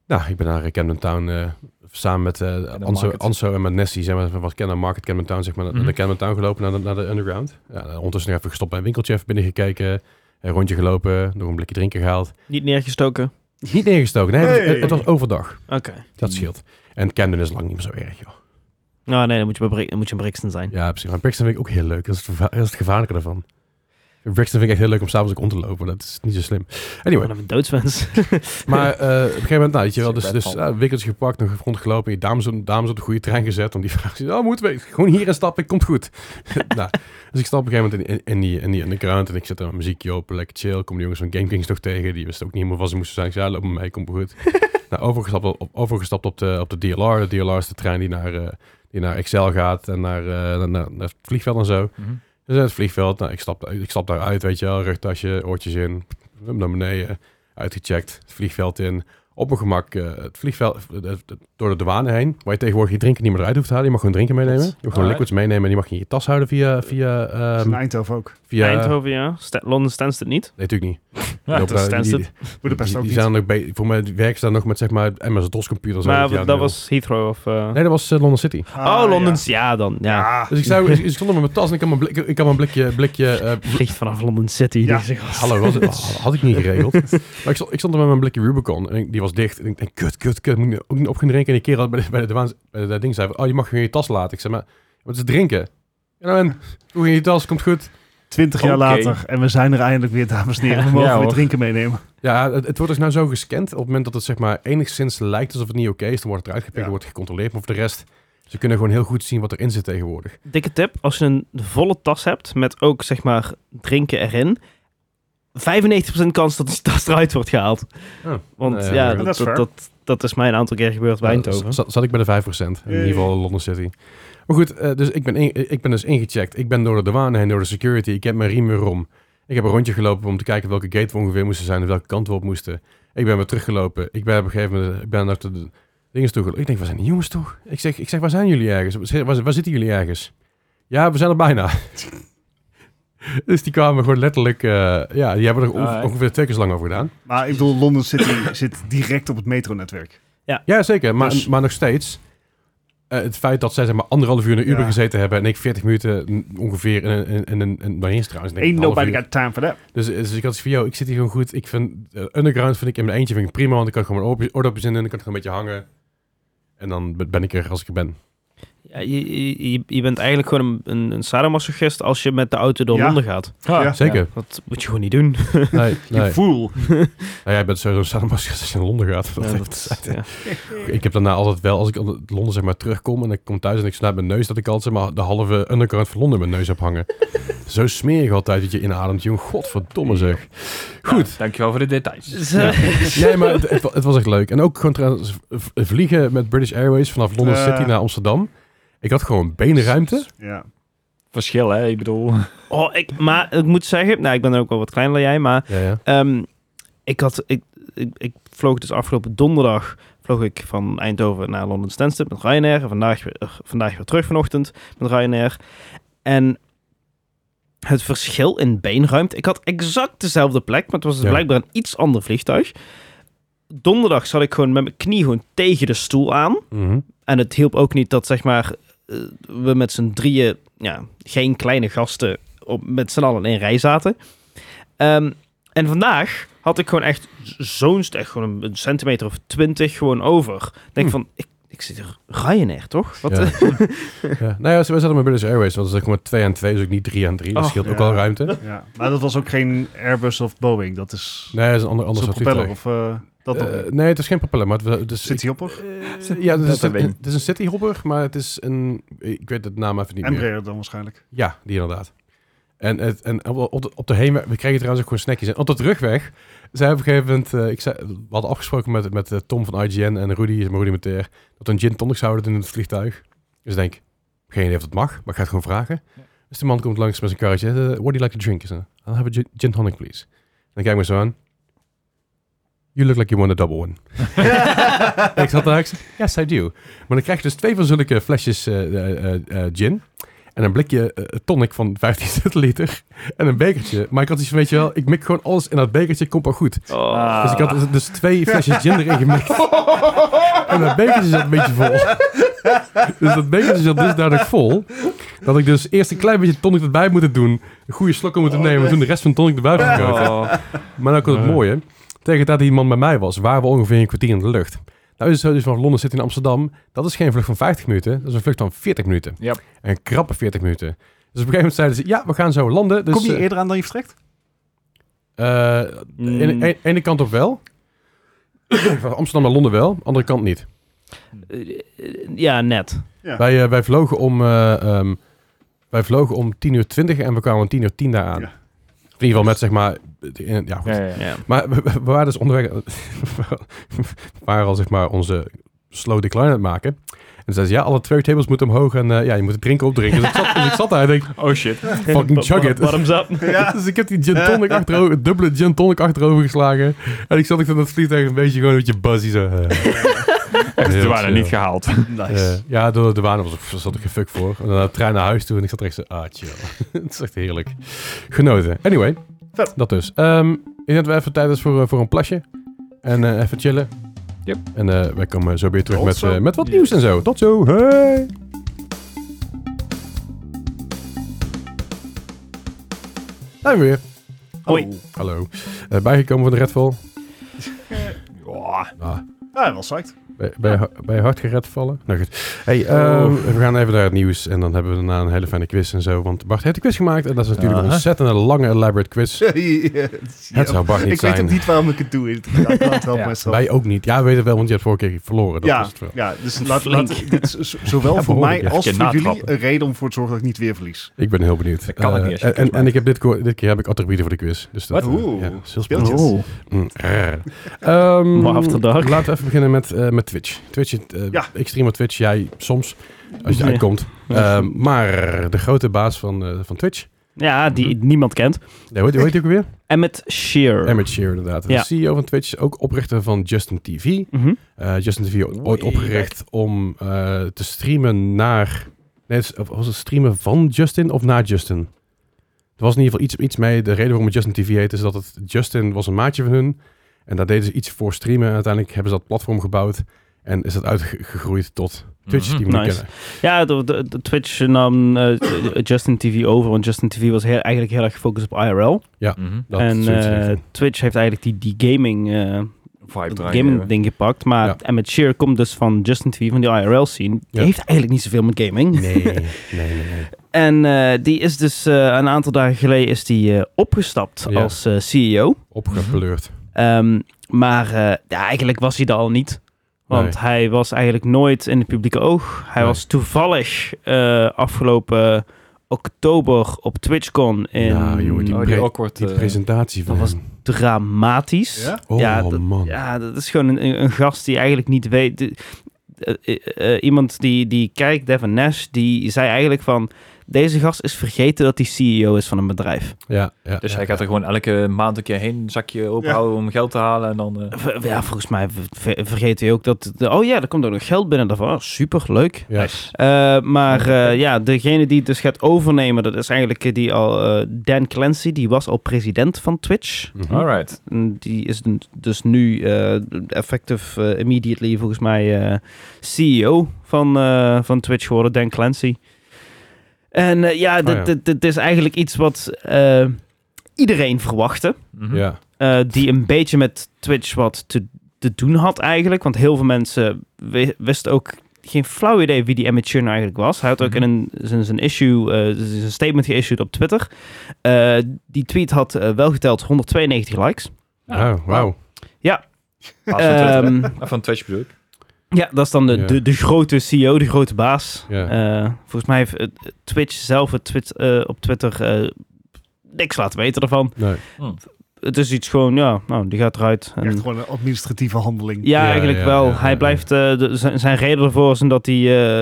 S1: Nou, ik ben naar eh, Camden Town eh, samen met eh, Anso,
S2: Market.
S1: Anso en met Nessie zijn we van van Camden Market, Camden Town, zeg maar, naar-
S2: Mhm.
S1: naar de Camden Town gelopen, naar de, naar de Underground. Ja, en ondertussen nog even gestopt bij een winkeltje, even binnengekeken, een rondje gelopen, nog een blikje drinken gehaald.
S4: Niet neergestoken.
S1: Niet neergestoken, nee, het was-
S3: Hey.
S1: het, was overdag.
S4: Oké.
S1: Dat scheelt. En Camden is lang niet meer zo erg, joh.
S4: Nou nee, dan moet je, bij Bri- dan moet je in Brixton zijn.
S1: Ja, precies. Maar Brixton vind ik ook heel leuk. Dat is het, verva- dat is het gevaarlijke daarvan. Brixton vind ik echt heel leuk om s'avonds ook om te lopen. Dat is niet zo slim. Anyway,
S4: Wat een doodswens.
S1: Maar eh, op een gegeven moment, nou, weet je wel, dus,
S2: Super
S1: dus
S2: Redfall.
S1: eh, wikkeltjes gepakt, nog rondgelopen. Die dames, dames op de goede trein gezet. Om die vraag te oh, moeten we gewoon hier in stappen, komt goed. nou, dus ik stap op een gegeven moment in, in, in die, in die underground en ik zet een muziekje op, lekker chill. Kom de jongens van Game Kings nog tegen, die wisten ook niet helemaal wat ze moesten zijn. Ik zei, ja, loop maar mee, komt goed. nou, overgestapt op, overgestapt op, de, op de DLR. De DLR is de trein die naar, eh, die naar Excel gaat en naar, eh, naar, naar het vliegveld en zo.
S2: Mhm.
S1: Dus uit het vliegveld, nou, ik, stap, ik stap daaruit, weet je wel, rugtasje, oortjes in, hup naar beneden, uitgecheckt, het vliegveld in. Op mijn gemak eh, het vliegveld, eh, eh, door de douane heen, waar je tegenwoordig je drinken niet meer eruit hoeft te halen. Je mag gewoon drinken meenemen. Je mag gewoon
S2: Alright.
S1: liquids meenemen en die mag je in je tas houden via... via, ehm,
S3: Dat is in Eindhoven ook.
S1: via
S4: Eindhoven, ja. Sta- Londen stands het niet.
S1: Nee, natuurlijk niet.
S2: Ja,
S1: Die
S4: dat is
S1: lopen daar- die- die-
S3: Boedapest ook
S1: Die
S3: niet.
S1: zijn nog be- Voor mij werken ze daar nog met zeg maar MS-DOS computers.
S4: maar
S1: uit het
S4: dat
S1: jaar
S4: was Heathrow of... eh,
S1: nul. Nee, dat was eh, London City.
S3: Ah,
S4: oh, Londen. Ja. dan. Ja.
S3: Ja.
S1: Dus ik, zou, dus ik stond met mijn tas en ik had mijn, blik, ik had mijn blikje, blikje eh,
S4: Vliegt vanaf London City.
S3: Ja.
S4: deze gast.
S1: Hallo, was het- oh, had ik niet geregeld. Maar ik stond, ik stond er met mijn blikje Rubicon en ik- die was dicht. En ik denk, kut, kut, kut, moet ik nu ook niet op gaan drinken. En die kerel bij de, bij de, douane- bij dat ding zei, van, oh, je mag gewoon je tas laten. Ik zei, maar wat is drinken? Ja, nou en, doe in je tas, komt goed.
S3: Twintig jaar
S2: Oké.
S3: later en we zijn er eindelijk weer, dames en heren. We
S2: Ja,
S3: mogen weer
S2: hoor.
S3: drinken meenemen.
S1: Ja, het, het wordt dus nou zo gescand. Op het moment dat het zeg maar enigszins lijkt alsof het niet oké is, dan wordt het eruit gepikt,
S3: Ja.
S1: dan wordt het gecontroleerd. Maar voor de rest, ze kunnen gewoon heel goed zien wat erin zit tegenwoordig.
S4: Dikke tip. Als je een volle tas hebt met ook, zeg maar, drinken erin... 95% kans dat die tas eruit wordt gehaald.
S1: Oh,
S4: Want
S1: nou ja,
S4: ja,
S1: dat
S4: dat,
S3: is
S4: dat,
S3: fair.
S4: dat, dat is mij een aantal keer gebeurd bij Eindhoven.
S1: Ja, Eh, Zat, zat ik bij de 5%. In
S3: Yay.
S1: ieder geval London City. Maar goed, eh, dus ik ben, in- ik ben dus ingecheckt. Ik ben door de douane heen, door de security. Ik heb mijn riem weer om. Ik heb een rondje gelopen om te kijken welke gate we ongeveer moesten zijn en welke kant we op moesten. Ik ben weer teruggelopen. Ik ben op een gegeven moment eh, ik ben naar de dingen toe gelopen. Ik denk, waar zijn die jongens toch? Ik zeg, ik zeg waar zijn jullie ergens? Waar, zi- waar zitten jullie ergens? Ja, we zijn er bijna. dus die kwamen gewoon letterlijk... eh, ja, die hebben er onge-
S2: Ah,
S1: ongeveer twee keer zo lang over gedaan.
S3: Maar ik bedoel, Londen City zit direct op het metronetwerk.
S1: Ja, zeker. Maar,
S3: Dus-
S1: maar nog steeds. eh, het feit dat zij zeg maar anderhalf uur in een Uber
S3: Ja.
S1: gezeten hebben en ik 40 minuten n- ongeveer in een, in, in een, in- nou, eens trouwens. denk ik
S3: Ain't
S1: een half
S3: nobody
S1: uur.
S3: got time for that.
S1: Dus, dus ik had zoiets van, yo, ik zit hier gewoon goed. Ik vind, eh, underground vind ik in mijn eentje vind ik prima, want ik kan gewoon mijn oor- oordopjes in en ik kan gewoon een beetje hangen. En dan ben ik er als ik er ben.
S4: Ja, je, je, je bent eigenlijk gewoon een, een, een sadomasochist als je met de auto door
S3: Ja.
S4: Londen gaat.
S3: Ja.
S1: Zeker.
S4: Dat moet je gewoon niet doen.
S1: Nee, nee.
S3: Je voel.
S1: Nou, jij bent sowieso sadomasochist als je naar Londen gaat.
S4: Ja, dat- ja.
S1: Ik heb daarna altijd wel, als ik uit Londen zeg maar terugkom en ik kom thuis en ik snuit mijn neus, dat ik altijd zeg maar de halve undercurrent van Londen in mijn neus heb hangen. Zo smerig altijd dat je inademt, jongen. Godverdomme zeg. Goed.
S2: Ja, dankjewel voor de details.
S4: Dus,
S1: Ja.
S4: eh,
S1: Nee, maar het, het wa- het was echt leuk. En ook gewoon trouwens v- vliegen met British Airways vanaf London
S3: Eh.
S1: City naar Amsterdam. Ik had gewoon benenruimte.
S3: Ja.
S2: Verschil, hè? Ik bedoel...
S4: Oh, ik, maar ik moet zeggen, nou, ik ben ook wel wat kleiner dan jij, maar
S1: Ja, ja.
S4: ehm, ik, had, ik, ik, ik vloog dus afgelopen donderdag vloog ik van Eindhoven naar Londen Stansted met Ryanair. En vandaag, weer- vandaag weer terug vanochtend met Ryanair. En het verschil in beenruimte. Ik had exact dezelfde plek, maar het was dus
S1: Ja.
S4: blijkbaar een iets ander vliegtuig. Donderdag zat ik gewoon met mijn knie gewoon tegen de stoel aan.
S1: Mhm.
S4: En het hielp ook niet dat, zeg maar, eh, we met z'n drieën, ja, geen kleine gasten, op, met z'n allen in rij zaten. Ehm, en vandaag had ik gewoon echt zo'n, echt gewoon een- een centimeter of twintig gewoon over. Ik denk
S1: Hm.
S4: van, ik, ik zit er Ryanair, toch? Wat,
S1: Ja. ja. Nou ja, ze- we zaten met British Airways. want Dat is gewoon 2 aan 2, dus ook niet 3 aan 3. Dat
S4: Oh,
S1: scheelt ook
S3: ja.
S1: al ruimte.
S3: ja. Maar dat was ook geen Airbus of Boeing. Dat is
S1: Nee, dat is een ander, ander
S3: zo'n
S1: soort
S3: propeller.
S1: vliegtuig.
S3: Of, eh, dat dan.
S1: Eh, nee, het is geen propeller, maar het, het is...
S3: City Hopper.
S1: Eh, ja, het is,
S2: Dat
S1: een,
S2: weet ik.
S1: het is een cityhopper, maar het is een... Ik weet het naam even niet meer.
S3: Embraer dan waarschijnlijk.
S1: Ja, die inderdaad. En, het, en op, op de, op de heenweg, we kregen trouwens ook gewoon snackjes. En op de terugweg, zei op een gegeven moment, eh, ik zei, we hadden afgesproken met, met eh, Tom van IGN en Rudy, is maar Rudy Meteer, dat we een gin tonic zouden doen in het vliegtuig. Dus ik denk, geen idee of dat mag, maar ik ga het gewoon vragen. Dus die man komt langs met zijn karretje, eh, what do you like to drink? Ik zei, I'll have a gin, gin tonic, please. En dan kijk ik me zo aan. You look like you want a double one. En ik zat daar, ik zei, yes, I do. Maar dan krijg je dus twee van zulke flesjes eh, eh, eh, eh, gin. En een blikje eh, tonic van 15 centiliter. En een bekertje. Maar ik had iets van, weet je wel, ik mik gewoon alles in dat bekertje, komt wel goed.
S4: Oh.
S1: Dus ik had dus- dus twee flesjes gin erin gemikt. En dat bekertje zat een beetje vol. Dus dat bekertje zat dusdanig vol. Dat ik dus eerst een klein beetje tonic erbij moet doen. Een goede slok om moeten nemen. En toen de rest van de tonic erbij gekomen.
S2: Oh.
S1: Maar dan komt het
S2: Ja.
S1: mooie. Tegen de tijd dat die man bij mij was, waren we ongeveer een kwartier in de lucht. Nou is het zo, dus van Londen zit in Amsterdam. Dat is geen vlucht van 50 minuten. Dat is een vlucht van 40 minuten.
S2: Ja.
S1: En een krappe 40 minuten. Dus op een gegeven moment zeiden ze, ja, we gaan zo landen. Dus,
S3: Kom je
S1: eh,
S3: eerder aan dan je vertrekt?
S1: eh, ene-
S4: Mm.
S1: ene- ene kant op wel. van Amsterdam naar Londen wel, andere kant niet.
S4: Ja, net.
S3: Ja.
S1: Wij, eh, wij, vlogen om, eh, ehm, wij vlogen om 10 uur 20 en we kwamen om 10 uur 10 daar aan.
S3: Ja.
S1: In ieder geval met, zeg maar... in- ja, goed.
S2: Ja, ja, ja.
S4: Ja.
S1: Maar we, we- we waren dus onderweg. we waren al zeg maar onze slow decline aan het maken. En zei ze, ja, alle twee tables moeten omhoog en eh, ja, je moet het drinken opdrinken. Dus ik zat, dus ik zat daar en ik,
S2: Oh shit.
S1: fucking chug it.
S4: Bottoms up.
S1: dus ik heb die gin tonic achterover, het dubbele gin tonic achterover geslagen. En ik zat ik in dat vliegtuig een beetje gewoon een beetje buzzy zo. eh.
S2: Echt,
S1: Heel
S2: ze waren
S1: chill.
S2: niet gehaald.
S1: Eh, ja, door de douane was, zat ik gefuck voor. En dan de trein naar huis toe en ik zat er echt zo, ah chill. het is echt heerlijk. Genoten. Anyway,
S3: Vet.
S1: dat dus. Ehm, ik denk dat we even tijd is voor, eh, voor een plasje. En eh, even chillen.
S2: Yep.
S1: En eh, wij komen zo weer terug
S3: Tot
S1: met,
S3: zo.
S1: eh, met wat
S2: Yes.
S1: nieuws en zo. Tot zo. Hey. Zijn we weer.
S4: Hoi.
S1: Hallo. Eh, bijgekomen van de Redfall.
S2: Ja.
S1: Ah,
S3: Ja, Oh. wel psyched.
S1: bij, bij, bij hard gered vallen. Nou goed. Hey, ehm, we gaan even naar het nieuws. En dan hebben we daarna een hele fijne quiz en zo. Want Bart heeft een quiz gemaakt. En dat is natuurlijk
S2: Aha.
S1: een ontzettend lange elaborate quiz. Het zou Bart niet
S3: ik
S1: zijn.
S3: weet ook niet waarom ik het doe. Ik laat wel
S2: Ja.
S3: myself.
S1: Wij ook niet. Ja, we weten het wel, want je hebt vorige keer verloren. Dat
S3: ja,
S1: was het wel.
S3: ja, dus laat,
S4: Flink.
S3: laat, dit is z- zowel
S1: Ja,
S3: voor
S1: behoorlijk, ja.
S3: mij als
S2: Je
S3: voor jullie
S2: natrappen.
S3: een reden om voor te zorgen dat ik niet weer verlies.
S1: Ik ben heel benieuwd.
S2: Dat kan ik
S1: Eh,
S2: niet als je een
S1: en,
S2: quiz
S1: en ik heb dit, ko- dit keer heb ik attributen voor de quiz. Dus dat,
S3: Wat?
S1: eh,
S3: Oeh,
S1: ja, dat is heel
S3: speeltjes.
S1: spannend.
S3: Oh.
S1: Mm, rrr. Ehm,
S4: Maar after dark.
S1: Laten we even beginnen met, eh, met Twitch. Twitch eh,
S3: Ja.
S1: Ik stream op Twitch, jij soms, als je
S4: Ja.
S1: uitkomt. Ehm, maar de grote baas van, eh, van Twitch,
S4: Ja, die niemand kent.
S1: nee, hoe heet hoe heet die ook weer?
S4: Emmett Shear.
S1: Emmett Shear inderdaad. De
S4: Ja.
S1: CEO van Twitch, ook oprichter van Justin TV.
S4: Mhm.
S1: Eh, Justin TV ooit
S2: Way
S1: opgericht om eh, te streamen naar... Nee, het is- of was het streamen van Justin of naar Justin? Er was in ieder geval iets, iets mee. De reden waarom het Justin TV heet is dat het Justin was een maatje van hun. En daar deden ze iets voor streamen. En uiteindelijk hebben ze dat platform gebouwd. En is dat uitgegroeid tot
S4: Mhm.
S1: Twitch, die we nu
S4: Nice.
S1: kennen.
S4: Ja, de, de- de Twitch nam eh, Justin TV over, want Justin TV was heel, eigenlijk heel erg gefocust op IRL.
S2: Mhm.
S1: Oh, Dat
S4: en
S1: is zoiets in ieder
S4: eh,
S1: geval.
S4: Twitch heeft eigenlijk die, die gaming eh,
S2: vibe draaien.
S4: gaming ding gepakt. Maar
S1: Ja.
S4: en met Sheer komt dus van Justin TV van die IRL scene. Die
S1: Ja.
S4: heeft eigenlijk niet zoveel met gaming.
S1: Nee, nee, nee. nee.
S4: En eh, die is dus eh, een aantal dagen geleden is die, eh, opgestapt
S1: Ja.
S4: als eh, CEO.
S1: Opgepleurd.
S4: Ehm, maar eh, ja, eigenlijk was hij dat al niet. Want
S1: Nee.
S4: hij was eigenlijk nooit in het publieke oog. Hij
S1: Nee.
S4: was toevallig eh, afgelopen oktober op TwitchCon in
S1: Nou, joh, die-
S2: Oh, die
S1: Pre-
S2: awkward...
S1: Die
S2: eh,
S1: presentatie van
S4: dat was-
S1: hem.
S4: dramatisch.
S3: Ja?
S1: Oh
S4: ja, dat-
S1: man.
S4: Ja, dat is gewoon een, een gast die eigenlijk niet weet. de- eh, eh, eh, iemand die, die kijkt, Devin Nash, die zei eigenlijk van... Deze gast is vergeten dat hij CEO is van een bedrijf.
S1: Ja, ja,
S2: Dus
S1: ja,
S2: hij gaat er
S1: ja.
S2: gewoon elke maand een keer heen, een zakje openhouden om geld te halen en dan... eh,
S4: V- Ja, volgens mij ver- vergeet hij ook dat... de- oh ja, er komt ook nog geld binnen daarvan. Oh, super, leuk.
S1: Ja.
S4: Eh, maar eh, ja, degene die het dus gaat overnemen, dat is eigenlijk eh, die al, eh, Dan Clancy, die was al president van Twitch.
S1: Mhm.
S2: Alright.
S4: En die is n- dus nu eh, effective eh, immediately volgens mij eh, CEO van, eh, van Twitch geworden, Dan Clancy. En eh, ja, dit,
S1: ja.
S4: dit, dit is eigenlijk iets wat eh, iedereen verwachtte.
S2: Mhm.
S1: Ja,
S4: eh, die een beetje met Twitch wat te, te doen had eigenlijk. Want heel veel mensen wi- wisten ook geen flauw idee wie die amateur nou eigenlijk was. Hij had ook in
S2: Mhm.
S4: een, zijn, zijn issue, eh, z- zijn statement geissued op Twitter. Eh, die tweet had eh, wel geteld 192 likes.
S1: oh, wauw.
S2: Baas van
S4: Ehm,
S2: Twitter. Ah, Van Twitch bedoel ik.
S4: ja, dat is dan de,
S1: Ja.
S4: de, de grote CEO, de grote baas.
S1: Ja.
S4: Eh, volgens mij heeft eh, Twitch zelf het twit- eh, op Twitter eh, niks laten weten ervan.
S1: Nee.
S4: Het is iets gewoon, ja, nou, die gaat eruit. En-
S3: Echt gewoon een administratieve handeling.
S4: Ja,
S1: Ja,
S4: eigenlijk
S1: ja,
S4: wel.
S1: ja, ja,
S4: hij
S1: ja.
S4: blijft, eh, de- zijn, zijn reden ervoor is dat hij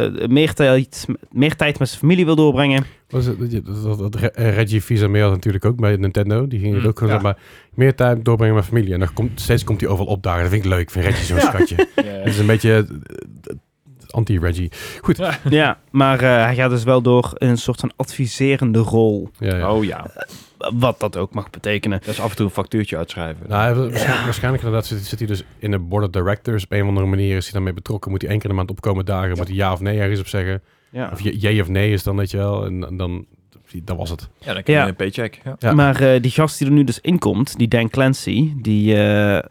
S4: eh, meer, tijd, meer tijd met zijn familie wil doorbrengen.
S1: Was het, dat, dat, dat Re- eh, Reggie Fils-Aimé had natuurlijk ook bij Nintendo. Die ging het
S2: Mm,
S1: ook gewoon
S3: ja.
S1: zeg maar, meer tijd doorbrengen met familie. En dan komt, steeds komt hij overal opdagen. Dat vind ik leuk. Ik vind Reggie zo'n schatje. Het is een beetje eh, eh, anti-Reggie.
S4: ja, maar eh, hij gaat dus wel door in een soort van adviserende rol.
S1: Ja, ja.
S2: Oh ja,
S4: Wat dat ook mag betekenen.
S2: dat is af en toe een factuurtje uitschrijven.
S1: Nou, hij- waarschijnlijk, waarschijnlijk inderdaad zit, zit hij dus in de board of directors. Op een of andere manier is hij daarmee betrokken. Moet hij één keer in de maand opkomen dagen. Moet hij ja of nee ergens op zeggen.
S4: Ja.
S1: Of je- jee of nee is dan, weet je wel. En, en dan, dat was het.
S2: ja, dan krijg je
S4: Ja.
S2: een paycheck. Ja.
S1: Ja.
S4: Maar eh, die gast die er nu dus inkomt, die Dan Clancy, die eh, eh,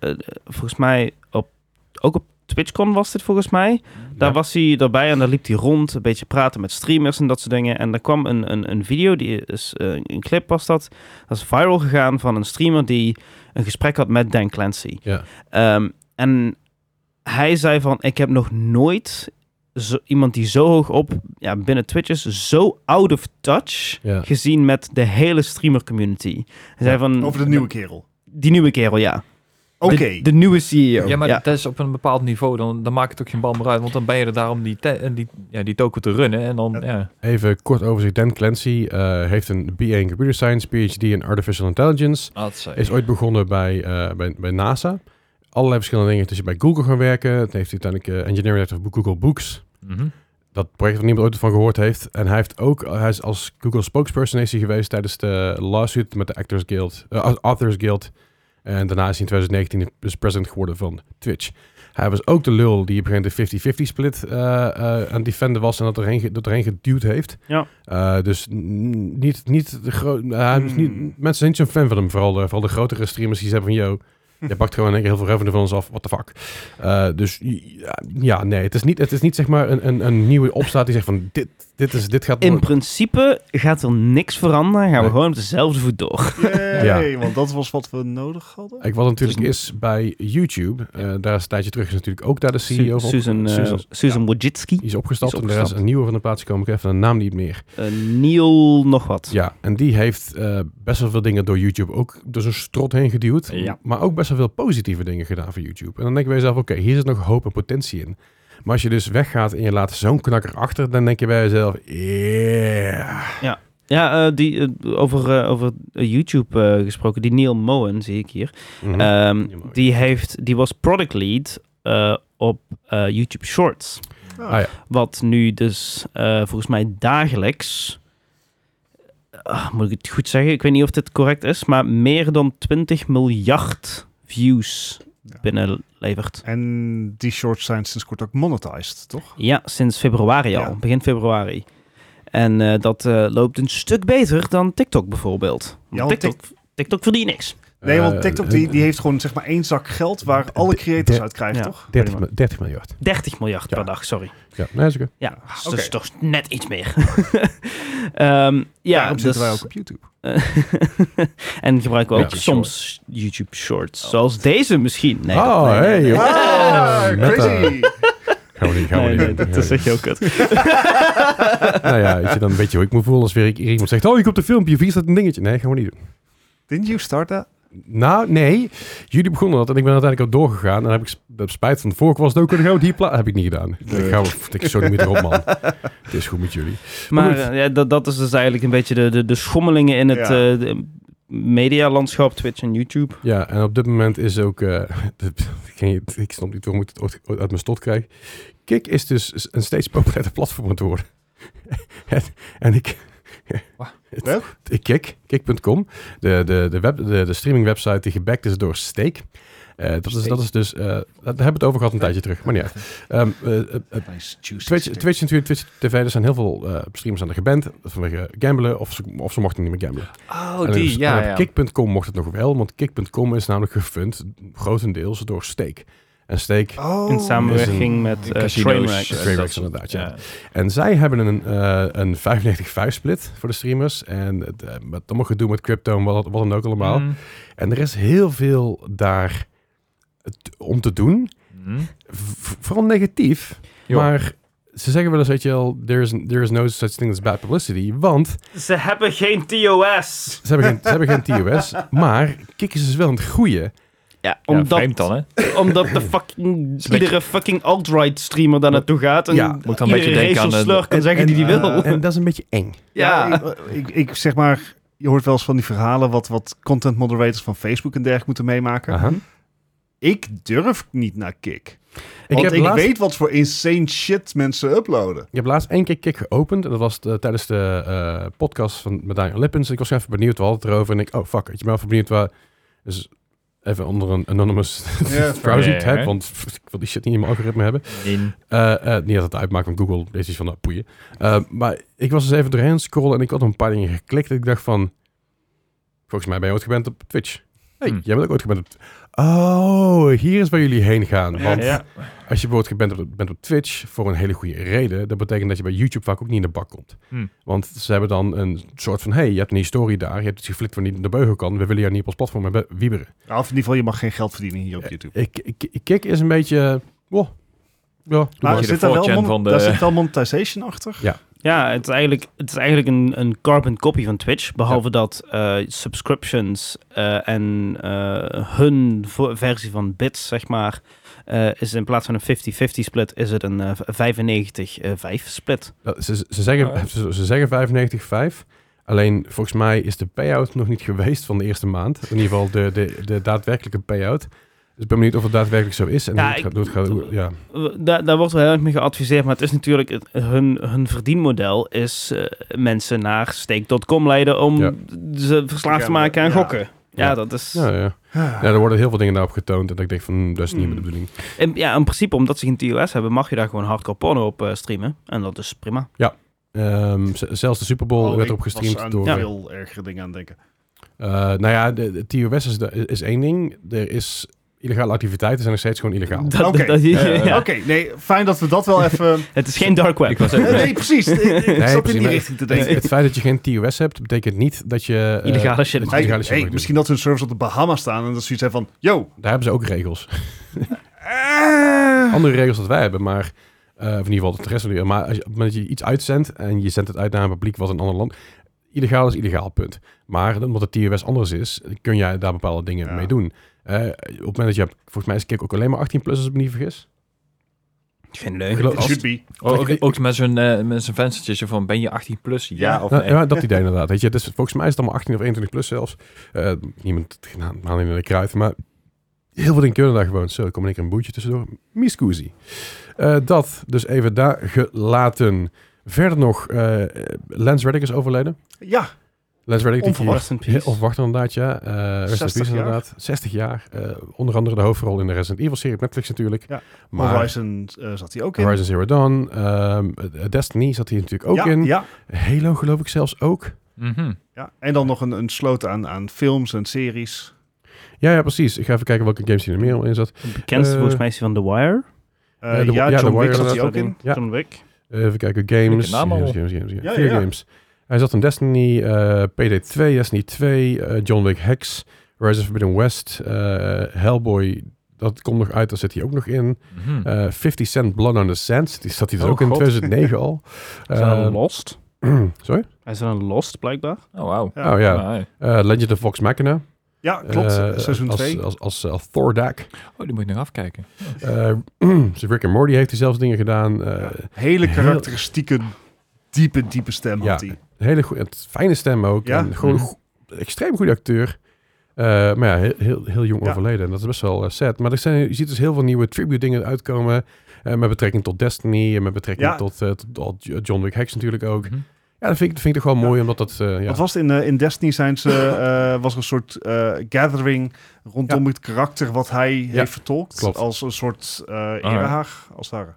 S4: volgens mij op, ook op TwitchCon was dit volgens mij. Daar
S1: Ja.
S4: was hij erbij en daar liep hij rond, een beetje praten met streamers en dat soort dingen. En daar kwam een, een, een video, die is, eh, een clip was dat, dat is viral gegaan van een streamer die een gesprek had met Dan Clancy.
S1: Ja.
S4: Ehm, en hij zei van, ik heb nog nooit zo, iemand die zo hoog op ja, binnen Twitch is, zo out of touch
S1: Ja.
S4: gezien met de hele streamer community. Hij zei van,
S3: Over de nieuwe kerel.
S4: Die nieuwe kerel, ja.
S3: Oké.
S4: De, de nieuwe CEO.
S2: Ja, maar
S4: ja.
S2: dat is op een bepaald niveau, dan, dan maakt het ook geen bal meer uit. Want dan ben je er daar om die, te- en die, ja, die token te runnen. En dan, ja.
S1: Even kort overzicht. Dan Clancy eh, heeft een BA in Computer Science, PhD in Artificial Intelligence.
S2: Ah, dat is-
S1: Is ooit begonnen bij, eh, bij, bij NASA. Allerlei verschillende dingen. Dus je bij Google gaan werken. Toen heeft hij uiteindelijk eh, engineering director voor Google Books.
S2: Mhm.
S1: Dat project waar niemand ooit van gehoord heeft. En hij heeft ook, hij is als Google spokesperson is hij geweest tijdens de lawsuit met de Actors Guild, eh, Authors Guild. En daarna is hij in 2019 dus president geworden van Twitch. Hij was ook de lul die op een gegeven moment de 50-50 split eh, eh, aan het defenden was en dat erheen, ge- dat erheen geduwd heeft.
S4: Ja.
S1: Eh, dus n- niet, niet de groot. eh, hij is niet-
S3: Hmm.
S1: Mensen zijn niet zo'n fan van hem, vooral de, vooral de grotere streamers die zeggen van yo, je pakt gewoon in één keer heel veel revenue van ons af, what the fuck. Eh, dus ja, ja, nee, het is niet, het is niet zeg maar een, een, een nieuwe opstaat die zegt van dit, dit, is, dit gaat
S4: In
S1: nooit-
S4: principe gaat er niks veranderen. Gaan we
S1: Nee.
S4: gewoon op dezelfde voet door.
S3: Yay, Want dat was wat we nodig hadden.
S1: Ik was natuurlijk
S2: Het
S1: is bij YouTube, eh, daar is een tijdje terug, is natuurlijk ook daar de CEO van.
S4: Susan, eh,
S1: Susan.
S4: Susan Wojcicki.
S1: Die is opgestapt,
S4: Is
S1: en er is
S4: opgestapt.
S1: een nieuwe van de plaats gekomen. Ik heb even de naam niet meer.
S4: Eh, Neil nog wat.
S1: Ja, en die heeft eh, best wel veel dingen door YouTube ook door zo'n strot heen geduwd.
S2: Ja.
S1: Maar ook best wel veel positieve dingen gedaan voor YouTube. En dan denk je bij jezelf, oké, hier zit nog hoop en potentie in. Maar als je dus weggaat en je laat zo'n knakker achter, dan denk je bij jezelf, yeah.
S4: Ja, eh, die, eh, over, eh, over eh, YouTube eh, gesproken. Die Neil Moen, zie ik hier.
S1: Mhm.
S4: Ehm,
S1: Neil Moen.
S4: die, heeft, die was product lead eh, op eh, YouTube Shorts.
S1: Ah, ja.
S4: Wat nu dus eh, volgens mij dagelijks. Ah, moet ik het goed zeggen? Ik weet niet of dit correct is, maar meer dan 20 miljard views
S3: Ja.
S4: binnenlevert.
S3: En die shorts zijn sinds kort ook monetized, toch?
S4: Ja, sinds februari al,
S3: Ja.
S4: begin februari. En eh, dat eh, loopt een stuk beter dan TikTok bijvoorbeeld.
S3: Ja, want
S4: TikTok, TikTok verdient niks.
S3: Nee, want
S1: Eh,
S3: TikTok die,
S1: eh,
S3: die heeft gewoon zeg maar één zak geld waar alle creators
S1: de-
S3: uit krijgen,
S4: ja.
S3: toch?
S1: 30, mi- 30 miljard.
S4: 30 miljard
S1: Ja.
S4: per dag, sorry.
S1: Ja, nee, is oké.
S4: Ja, dat is
S3: oké.
S4: dus toch net iets meer. Ehm, ja,
S3: Daarom
S4: dus-
S3: zitten wij ook op YouTube.
S4: en gebruiken we ook
S1: Ja.
S4: soms YouTube Shorts. Zoals deze misschien. Nee,
S1: Oh,
S4: dat- nee, nee,
S1: hey,
S4: nee.
S1: joh.
S3: Ah,
S1: Meta.
S3: crazy!
S1: Gaan we niet, gaan we
S4: Nee,
S1: niet
S4: nee,
S1: doen.
S4: dat
S1: Ja,
S4: is
S1: ja.
S4: echt heel kut.
S1: Nou ja, weet je, dan weet je hoe ik me voel als weer i- iemand zegt... Oh, je komt een filmpje, wie is dat een dingetje? Nee, gaan we niet doen.
S3: Didn't you start that?
S1: Nou, nee. Jullie begonnen dat en ik ben uiteindelijk ook doorgegaan. En dan heb ik sp- heb spijt van tevoren. Ik was het ook, dan gaan we die pla- Heb ik niet gedaan. Ik ga ik zo niet meer erop, man. Het is goed met jullie.
S4: Maar
S1: goed.
S4: eh, ja, dat, dat is dus eigenlijk een beetje de, de, de schommelingen in het
S3: Ja.
S4: eh, de medialandschap, Twitch en YouTube.
S1: Ja, en op dit moment is ook... eh, dit- geen- ik snap niet waarom ik het ooit ooit uit mijn stot krijg. Kik is dus een steeds populairder platform aan het worden. en, en ik...
S2: Wat?
S1: Het- ik Kik, kik.com. De, de, de, web, de, de streamingwebsite die gebackt is door Steak. Eh, dat, is, dat is dus... eh, daar hebben we het over gehad een tijdje terug. Maar ja. Ehm eh, eh, eh,
S3: Nice juicy
S1: Twitch,
S3: steak.
S1: Twitch natuurlijk, Twitch TV, er zijn heel veel eh, streamers aan de geband vanwege gamblen of ze, of ze mochten niet meer gamblen.
S2: Oh,
S1: En dus-
S2: die,
S1: en op
S2: ja, ja.
S1: Kick.com mocht het nog wel, want Kick.com is namelijk gefund grotendeels door Steak. En Steak,
S3: Oh.
S4: in samenwerking met eh
S2: Casino's,
S4: Trainwreck.
S2: eh,
S1: Trainwreck,
S2: dat soort-
S1: inderdaad, ja. en zij hebben een, eh, een 95-5 split voor de streamers en het, eh, met allemaal gedoe met crypto en wat, wat dan ook allemaal.
S2: Mm.
S1: En er is heel veel daar t- om te doen,
S2: Mm.
S1: V- vooral negatief.
S2: Joh.
S1: Maar ze zeggen wel eens, weet je wel, there is, there is no such thing as bad publicity. Want
S4: Ze hebben geen TOS.
S1: ze hebben geen, ze hebben geen TOS, maar Kikkers is dus wel aan het groeien.
S4: Ja,
S2: Ja,
S4: omdat,
S2: vreemd dan, hè?
S4: omdat de fucking,
S2: een
S4: iedere fucking alt-right streamer daar naartoe gaat. En
S1: Ja,
S4: ja,
S1: moet
S2: dan een beetje denken aan de-
S4: slur kan
S1: En-
S4: zeggen
S1: en-
S4: die die wil.
S3: eh,
S1: En dat is een beetje eng.
S3: Ja,
S4: ja.
S3: Ik, ik, ik zeg maar, je hoort wel eens van die verhalen wat, wat content moderators van Facebook en dergelijke moeten meemaken.
S1: Aha.
S3: Ik durf niet naar Kik.
S1: Ik,
S3: want
S1: heb
S3: ik
S1: laatst,
S3: weet wat voor insane shit mensen uploaden.
S1: ik heb laatst één keer Kik geopend. En dat was eh, tijdens de eh, podcast van, met Daniel Lippens. Ik was even benieuwd, we hadden het erover. En ik, oh fuck, ik ben even benieuwd waar... Dus even onder een anonymous
S3: Ja.
S1: browsing
S2: Ja, ja,
S1: tab,
S2: ja.
S1: want pff, ik wil die shit niet in mijn algoritme hebben.
S2: In.
S1: Eh, eh, niet dat het uitmaakt, want Google is iets van dat poeien. Eh, maar ik was dus even doorheen scrollen en ik had een paar dingen geklikt. En ik dacht van, volgens mij ben je ooit gewend op Twitch. hey,
S2: Hmm.
S1: jij bent ook ooit gewend op... Oh, hier is waar jullie heen gaan. Want
S2: Ja.
S1: als je bijvoorbeeld gewend op- bent op Twitch voor een hele goede reden, dat betekent dat je bij YouTube vaak ook niet in de bak komt.
S2: Hmm.
S1: Want ze hebben dan een soort van, hey, je hebt een historie daar, je hebt iets geflikt waar niet naar de beugel kan, we willen jou niet op ons platform hebben, wieberen.
S3: Nou, Of in ieder geval, je mag geen geld verdienen hier op
S1: Eh,
S3: YouTube.
S1: Ik, ik, ik- Kik is een beetje... Oh, ja,
S3: Maar
S2: je
S3: er
S2: de
S3: zit, daar wel
S2: 4chan
S3: mon-
S2: van de-
S3: daar zit wel monetization achter.
S4: Ja, het is eigenlijk, het is eigenlijk een, een carbon copy van Twitch. Behalve dat eh, subscriptions eh, en eh, hun vo- versie van bits, zeg maar, eh, is in plaats van een 50-50 split, is het een eh, 95-5 split.
S1: Dat- ze, ze, zeggen,
S4: Oh.
S2: Ah.
S1: ze, ze zeggen 95,5. Alleen volgens mij is de payout nog niet geweest van de eerste maand. In ieder geval de, de, de daadwerkelijke payout. Dus ik ben benieuwd of het daadwerkelijk zo is. En
S4: Ja,
S1: hoe het
S4: ik-
S1: gaat, hoe het gaat- hoe- ja.
S4: Eh, Daar, daar wordt wel heel erg mee geadviseerd, maar het is natuurlijk het- hun, hun verdienmodel is eh, mensen naar stake.com leiden om
S1: Ja.
S4: ze verslaafd te maken aan
S3: Ja.
S4: gokken. Ja,
S1: Ja.
S4: dat is...
S1: Ja, ja.
S3: Ah,
S1: ja, er worden heel veel dingen daarop getoond. En ik denk van, hm, dat is niet meer de
S4: Hmm.
S1: bedoeling.
S4: In, ja, in principe, omdat ze geen TOS hebben, mag je daar gewoon hardcore porno op eh, streamen. En dat is prima.
S1: Ehm, z- zelfs de Super Bowl
S3: Oh,
S1: werd
S3: ik
S1: erop
S3: was
S1: gestreamd
S3: aan
S1: door... eh,
S3: veel ergere dingen aan het denken.
S1: eh, nou ja, de, de TOS is, de- is één ding. Er is illegale activiteiten zijn nog steeds gewoon illegaal.
S4: Dat-
S3: Oké. Eh,
S4: dat-
S2: Ja, ja, ja.
S4: ja.
S3: Oké, nee, fijn dat we dat wel even...
S4: Het is geen dark web.
S2: Ik was
S3: Eh,
S2: even...
S3: nee, precies. Ik, ik
S1: Nee, precies,
S3: zat in die
S1: maar-
S3: richting te
S1: Het,
S3: denken.
S1: het feit dat je geen TOS hebt, betekent niet dat je... eh,
S4: Illegale
S1: dat
S4: shit
S1: je
S4: mag.
S3: Hey,
S1: illegale shit
S3: hey,
S1: mag doen.
S3: misschien dat hun servers op de Bahamas staan en dat ze zoiets hebben van... Yo,
S1: Daar hebben ze ook regels.
S3: eh,
S1: andere regels dat wij hebben, maar eh, of in ieder geval dat de rest van de wereld. Maar als je, op het moment dat je iets uitzendt en je zendt het uit naar een publiek wat een ander land, illegaal is illegaal, punt. Maar omdat het TOS anders is, kun jij daar bepaalde dingen
S3: Ja.
S1: mee doen. Eh, op het moment dat je, hebt- volgens mij is Kik ook alleen maar 18 plus als ik me niet vergis.
S4: Geen
S1: Ik
S4: leuk.
S1: geloof-
S3: it
S1: als-
S3: should be.
S2: Ook,
S1: Ik- ik-
S2: ook met zo'n eh, met zo'n venstertje van ben je 18 plus? Ja,
S3: Ja.
S2: of
S1: Ja,
S2: nee?
S1: ja, dat idee inderdaad. Weet je, dus volgens mij is het allemaal 18 of 21 plus zelfs. Eh, niemand haalt in de kruid, maar heel veel dingen kunnen daar gewoon. Zo, er komt in één keer een boertje tussendoor. Miscusi. Eh, dat dus even daar gelaten. Verder nog, eh Lens Reddick is overleden.
S3: Ja,
S1: Lens Reddick. die-
S3: Onverwacht.
S4: Rest in
S1: Heel
S4: peace.
S1: onverwacht inderdaad, ja. Eh rest in
S3: 60
S1: peace
S3: jaar.
S1: inderdaad. 60 jaar. Eh, onder andere de hoofdrol in de Resident Evil-serie op Netflix natuurlijk.
S3: Ja.
S1: Maar Horizon,
S3: Horizon eh, zat hij ook in.
S1: Zero Dawn, ehm, eh, Destiny zat hier natuurlijk ook
S3: ja,
S1: in.
S3: Ja,
S1: Halo geloof ik zelfs ook.
S2: Mhm.
S3: ja. En dan nog een, een sloot aan, aan films en series.
S1: Ja, ja, precies. Ik ga even kijken welke games hier er meer in zat.
S4: Het bekendste
S1: Eh,
S4: volgens mij is die van The Wire.
S3: Eh,
S1: Ja, de-
S3: ja,
S1: ja, de
S3: John Wick
S1: Wire
S3: zat hij
S1: inderdaad.
S3: ook in.
S1: Ja.
S4: John Wick.
S1: Eh, Even kijken,
S2: Leuke
S1: games.
S2: naam
S1: games,
S2: al.
S1: games, games, games.
S3: Ja,
S1: Vier
S3: ja, ja.
S1: games. Hij zat in Destiny, eh, PD2, Destiny 2, eh, John Wick Hex, Rise of Forbidden West, eh, Hellboy. Dat komt nog uit, daar zit hij ook nog in.
S2: Mhm.
S1: Eh 50 Cent Blood on the Sands, die zat hij dus
S2: Oh,
S1: ook in
S2: God.
S1: 2009 al.
S4: Is dat
S1: Eh,
S4: een Lost?
S1: sorry?
S4: Hij is dan Lost, blijkbaar.
S2: Oh, wauw.
S3: Ja.
S1: Oh ja,
S2: Ah, ja.
S1: Eh, Legend of Vox Machina.
S3: Ja, klopt.
S1: Eh,
S3: seizoen
S1: als,
S3: 2.
S1: Als, als, eh, Thordak.
S2: Oh, die moet ik nog afkijken.
S1: Eh, Rick and Morty heeft hij zelfs dingen gedaan. Eh,
S3: Hele
S1: heel-
S3: karakteristieke, diepe, diepe stem had
S1: Ja.
S3: hij.
S1: hele goe- het fijne stem ook.
S3: Ja.
S1: En gewoon
S2: Mhm.
S1: go- extreem goede acteur. Eh, maar ja, heel, heel, heel jong
S3: Ja.
S1: overleden. En dat is best wel eh, sad. Maar er zijn, je ziet dus heel veel nieuwe tribute dingen uitkomen. eh, met betrekking tot Destiny. En met betrekking
S3: Ja.
S1: tot, eh, tot- tot John Wick Hex natuurlijk ook.
S2: Mhm.
S1: Ja, dat vind ik, dat vind ik toch wel mooi. Omdat dat... eh, ja.
S3: Wat was het in, eh, in Destiny zijn ze, eh, was er een soort eh, gathering rondom het karakter wat hij heeft vertolkt.
S1: klopt.
S3: Als een soort eh
S2: Ah, ja.
S3: erehaag, als het ware.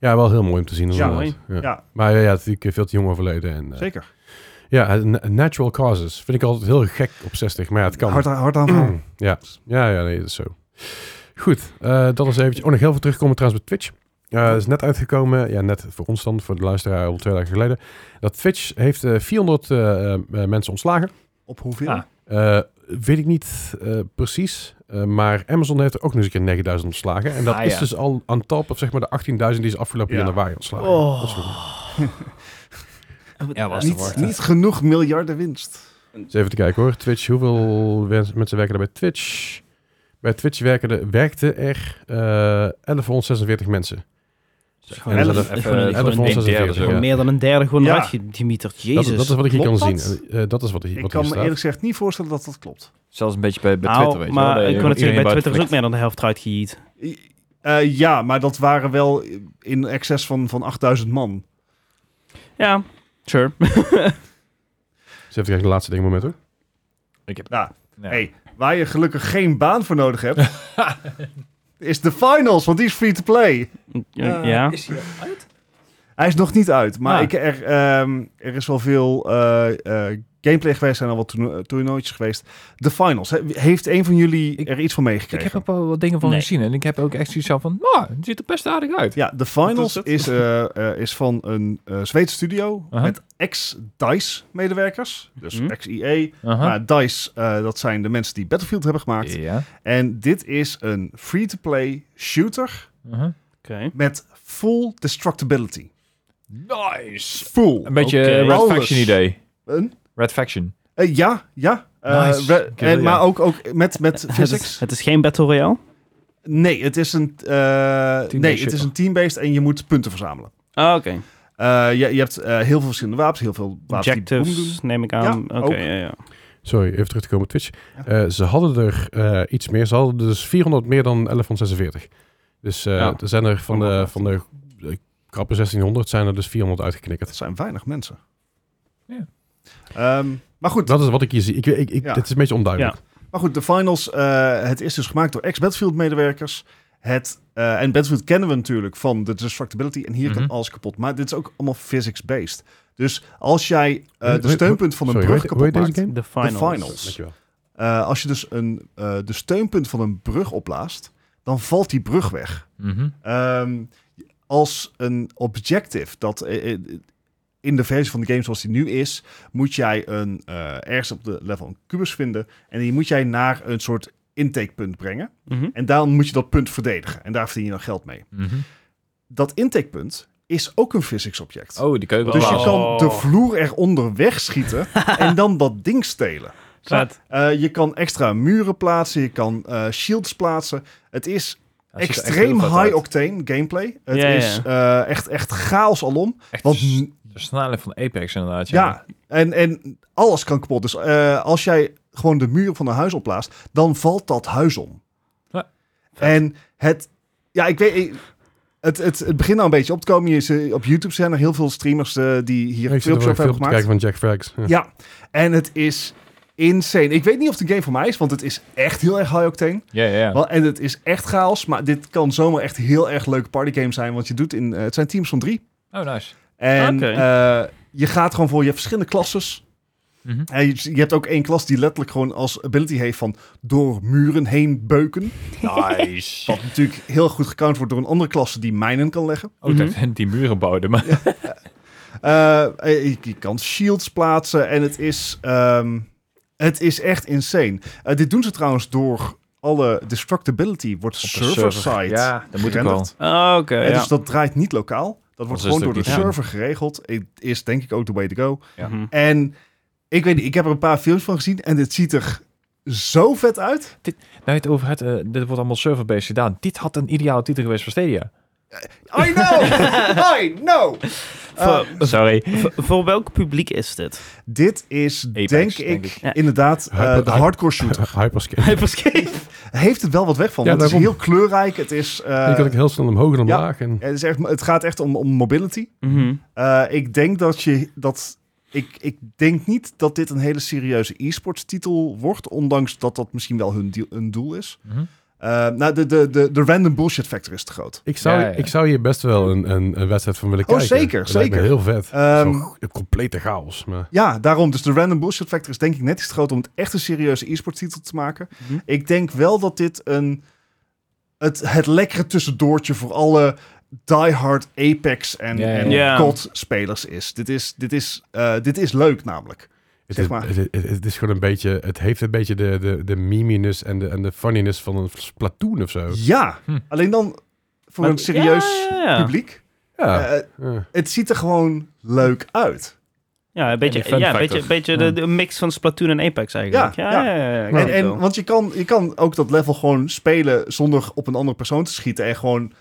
S1: ja, wel heel mooi om te zien. inderdaad.
S4: mooi.
S1: Ja.
S3: Ja.
S1: Maar ja, ja, natuurlijk eh, veel te jong overleden. En, eh,
S3: Zeker.
S1: ja, na- natural causes. Vind ik altijd heel gek op 60. Maar ja, het kan.
S3: Hard, aan- hard aan
S1: Ja, ja, ja, nee, dat is zo. Goed, eh, dat is eventjes. Oh, nog heel veel terugkomen trouwens bij Twitch. Eh, Dat is net uitgekomen, ja, net voor ons dan, voor de luisteraar al twee dagen geleden. Dat Twitch heeft eh, 400 eh, eh, mensen ontslagen.
S3: Op hoeveel?
S2: Ah.
S1: Eh, weet ik niet eh, precies, eh, maar Amazon heeft er ook nog eens een keer 9000 ontslagen. En dat
S2: Ah,
S1: is
S2: ja.
S1: dus al aan top of zeg maar de 18.000 die ze afgelopen
S3: Ja.
S1: januari ontslagen.
S4: Oh.
S1: Dat is goed.
S2: Ja, was
S3: niet, niet genoeg miljarden winst.
S1: Eens Dus even te kijken hoor. Twitch, hoeveel wens- mensen werken er bij Twitch? Bij Twitch werken er- werkten er eh 1146 mensen. En
S4: Gewoon elf-
S1: dat
S4: gewoon
S2: is
S4: een-
S2: even-
S4: gewoon een-
S2: even een derde zo.
S4: gewoon
S1: Ja.
S4: meer dan een derde gewoon
S3: Ja.
S4: uitgemieterd.
S1: Dat,
S4: Jezus.
S1: dat is wat ik hier kan
S3: Klopt
S1: zien.
S3: dat?
S1: Eh, eh, dat is wat, hier-
S3: Ik
S1: wat
S3: kan
S1: hier
S3: me
S1: staat.
S3: eerlijk gezegd niet voorstellen dat dat klopt.
S2: Zelfs een beetje bij, bij
S4: Nou,
S2: Twitter, weet je wel.
S4: maar
S2: dat je
S4: ik kan
S2: iedereen
S4: natuurlijk bij Twitter
S2: buiten
S4: is ook
S2: flikt.
S4: meer dan de helft eruit geëat.
S3: I- eh, ja, maar dat waren wel in excess van, van 8000 man.
S4: Ja, sure.
S1: Eens even kijken de laatste ding moment hoor.
S2: Ik heb...
S3: Nou,
S2: Nee.
S3: hey, waar je gelukkig geen baan voor nodig hebt, is de finals, want die is free to play.
S4: Ja. ja.
S2: Eh, Is hij uit?
S3: Hij is nog niet uit, maar
S2: Ah.
S3: ik, er, ehm, er is wel veel eh, eh, gameplay geweest, zijn al wat toerno- toernooitjes geweest. De finals, he- heeft een van jullie
S2: Ik-
S3: er iets van
S2: Ik
S3: meegekregen?
S2: heb er wel wat dingen van
S4: Nee.
S2: gezien en ik heb ook echt zoiets van, nou, het ziet er best aardig uit.
S3: Ja, de finals
S4: Wat
S3: is, eh, eh, is van een eh Zweedse studio
S2: Aha.
S3: met ex-DICE-medewerkers. Dus
S4: Mhm.
S3: ex-EA.
S2: Aha.
S3: Maar DICE, eh, dat zijn de mensen die Battlefield hebben gemaakt.
S2: Ja.
S3: En dit is een free-to-play shooter
S2: Aha.
S4: Oké.
S3: met full destructibility.
S2: Nice!
S3: Full.
S2: Een beetje
S4: Oké.
S2: Red
S3: Alles.
S2: Faction idee.
S3: Een-
S2: Red Faction.
S3: eh, ja, ja. Eh,
S2: Nice.
S3: re-
S2: Oké,
S3: en,
S2: ja.
S3: Maar ook, ook met, met
S4: Het, is-
S3: physics.
S4: het is geen Battle Royale.
S3: Nee, het is een, eh nee, het is
S2: shooter.
S3: een team-based en je moet punten verzamelen.
S4: Ah, oké.
S3: Eh, je, je hebt eh, heel veel verschillende wapens, heel veel wapens die boem doen.
S4: Objectives, neem ik aan.
S3: Ja,
S4: oké,
S3: ook.
S4: ja, ja.
S1: Sorry, even terug te komen op Twitch.
S3: Ja.
S1: Eh, ze hadden er eh, iets meer. Ze hadden dus 400 meer dan 1146. Dus eh,
S4: Ja.
S1: er zijn er van de, van de eh, krappe 1600 zijn er dus 400 uitgeknikkerd.
S3: Dat zijn weinig mensen.
S2: Ja.
S3: Ehm, maar goed,
S1: Dat is wat ik hier zie. Ik, ik, ik,
S3: Ja.
S1: Dit is een beetje onduidelijk.
S3: Maar goed, de finals, eh, het is dus gemaakt door ex-Battlefield-medewerkers. Het, eh, en Battlefield kennen we natuurlijk van de destructibility. En hier
S2: Mhm.
S3: kan alles kapot. Maar dit is ook allemaal physics-based. Dus als jij eh,
S1: Hoe-
S3: de
S1: hoe-
S3: steunpunt van een
S1: Sorry,
S3: brug
S1: hoe heet- hoe heet
S3: kapot maakt...
S1: deze game?
S4: De finals.
S3: finals.
S1: Dankjewel.
S3: eh, als je dus een, eh, de steunpunt van een brug opblaast... dan valt die brug weg.
S2: Mhm.
S3: Ehm, als een objective dat eh, eh, in de versie van de game zoals die nu is, moet jij een eh, ergens op de level een kubus vinden en die moet jij naar een soort intakepunt brengen.
S4: Mhm.
S3: En dan moet je dat punt verdedigen en daar verdien je dan geld mee.
S2: Mhm.
S3: Dat intakepunt is ook een physics object.
S2: Oh, die kun je wel
S3: Dus je
S2: laten.
S3: kan de vloer eronder wegschieten en dan dat ding stelen.
S4: Vet.
S3: Eh, je kan extra muren plaatsen, je kan eh, shields plaatsen. Het is
S2: Ja, het ziet er echt heel
S3: extreem
S2: vet uit.
S3: high octane gameplay. Het
S4: Ja, ja.
S3: is eh, echt, echt chaos alom.
S2: Echt
S3: Want
S2: de
S3: ja,
S2: s- de snelheid van Apex inderdaad. Ja.
S3: en, en alles kan kapot. Dus eh, als jij gewoon de muur van een huis opblaast, dan valt dat huis om.
S2: Ja.
S3: En het, ja, ik weet, ik- het, het, het begint nou een beetje op te komen. Je, is, eh, op YouTube zijn er heel veel streamers eh, die
S1: Ik zit
S3: hier
S1: er
S3: filmpjes
S1: wel
S3: over
S1: veel
S3: hebben
S1: op te
S3: gemaakt.
S1: kijken van Jack Frags. Ja.
S3: Ja, en het is insane. Ik weet niet of de game voor mij is, want het is echt heel erg high octane.
S2: Ja, ja, ja.
S3: Wel, en het is echt chaos, maar dit kan zomaar echt heel erg leuke partygame zijn. Want je doet in, eh, het zijn teams van drie.
S2: Oh, nice.
S3: En
S4: Oké.
S3: eh, je gaat gewoon voor, je hebt verschillende klasses.
S2: Mhm.
S3: Hè, je, je hebt ook één klas die letterlijk gewoon als ability heeft van door muren heen beuken.
S2: Nice.
S3: Wat natuurlijk heel goed gecount wordt door een andere klasse die mijnen kan leggen.
S2: Oh, dat zijn die muren bouwden. Maar
S3: Eh, eh, je, je kan shields plaatsen en het is, ehm, het is echt insane. Eh, dit doen ze trouwens door alle destructibility wordt
S2: Op de server.
S3: server-side.
S2: Ja, dat moet ik wel.
S3: gerenderd.
S4: Ah, Oké,
S3: Eh,
S4: ja.
S3: Dus dat draait niet lokaal. Dat
S2: Anders
S3: wordt gewoon
S2: is
S3: door
S2: het
S3: de
S2: ook niet
S3: server geregeld. Het is denk ik ook the way to go.
S2: ja.
S4: Mhm.
S3: En ik weet niet, ik heb er een paar films van gezien en dit ziet er zo vet uit.
S2: Nou, je het over het, eh, dit wordt allemaal server-based gedaan. Dit had een ideale titel geweest voor Stadia.
S3: I know! I know! Eh,
S2: Sorry.
S4: Voor- voor welk publiek is dit?
S3: dit is,
S2: Apex,
S3: denk ik,
S2: denk ik.
S4: Ja.
S3: inderdaad eh,
S1: Hyper-
S3: de hardcore shooter.
S1: Hyperscape.
S4: Hyperscape.
S3: Heeft het wel wat weg van,
S1: Ja,
S3: want het is heel
S1: daarom.
S3: kleurrijk. Het, is, eh,
S1: Die kan ik heel snel omhoog en omlaag. En,
S3: het, is echt, het gaat echt om, om mobility.
S4: Mhm.
S3: Eh, ik denk dat je dat. Ik, ik denk niet dat dit een hele serieuze e-sports titel wordt, ondanks dat dat misschien wel hun, deal- hun doel is.
S2: Mhm.
S3: Eh, nou, de, de, de, de random bullshit factor is te groot.
S1: ik, zou,
S2: Ja, ja.
S1: ik zou hier best wel een, een, een wedstrijd van willen
S3: Oh,
S1: kijken.
S3: zeker,
S1: Dat lijkt me
S3: zeker.
S1: heel vet.
S3: Ehm,
S1: Zo'n g- complete chaos. Maar
S3: Ja, daarom. Dus de random bullshit factor is denk ik net iets te groot om het echt een serieuze e-sports titel te maken.
S4: Mhm.
S3: Ik denk wel dat dit een. Het, het lekkere tussendoortje voor alle diehard Apex en,
S2: Ja, ja,
S3: en
S4: ja.
S3: COD spelers is. Dit is, dit, is, eh, dit is leuk namelijk.
S1: het,
S3: zeg
S1: is-
S3: maar.
S1: Het, het- het is gewoon een beetje... Het heeft een beetje de, de, de meminess en de, en de funniness van een Splatoon of zo.
S3: Ja,
S2: Hm.
S3: alleen dan voor
S4: Maar-
S3: een serieus
S4: Ja, ja, ja.
S3: publiek.
S1: Ja.
S3: Eh,
S1: ja.
S3: het ziet er gewoon leuk uit.
S4: Ja, een beetje,
S2: die fun
S4: ja, een
S2: factor.
S4: beetje, beetje de,
S2: Ja.
S4: de mix van Splatoon en Apex eigenlijk.
S3: Ja,
S4: Ja,
S3: ja.
S4: ja, ja. ja, ik
S3: En,
S4: weet het
S3: en,
S4: wel.
S3: want je kan, je kan ook dat level gewoon spelen zonder op een andere persoon te schieten. En gewoon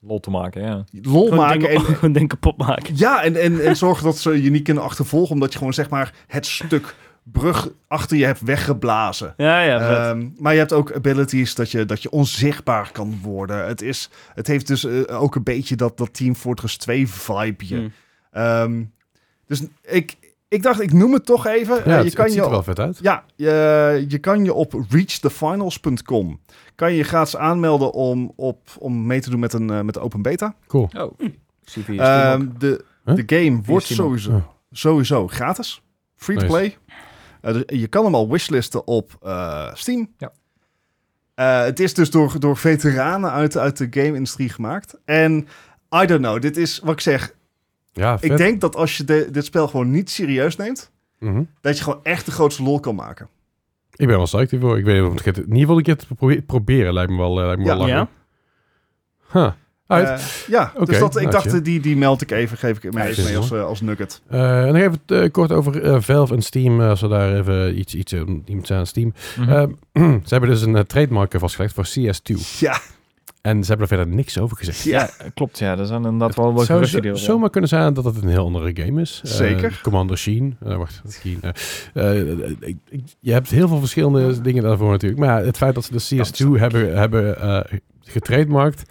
S2: Lol te maken, ja.
S3: lol
S4: Gewoon
S3: maken.
S4: dingen-
S3: En,
S4: gewoon dingen kapot maken.
S3: ja, en, en, en zorgen dat ze je niet kunnen achtervolgen. Omdat je gewoon zeg maar het stuk brug achter je hebt weggeblazen.
S4: Ja, ja, vet.
S3: Ehm, maar je hebt ook abilities dat je, dat je onzichtbaar kan worden. Het, is, het heeft dus eh, ook een beetje dat, dat Team Fortress 2 vibeje.
S4: Hm.
S3: Ehm, dus ik, ik dacht, ik noem het toch even. Eh,
S1: Ja,
S3: je
S1: het,
S3: kan
S1: het ziet
S3: je
S1: er wel vet uit.
S3: Ja, je, je kan je op reachthefinals.com kan je je gratis aanmelden om, op, om mee te doen met, een, eh, met de open beta.
S1: Cool.
S2: Oh, CV
S3: Ehm, de,
S1: Huh?
S3: de game wordt
S2: Steam ook.
S3: sowieso,
S1: Oh.
S3: sowieso gratis. Free to
S1: Nice.
S3: play. Eh, dus je kan hem al wishlisten op eh, Steam.
S2: Ja.
S3: Eh, het is dus door, door veteranen uit, uit de game-industrie gemaakt. En I don't know, dit is wat ik zeg.
S1: Ja, vet.
S3: Ik denk dat als je de- dit spel gewoon niet serieus neemt,
S1: Mhm.
S3: dat je gewoon echt de grootste lol kan maken.
S1: Ik ben wel psyched hiervoor. Ik weet niet of ik het... In ieder geval een keer te probe- proberen lijkt me wel, eh, lijkt me wel
S3: Ja.
S1: lachen.
S4: Ja?
S1: Huh. Uit.
S3: Eh, ja,
S1: Oké,
S3: dus dat, ik
S1: nou,
S3: dacht,
S1: chill.
S3: eh, die, die meld ik even, geef ik hem
S1: Ja,
S3: even mee
S1: precies,
S3: als, eh, als nugget.
S1: Eh, en nog even eh, kort over eh, Valve en Steam. eh, als we daar even iets, iets, eh, iets aan Steam.
S3: Mhm.
S2: Mhm.
S1: Eh, ze hebben dus een eh, trademark vastgelegd voor CS2.
S3: Ja,
S1: En ze hebben er verder niks over gezegd.
S3: ja.
S2: Klopt, ja. Dat zijn inderdaad wel wel
S1: Het zou
S2: geruchten
S1: zo-
S2: die er zijn.
S1: zomaar kunnen zijn dat het een heel andere game is. Eh,
S3: Zeker.
S1: Commander Sheen. Eh, wacht, Sheen. eh, eh, ik- ik- je hebt heel veel verschillende dingen daarvoor natuurlijk. Maar ja, het feit dat ze de CS2 hebben, hebben eh getrademarkt.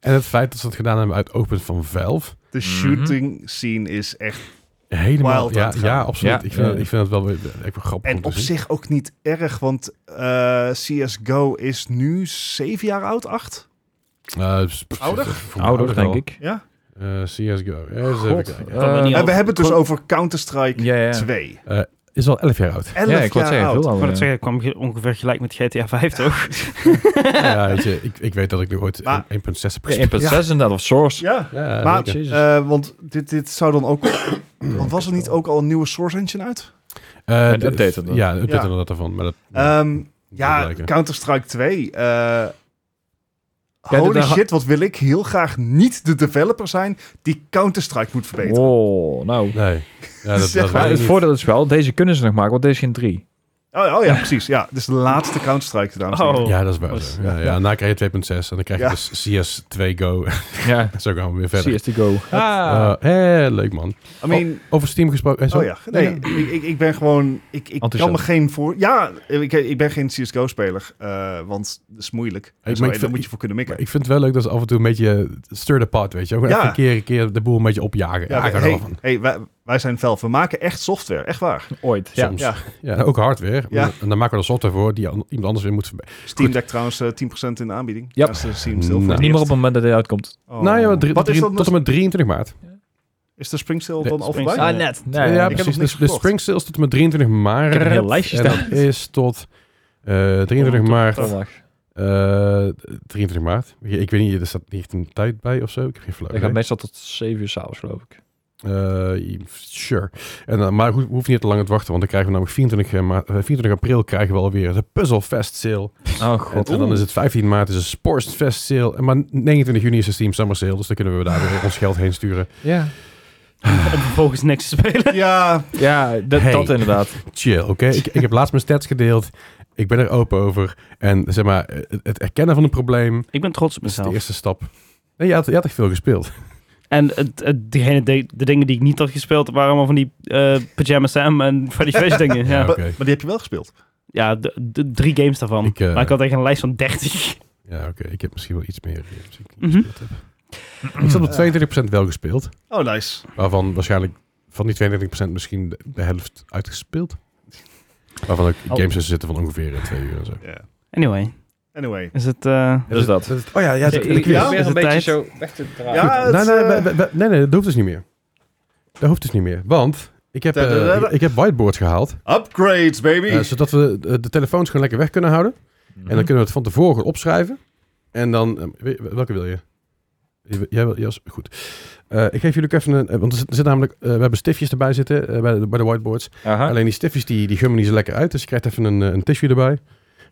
S1: En het feit dat ze het gedaan hebben uit oogpunt van Valve.
S3: de shooting scene is echt...
S1: Helemaal,
S3: Wild
S1: ja,
S3: aan het
S1: ja,
S3: gaan.
S1: absoluut.
S2: Ja.
S1: ik, vind
S2: Ja.
S1: het, ik vind het wel weer- eh, ik wel grappig om
S3: En
S1: te
S3: op
S1: zien.
S3: zich ook niet erg, want eh, CSGO is nu zeven jaar oud, acht?
S1: Eh, s- s-
S3: Ouder?
S1: voor mij
S2: Ouder, denk
S1: wel.
S2: ik.
S3: Ja.
S1: Eh, CSGO. Eh, eens even
S2: God,
S1: kijken.
S4: Kan
S2: eh,
S4: niet
S3: En we
S4: over-
S3: hebben het dus
S4: kon-
S3: over Counter-Strike
S2: ja, ja.
S3: 2.
S1: Is al 11 jaar oud.
S3: Elf
S2: ja, ik wou
S3: jaar
S2: zeggen, heel
S3: oud.
S4: Ik
S2: oud.
S4: kan
S2: ja.
S4: het zeggen, kwam ge- ongeveer gelijk met GTA 5, toch?
S1: Nou ja, weet je, ik, ik weet dat ik nu ooit
S3: Maar-
S1: 1.6 heb
S2: Ja, 1.6
S1: gespeeld.
S2: inderdaad, of Source.
S3: Ja,
S1: Ja,
S3: maar
S1: zeker.
S2: Jezus.
S3: eh, want dit, dit zou dan ook... want was er niet ook al een nieuwe Source Engine uit?
S1: Eh,
S2: Een
S1: de-
S2: update dan.
S1: Ja, een update
S3: Ja.
S1: inderdaad daarvan. Maar dat,
S3: Ehm,
S1: dat
S3: ja,
S1: blijken.
S3: Counter-Strike 2. eh,
S2: dat-
S3: holy
S2: daar-
S3: shit, wat wil ik heel graag niet de developer zijn die Counter-Strike moet verbeteren.
S2: Oh, nou.
S1: Nee. Ja, dat,
S3: Zeg
S1: dat
S3: maar,
S2: Maar
S1: weet
S2: het
S1: ik niet.
S2: voordeel is wel, deze kunnen ze nog maken, want deze is geen 3.
S3: Oh, oh ja, precies. Ja, dus de laatste Counter-Strike, dames en heren.
S4: Oh.
S1: Ja, dat is waar.
S4: Was-
S1: zo. Ja, ja, en daarna krijg je 2.6 en dan krijg je
S3: Ja.
S1: dus CS2 Go.
S2: Ja,
S1: Zo gaan we weer verder.
S2: CS to go. Ah.
S1: Eh, hé, leuk man.
S3: I mean,
S1: Over Steam gesproken. eh,
S3: oh,
S1: zo?
S3: ja. Nee, Ik, ik, ik ben gewoon... Ik, ik kan me
S2: Enthousiast.
S3: geen voor... Ja, ik, ik ben geen CSGO-speler, eh, want dat is moeilijk.
S1: maar
S3: En
S1: ik
S3: zo, en daar
S1: vind-
S3: moet je voor kunnen
S1: Maar
S3: mikken.
S1: ik vind het wel leuk dat ze af en toe een beetje stir apart, weet je. Ook
S3: Ja.
S1: even een keer, een keer de boel een beetje opjagen. Ja,
S3: Ja,
S1: ik hou er wel
S3: hey,
S1: van.
S3: hey, wij, wij zijn Valve. We maken echt software, echt waar.
S2: Ooit. Ja.
S1: Soms.
S3: Ja.
S1: Ja. ook hardware.
S3: Ja.
S1: En dan maken we er software voor die an- iemand anders weer moet verbeteren.
S3: Steam
S1: Goed.
S3: Deck trouwens eh, 10% in de aanbieding.
S2: Ja.
S3: Dat is de Steam Still voor
S1: Nou.
S2: Niet
S3: het
S2: meer
S3: eerst.
S2: op het moment dat hij uitkomt.
S3: Oh.
S1: Nou ja, maar Nou drie-
S3: Wat is
S1: drie-
S3: dat
S1: tot en met 23 maart.
S3: Is de Spring Sale
S1: De
S3: dan al
S2: Spring
S3: voorbij?
S2: Sale.
S4: Ah, net.
S2: Nee,
S1: ja,
S3: heb nog
S1: precies.
S3: niks
S1: Dus de
S3: gekocht.
S1: Spring Sale is tot en met 23 maart.
S2: heb een heel lijstje Oh,
S1: en dat is tot eh, 23
S2: Tot-
S1: maart.
S2: tot zondag.
S1: eh, 23 maart. Ik, ik weet niet, er staat niet echt een tijd bij of zo. Ik heb geen flauw
S2: Ik ga
S1: idee.
S2: meestal tot 7 uur s'avonds, geloof ik.
S1: Eh, sure. En, dan- maar hoe hoeft niet te lang aan te wachten, want dan krijgen we namelijk 24, maart, eh, 24 april krijgen we alweer de Puzzle Fest Sale.
S2: Oh
S1: En,
S2: god.
S1: en dan is het 15 maart is een Sports Fest Sale. En maar 29 juni is de Steam Summer Sale, dus dan kunnen we daar weer ons geld heen sturen.
S2: Ja,
S4: Om vervolgens niks te spelen.
S3: Ja,
S2: ja dat,
S1: Hey.
S2: dat inderdaad.
S1: Chill, oké? ik, ik heb laatst mijn stats gedeeld. Ik ben er open over. En zeg maar, eh, het, het erkennen van een probleem
S4: Ik ben trots op
S1: is de
S4: mezelf.
S1: eerste stap. Nee, je, had, je had echt veel gespeeld.
S4: En het, het, degene, de, de dingen die ik niet had gespeeld waren allemaal van die eh Pyjama Sam en Freddy Fish dingen.
S1: Ja,
S4: Ja,
S1: oké.
S3: maar die heb je wel gespeeld.
S4: ja de, de- drie games daarvan.
S1: Ik, eh,
S4: maar ik had echt een lijst van 30.
S1: Ja, oké. Ik heb misschien wel iets meer games die ik
S4: Mhm.
S1: niet gespeeld heb. Ik zat op 22% wel gespeeld.
S3: Oh, nice.
S1: Waarvan waarschijnlijk van die 32% misschien de, de helft uitgespeeld. Waarvan ook games tussen zitten van ongeveer eh, twee uur en zo.
S3: Ja.
S4: Anyway,
S3: Anyway.
S4: is het... eh,
S2: Dat is dat.
S1: Oh ja, ja.
S2: Ik
S4: quiz. Is
S2: probeer een
S4: het
S2: beetje
S4: tijd?
S2: zo weg te draaien.
S3: Ja.
S1: nee,
S3: het,
S1: nee, we-
S3: eh,
S1: we- we- nee, nee, dat hoeft dus niet meer. Dat hoeft dus niet meer. Want ik heb, eh,
S3: Tadadada.
S1: ik heb whiteboards gehaald.
S3: Upgrades, baby.
S1: eh, zodat we eh, de telefoons gewoon lekker weg kunnen houden.
S2: Mhm.
S1: En dan kunnen we het van tevoren gewoon opschrijven. En dan... eh, wie- welke wil je? Je- Jij wil... Jas? Goed. Eh, ik geef jullie ook even een... eh, want er zit, er zit namelijk... eh, we hebben stiftjes erbij zitten eh, bij, de, bij de whiteboards.
S2: Aha.
S1: Alleen die stiftjes die, die gummen niet zo lekker uit. Dus je krijgt even een, eh, een tissue erbij.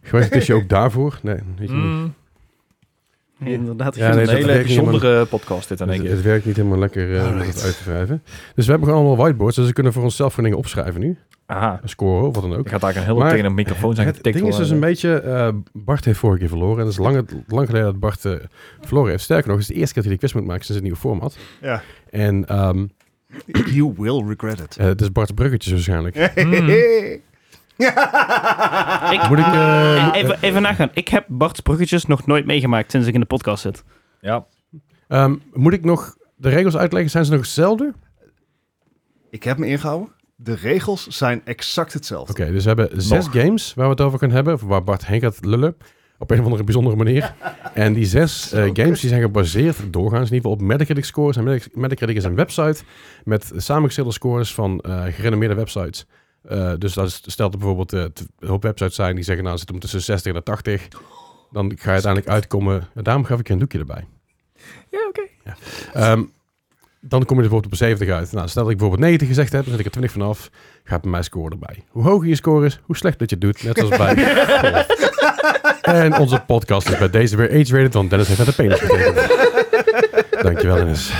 S1: Gewoon een tissue ook daarvoor. Nee, weet je niet.
S2: Mm.
S4: ja, inderdaad.
S1: Ja,
S4: ik-
S1: nee,
S2: een
S1: dat werkt
S2: hele
S1: niet helemaal.
S2: bijzondere podcast dit in één
S1: Dus Het,
S2: keer.
S1: het werkt niet helemaal lekker eh om
S3: Alright.
S1: het uit te wrijven. Dus we hebben gewoon allemaal whiteboards. Dus we kunnen voor onszelf gewoon dingen opschrijven nu.
S2: Aha.
S1: Scoren of wat dan ook.
S2: Ik had daar een hele
S1: Maar
S2: tegen een microfoon zijn
S1: Het
S2: getikt.
S1: ding is dus
S2: worden.
S1: een beetje... eh, Bart heeft vorige keer verloren. En dat is lang, lang geleden dat Bart eh, verloren heeft. Sterker nog, het is de eerste keer dat hij de quiz moet maken sinds het nieuwe format.
S3: Ja.
S1: En ehm
S3: You will regret it.
S1: eh, het is Bart's bruggetjes waarschijnlijk.
S4: Ik-
S1: Moet ik... eh,
S4: eh, even, even nagaan. Ik heb Bart's bruggetjes nog nooit meegemaakt sinds ik in de podcast zit.
S2: Ja.
S1: ehm, moet ik nog... De regels uitleggen, zijn ze nog hetzelfde?
S3: Ik heb me ingehouden. De regels zijn exact hetzelfde.
S1: Oké, dus we hebben zes games waar we het over kunnen hebben. Of waar Bart heen gaat lullen. Op een of andere bijzondere manier. En die zes eh, games die zijn gebaseerd doorgaans in ieder geval op Metacritic scores. En Metac- Metacritic is een website met samengestelde scores van eh, gerenommeerde websites. Eh, dus dat is, stelt er bijvoorbeeld eh, t- een hoop websites zijn die zeggen nou zit om tussen 60 en 80. Dan ga je uiteindelijk uitkomen. Daarom gaf ik je een doekje erbij.
S2: Ja, oké.
S1: Ehm, dan kom je er bijvoorbeeld op 70 uit. Nou, stel dat ik bijvoorbeeld 90 gezegd heb, dan zet ik er 20 vanaf. Gaat mijn score erbij. Hoe hoger je score is, hoe slecht dat je het doet. Net zoals bij golf. En onze podcast is bij deze weer age-rated, want Dennis heeft aan de penis getekend. Dankjewel, Dennis.
S3: Eh,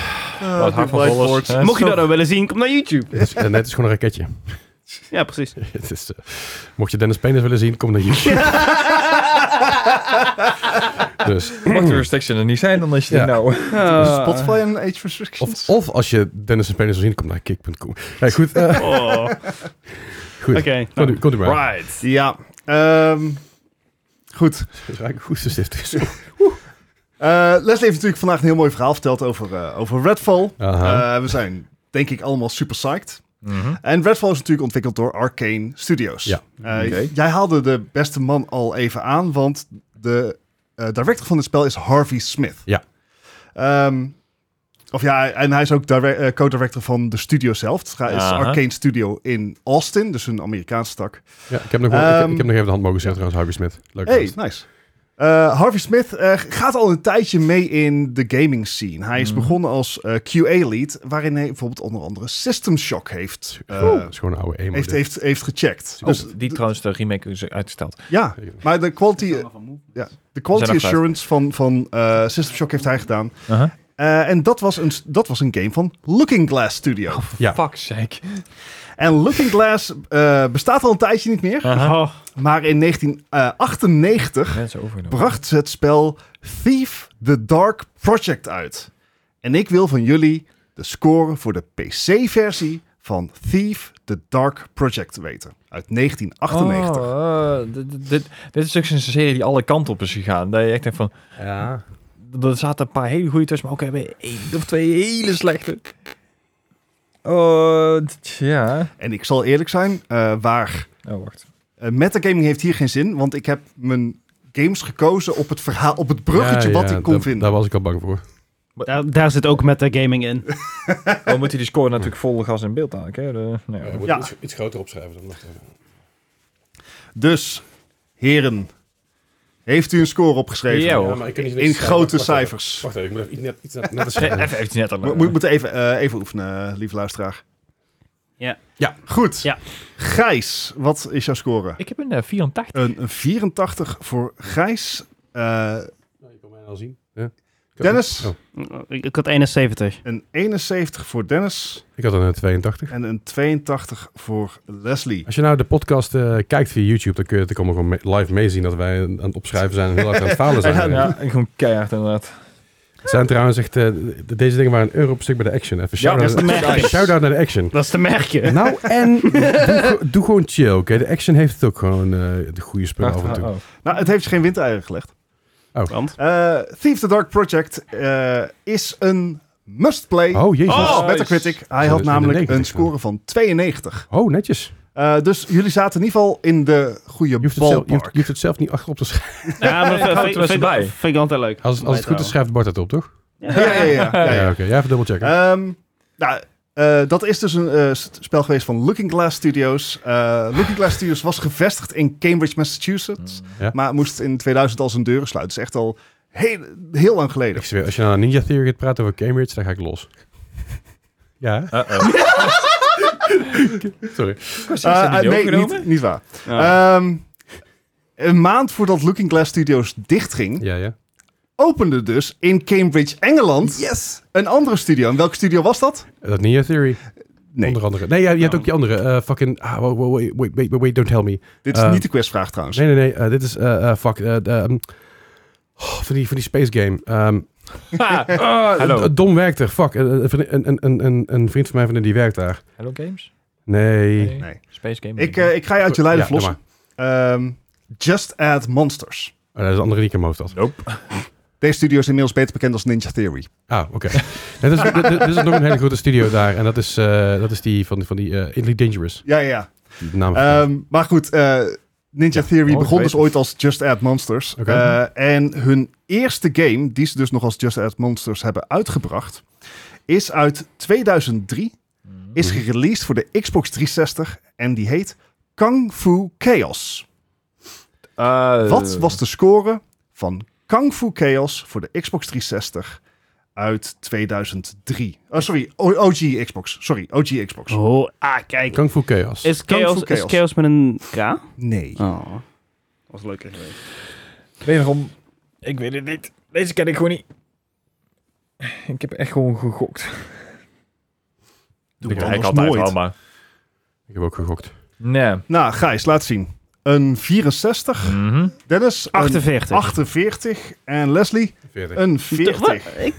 S2: Wat hard
S3: die
S2: van volgers.
S3: whiteboards.
S2: Hè,
S4: Mocht je
S2: zo-
S4: dat nou willen zien, kom naar YouTube.
S1: Het is, eh, nee, het is gewoon een raketje.
S4: Ja, precies.
S1: Het is, eh, mocht je Dennis penis willen zien, kom naar hier. dus,
S2: Mocht de restriction er niet zijn, dan is je
S1: Ja.
S2: nou...
S3: Is Spotify en age restrictions.
S1: of, of als je Dennis een penis wil zien, kom naar kick.com. Nee, goed. eh,
S4: Oh.
S1: Goed.
S4: Oké.
S1: komt
S4: nou.
S1: u- komt u maar.
S2: Right.
S3: Ja. ehm, goed.
S1: Dus raak ik goed de stift dus. is.
S3: Eh, Leslie heeft natuurlijk vandaag een heel mooi verhaal verteld over, eh, over Redfall.
S1: Aha.
S3: Eh, we zijn denk ik allemaal super psyched.
S2: Mhm.
S3: En Redfall is natuurlijk ontwikkeld door Arcane Studios.
S1: Ja.
S3: Eh,
S2: Oké.
S3: Jij haalde de beste man al even aan, want de eh, director van het spel is Harvey Smith.
S1: Ja.
S3: Ehm, of ja, en hij is ook dire- eh, co-director van de studio zelf. Het ga- is
S2: Aha.
S3: Arcane Studio in Austin, dus een Amerikaanse tak.
S1: Ja, ik heb nog, wel- ik heb-
S3: Ehm,
S1: ik heb nog even de hand mogen zetten trouwens, Harvey Smith. Leuk.
S3: Hey,
S1: gast.
S3: nice. Eh, Harvey Smith eh, gaat al een tijdje mee in de gaming scene. Hij is
S2: Mhm.
S3: begonnen als eh, QA-lead, waarin hij bijvoorbeeld onder andere System Shock heeft, eh,
S1: Oh, is gewoon een oude emo.
S3: heeft,
S1: dit.
S3: heeft, heeft gecheckt. Dus,
S2: Oh, die trouwens de remake is uitgesteld.
S3: ja, maar de quality, ja, de quality
S2: zijn afgeleid.
S3: assurance van, van eh, System Shock heeft hij gedaan. Eh, en dat was, een, dat was een game van Looking Glass Studio.
S1: Ja.
S2: Fuck sake.
S3: En Looking Glass eh, bestaat al een tijdje niet meer.
S4: Oh.
S3: Maar in 1998
S2: Mensen overgenomen.
S3: bracht ze het spel Thief the Dark Project uit. En ik wil van jullie de score voor de PC-versie van Thief the Dark Project weten. Uit 1998.
S2: Oh, eh, dit, dit, dit is natuurlijk een serie die alle kanten op is gegaan. Dat je echt denkt van,
S1: Ja.
S2: er zaten een paar hele goede tussen, maar ook hebben één of twee hele slechte. Oh, ja.
S3: En ik zal eerlijk zijn, eh, waar
S2: Oh, wacht.
S3: eh, metagaming heeft hier geen zin, want ik heb mijn games gekozen op het verhaal, op het bruggetje wat ik kon
S1: daar,
S3: vinden.
S1: Daar was ik al bang voor.
S4: Daar, daar zit ook metagaming in.
S2: Dan moet hij die score natuurlijk vol gas in beeld houden. hè? De- nou ja,
S1: moet
S3: Ja.
S1: iets, iets groter opschrijven. Dan wacht even.
S3: Dus, heren, heeft u een score opgeschreven?
S2: Ja, hoor.
S1: maar ik kan niet
S3: In
S1: niks
S3: grote
S1: schrijven. Wacht even.
S3: cijfers.
S1: Wacht even, ik moet even iets net, iets net, net
S2: Even,
S1: schrijven.
S2: eventjes net
S3: We
S2: al.
S3: we moeten even, eh, even oefenen, eh, lieve luisteraar.
S4: Ja.
S1: Ja.
S3: Goed.
S4: Ja.
S3: Gijs, wat is jouw score?
S2: Ik heb een eh, 84.
S3: Een, een 84 voor Gijs. Eh,
S1: Nou, je kan mij al zien. Ja. Ik had-
S3: Dennis?
S1: Oh,
S4: Ik, ik had 71.
S3: een 71 voor Dennis.
S1: ik had een eh, 82.
S3: En een 82 voor Leslie.
S1: Als je nou de podcast eh, kijkt via YouTube, dan kun je het komen gewoon me- live meezien dat wij aan het opschrijven zijn en heel hard aan het falen zijn.
S2: Ja, gewoon keihard inderdaad.
S1: Het zijn trouwens echt, eh, de- deze dingen waren een euro op stuk bij de action. Even
S2: Ja,
S1: shout-out
S4: dat is
S1: naar,
S4: nice.
S1: shout naar de action.
S4: Dat is te merken.
S1: Nou, en doe, ge- doe gewoon chill, oké? De action heeft het ook gewoon eh, de goede spullen af en toe.
S2: Oh, oh.
S3: Nou, het heeft je geen windeieren gelegd.
S4: Want?
S3: Eh, Thief the Dark Project eh, is een must-play.
S1: Oh, jezus.
S2: Oh!
S3: Op Metacritic. Hij
S1: Zo,
S3: had
S1: dus in de
S3: namelijk
S1: 90
S3: een score van 92.
S1: Oh, netjes.
S3: Eh, dus jullie zaten in ieder geval in de goede
S1: Je hoeft, het zelf, je, hoeft,
S3: ballpark.
S1: je hoeft het zelf niet achterop te schrijven.
S4: Ja, maar
S2: Ik hou het
S4: vind,
S2: er wel
S4: vind,
S2: eens bij.
S4: vind, ik altijd leuk.
S1: Als, het- als het goed is, schrijft Bart het op, toch?
S3: Ja, ja, ja. ja,
S1: Ja,
S3: ja.
S1: oké. Jij even dubbelchecken.
S3: Ehm, nou, eh, dat is dus een eh, st- spel geweest van Looking Glass Studios. Eh, Looking Glass Studios was gevestigd in Cambridge,
S2: Mm.
S3: Massachusetts.
S1: Ja.
S3: Maar moest in 2000 al zijn deuren sluiten. Dat is echt al heel, heel lang geleden.
S1: ik zweer, als je nou Ninja Theory gaat praten over Cambridge, dan ga ik los. ja, hè?
S2: Uh-oh.
S1: sorry.
S3: Eh, eh,
S2: die
S3: nee,
S2: opgenomen?
S3: niet, niet waar. Ehm, een maand voordat Looking Glass Studios dichtging,
S1: Ja, ja.
S3: opende dus in Cambridge, Engeland,
S2: Yes!
S3: een andere studio. En welke studio was dat?
S1: Dat Ninja Theory,
S3: Nee, Oh.
S1: onder andere. Nee, ja, je hebt
S4: Ja.
S1: ook die andere. eh, fucking, ah, wait, wait, wait, wait, wait, don't tell me.
S3: dit is
S1: Eh,
S3: niet de quizvraag trouwens.
S1: Nee, nee, nee. eh, dit is, eh, eh, fuck, eh, de, ehm, oh, van, die, van die space game. Ehm,
S2: Hallo.
S1: d- Dom werkt er, fuck. eh, eh, Een, een, een, een, een vriend van mij van die werkt daar.
S2: Hello Games?
S1: Nee.
S3: Nee.
S2: Space Game.
S3: Ik, eh, ik ga je uit je lijden
S1: Ja, doe
S3: vlossen. Ehm, Just Add Monsters.
S1: Oh, dat is een andere die ik in mijn hoofd had.
S2: Nope.
S3: Deze studio is inmiddels beter bekend als Ninja Theory.
S1: Ah, oké. Nee, dit, is- dit- dit- dit is nog een hele grote studio daar. En dat is, eh, dat is die van, van die eh Inly Dangerous.
S3: Ja, ja.
S1: Die naam
S3: ja. Ehm, maar goed, eh, Ninja Theory
S2: oh,
S3: begon dus
S2: beter.
S3: ooit als Just Add Monsters.
S1: Oké.
S3: Eh, en hun eerste game, die ze dus nog als Just Add Monsters hebben uitgebracht, is uit 2003.
S2: Mm.
S3: Is gereleased voor de Xbox 360 en die heet Kung Fu Chaos.
S2: Eh,
S3: Wat was de score van Kung Fu Chaos voor de Xbox 360 uit 2003? Oh, sorry, O- OG Xbox. Sorry, OG Xbox.
S4: Oh, ah, kijk.
S1: Kung Fu Chaos.
S4: Is
S3: Kung Fu
S4: chaos, is
S3: Chaos.
S4: chaos met een K?
S3: Nee.
S4: Oh. Dat was leuker geweest.
S2: Wederom, ik weet het niet. Deze ken ik gewoon niet. Ik heb echt gewoon gegokt.
S3: Doe
S1: Ik
S3: het
S1: kijk
S3: anders nooit.
S2: maar...
S1: Ik heb ook gegokt.
S2: Nee.
S3: Nou, Gijs, laat zien. Een 64.
S2: Mhm.
S3: Dennis, een
S4: 48.
S3: 48. En Leslie,
S1: 40.
S3: een
S4: Wat?
S3: 40.
S4: Ik,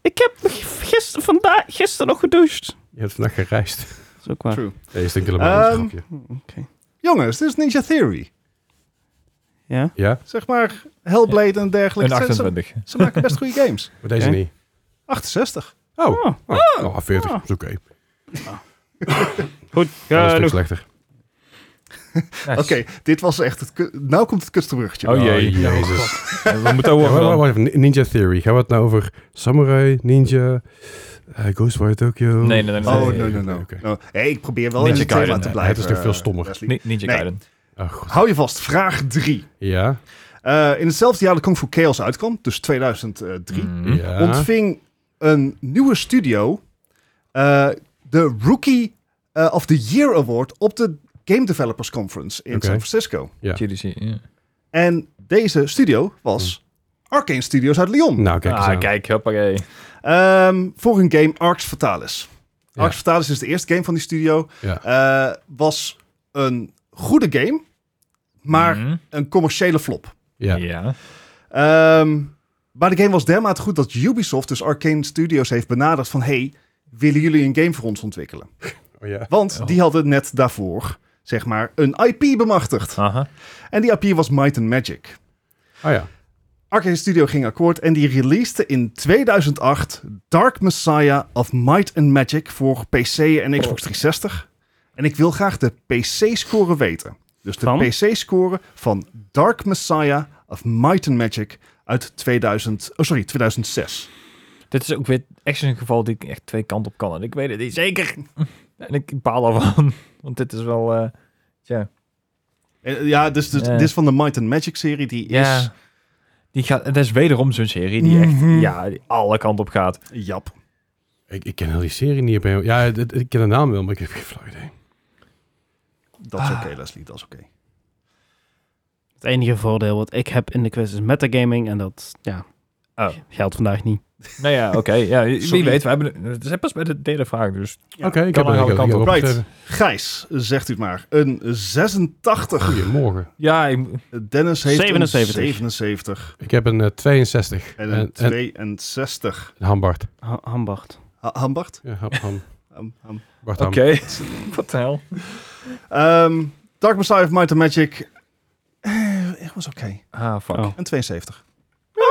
S4: ik heb gisteren, vandaag, gisteren nog gedoucht.
S1: Je hebt vandaag gereisd.
S4: Dat is ook waar.
S3: True.
S1: Nee, is denk ik helemaal niet,
S3: Ehm,
S1: een grapje.
S3: Jongens, dit is Ninja Theory.
S4: Ja?
S1: Ja,
S3: Zeg maar Hellblade en dergelijke.
S2: Een
S3: Ze- Ze,
S2: 28.
S3: ze maken best goede games.
S1: maar deze
S4: Oké.
S1: niet.
S3: 68.
S1: Oh,
S4: Oh.
S1: oh, oh, 40
S4: Ah.
S1: is oké. Dat is
S4: Goed,
S1: een stuk
S4: genoeg.
S1: slechter.
S2: Nice.
S3: Oké, dit was echt het... ku- Nou komt het kutste bruggetje.
S2: Oh jee.
S1: Oh, jezus.
S2: Eh, We moeten
S1: Ja,
S2: horen
S1: wacht,
S2: dan.
S1: wacht, wacht even. Ninja Theory. Gaan we het nou over Samurai, Ninja, eh Ghostwire Tokyo?
S2: Nee, nee, nee, nee.
S3: Oh,
S2: nee,
S3: no,
S1: nee,
S3: no,
S1: nee,
S3: no.
S1: oké.
S3: no. Hey, ik probeer wel
S2: Ninja
S3: in het thema
S2: Gaiden,
S3: te
S2: eh,
S3: blijven.
S1: het is toch veel stommer.
S3: eh, Leslie.
S2: Ni- Ninja
S3: Nee.
S2: Gaiden.
S1: Oh, god.
S3: Hou je vast, vraag 3.
S1: Ja.
S3: Eh, in hetzelfde jaar dat Kung Fu Chaos uitkwam, dus 2003,
S2: Mhm.
S1: ja.
S3: ontving een nieuwe studio eh, de Rookie eh, of the Year Award op de Game Developers Conference in
S1: Oké.
S3: San Francisco.
S1: Ja.
S2: GDC, ja.
S3: En deze studio was
S1: Hmm.
S3: Arcane Studios uit Lyon.
S1: Nou, kijk eens
S2: Ah,
S1: aan.
S2: kijk, hoppakee.
S3: Ehm, voor hun game Arx Fatalis.
S1: Ja.
S3: Arx Fatalis is de eerste game van die studio.
S1: Ja.
S3: Eh, was een goede game, maar
S2: Mhm.
S3: een commerciële flop.
S1: Ja.
S2: Ja.
S3: Ehm, maar de game was dermate goed dat Ubisoft, dus Arcane Studios, heeft benaderd van... hey, willen jullie een game voor ons ontwikkelen?
S1: Oh, ja.
S3: Want
S2: Oh.
S3: die hadden net daarvoor, zeg maar, een IP bemachtigd.
S2: Aha.
S3: En die IP was Might and Magic.
S1: Oh ja.
S3: Arcane Studio ging akkoord en die released in 2008 Dark Messiah of Might and Magic voor PC en Xbox 360. En ik wil graag de PC-score weten. Dus de
S4: Van?
S3: PC-score van Dark Messiah of Might and Magic uit 2000, oh sorry, 2006.
S2: Dit is ook weer echt zo'n geval die ik echt twee kanten op kan. En ik weet het niet zeker. en ik baal ervan. Want dit is wel... eh, tja,
S3: Eh, Ja, dus, dus
S2: Ja.
S3: dit is van de Might and Magic serie. Die is...
S2: ja. Mhm. Die gaat, het is wederom zo'n serie die echt ja, die alle kanten op gaat.
S3: Jap.
S1: Ik, ik ken heel die serie niet. op een- Ja, het- het- ik ken de naam wel, maar ik heb geen flauw idee.
S3: Dat is
S2: Ah.
S3: oké, Leslie. Dat is oké.
S4: Het enige voordeel wat ik heb in de quiz is metagaming. En dat ja,
S2: Oh.
S4: geldt vandaag niet.
S2: Nou ja, oké. ja, wie
S3: Sorry.
S2: weet, we hebben, het is pas bij de derde vraag. Dus
S3: Ja,
S1: Oké, ik
S2: kan
S1: heb
S2: alle
S1: er
S2: kanten op.
S3: Right. Gijs, zegt u het maar. Een 86.
S1: Goedemorgen.
S2: ja, ik,
S3: Dennis heeft
S4: 77.
S3: een 77.
S1: Ik heb een eh, 62.
S3: En
S1: En,
S3: een
S1: en,
S3: 62.
S1: een Hambart.
S4: Ha- Hambacht.
S3: Ha- Hambart?
S1: Ja, ham, ham,
S3: Ham- ham.
S1: Bart Ham.
S2: oké. Wat de hel?
S3: Ehm, Dark Messiah of Might and Magic. Eh, Het was oké.
S2: Ah, fuck.
S4: Oh.
S3: Een 72.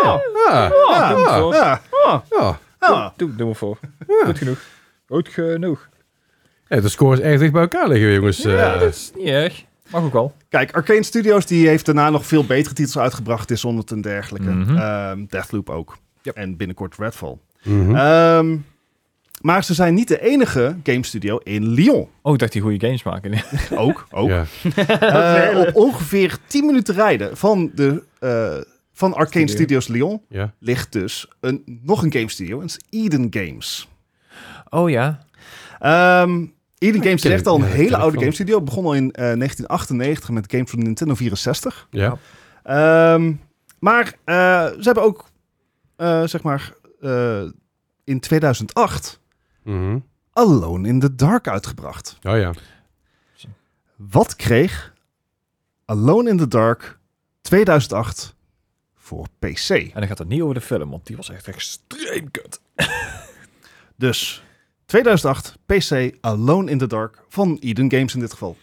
S1: Ja,
S3: ja,
S2: Oh. doe het.
S3: ja,
S1: Ah, ja.
S3: ja.
S2: Doe, doe me voor. Goed genoeg. Goed genoeg.
S1: Ja, de scores erg dicht bij elkaar liggen, jongens. Eh,
S3: dus-
S2: Niet erg. Mag ook wel.
S3: Kijk, Arcane Studios die heeft daarna nog veel betere titels uitgebracht. Dishonored en dergelijke.
S2: Mhm.
S3: Ehm, Deathloop ook.
S2: Ja.
S3: En binnenkort Redfall.
S1: mhm.
S3: Ehm, maar ze zijn niet de enige game studio in Lyon.
S2: Oh, ik dacht die goede games maken.
S3: Ook, ook.
S1: Ja.
S3: Eh, op ongeveer 10 minuten rijden van, de, eh, van Arcane
S2: Studio.
S3: Studios Lyon
S1: ja.
S3: ligt dus een, nog een game studio. En dat is Eden Games.
S2: Oh ja.
S3: Ehm Eden Games
S1: ken
S3: is echt
S1: ik-
S3: al een
S1: ja, dat ken
S3: hele
S1: ik
S3: oude
S1: wel.
S3: game studio. Begon al in eh, 1998 met games voor de Nintendo 64.
S1: ja.
S3: Ehm, maar eh, ze hebben ook, eh, zeg maar, eh, in 2008
S1: Mhm.
S3: Alone in the Dark uitgebracht.
S1: Oh ja.
S3: Wat kreeg Alone in the Dark 2008 voor PC?
S2: En dan gaat het niet over de film, want die was echt extreem kut.
S3: Dus 2008 PC Alone in the Dark van Eden Games in dit geval.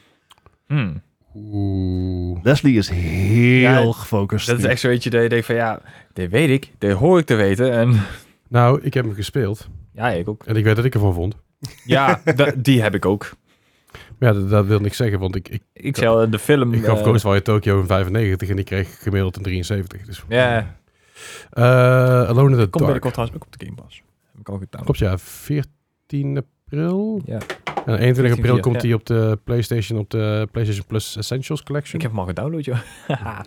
S2: Hmm.
S1: Oeh.
S3: Leslie is heel
S2: Ja,
S3: gefocust.
S2: Dat is
S3: nu.
S2: echt zoiets dat je denkt van ja, dit weet ik, dit hoor ik te weten. En
S1: Nou, ik heb hem gespeeld.
S2: ja, ik ook.
S1: En ik weet dat ik ervan vond.
S2: Ja, da- die heb ik ook.
S1: Maar ja, dat, dat wil niks zeggen, want ik, ik,
S2: Ik zei de film.
S1: ik gaf
S2: eh,
S1: Ghostwire Tokyo een 95 en ik kreeg gemiddeld een 73. Dus,
S2: Ja,
S1: Eh, Alone in the
S2: komt
S1: Dark.
S2: binnenkort trouwens ook op de Game Pass. Heb ik al goed downloaden.
S1: Klopt, ja. 14 april.
S2: Ja.
S1: En 21 april
S2: 14,
S1: komt
S2: ja.
S1: hij op de PlayStation, op de PlayStation Plus Essentials Collection.
S2: Ik heb hem al gedownload, joh. Haha.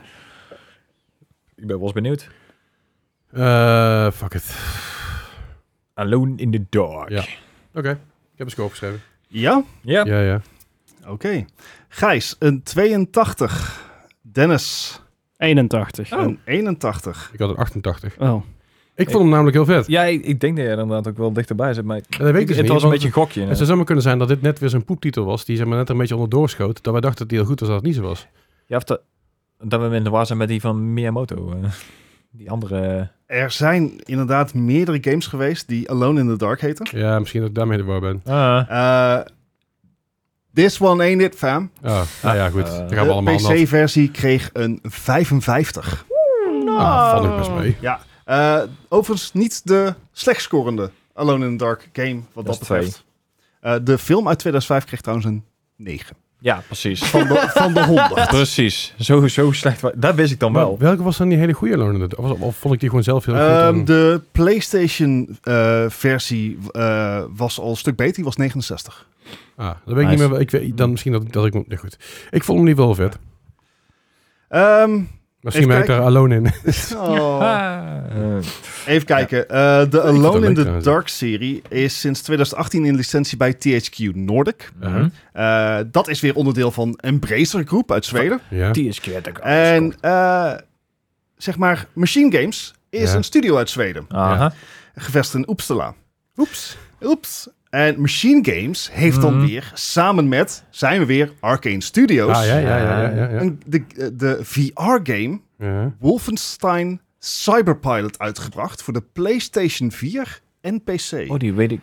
S2: ik ben wel eens benieuwd.
S1: Eh, fuck it.
S2: Alone in the Dark.
S1: Ja. Oké, ik heb een score opgeschreven.
S3: Ja?
S2: Ja.
S1: Ja, ja.
S3: Oké. Gijs, een 82. Dennis,
S4: 81. Oh.
S3: een 81.
S1: Ik had een 88.
S4: Oh.
S1: Ik vond hem namelijk heel vet.
S2: Ja, ik, ik denk dat jij er inderdaad ook wel dichterbij zit, maar
S1: En dat weet ik dus
S2: het
S1: niet,
S2: was een
S1: want
S2: beetje een gokje. eh.
S1: Het zou zomaar kunnen zijn dat dit net weer zo'n poeptitel was, die zeg maar net een beetje onderdoor schoot, dat wij dachten dat die heel goed was, dat het niet zo was.
S2: Ja, of dat, dat we in de war zijn met die van Miyamoto. eh, die andere...
S3: Er zijn inderdaad meerdere games geweest die Alone in the Dark heten.
S1: Ja, misschien dat ik daarmee de war ben.
S2: Ah.
S3: Eh, this one ain't it, fam.
S1: Ah, nou ja, goed. Dan
S2: Eh,
S1: gaan we
S3: De
S1: allemaal aan de
S3: PC-versie kreeg een 55.
S4: Nou,
S1: hand. Ah, valt ook best mee.
S3: Ja. Eh, overigens niet de slecht scorende Alone in the Dark game,
S2: Dat
S3: wat dat,
S2: is
S3: betreft. Eh, de film uit 2005 kreeg trouwens een 9.
S2: Ja, precies.
S3: Van de, van de 100.
S2: precies. Zo, zo slecht. wa- Dat wist ik dan wel.
S1: Maar welke was dan die hele goede Alone in the Dark? Of, of vond ik die gewoon zelf heel goed?
S3: Ehm,
S1: en-
S3: de PlayStation-versie eh, was al een stuk beter. Die was 69.
S1: Ah, dat weet ik
S4: Nice.
S1: niet meer. wel- Ik weet, dan misschien dat, dat ik... hem- ja, goed. Ik vond hem niet wel vet.
S3: Ehm,
S1: Misschien ben ik
S3: kijken.
S1: daar alone in.
S3: oh.
S2: Ah.
S3: Even kijken. Eh, de
S1: het wel
S3: Alone in
S1: leuk
S3: the
S1: trouwens.
S3: Dark-serie is sinds 2018 in licentie bij THQ Nordic.
S2: Mhm.
S3: Eh, dat is weer onderdeel van Embracer Group uit Zweden.
S1: Ja.
S2: Die is kwijt. ik-
S3: En eh, zeg maar, Machine Games is
S1: Ja.
S3: een studio uit Zweden.
S2: Aha.
S3: gevestigd in Uppsala. Oeps. Oeps. En Machine Games heeft dan
S2: Mhm.
S3: weer, samen met, zijn we weer, Arcane Studios,
S1: Ah, ja, ja, ja, ja, ja, ja.
S3: een- de, eh, de VR-game
S1: Ja.
S3: Wolfenstein Cyberpilot uitgebracht voor de PlayStation 4 en PC.
S2: Oh, die weet ik.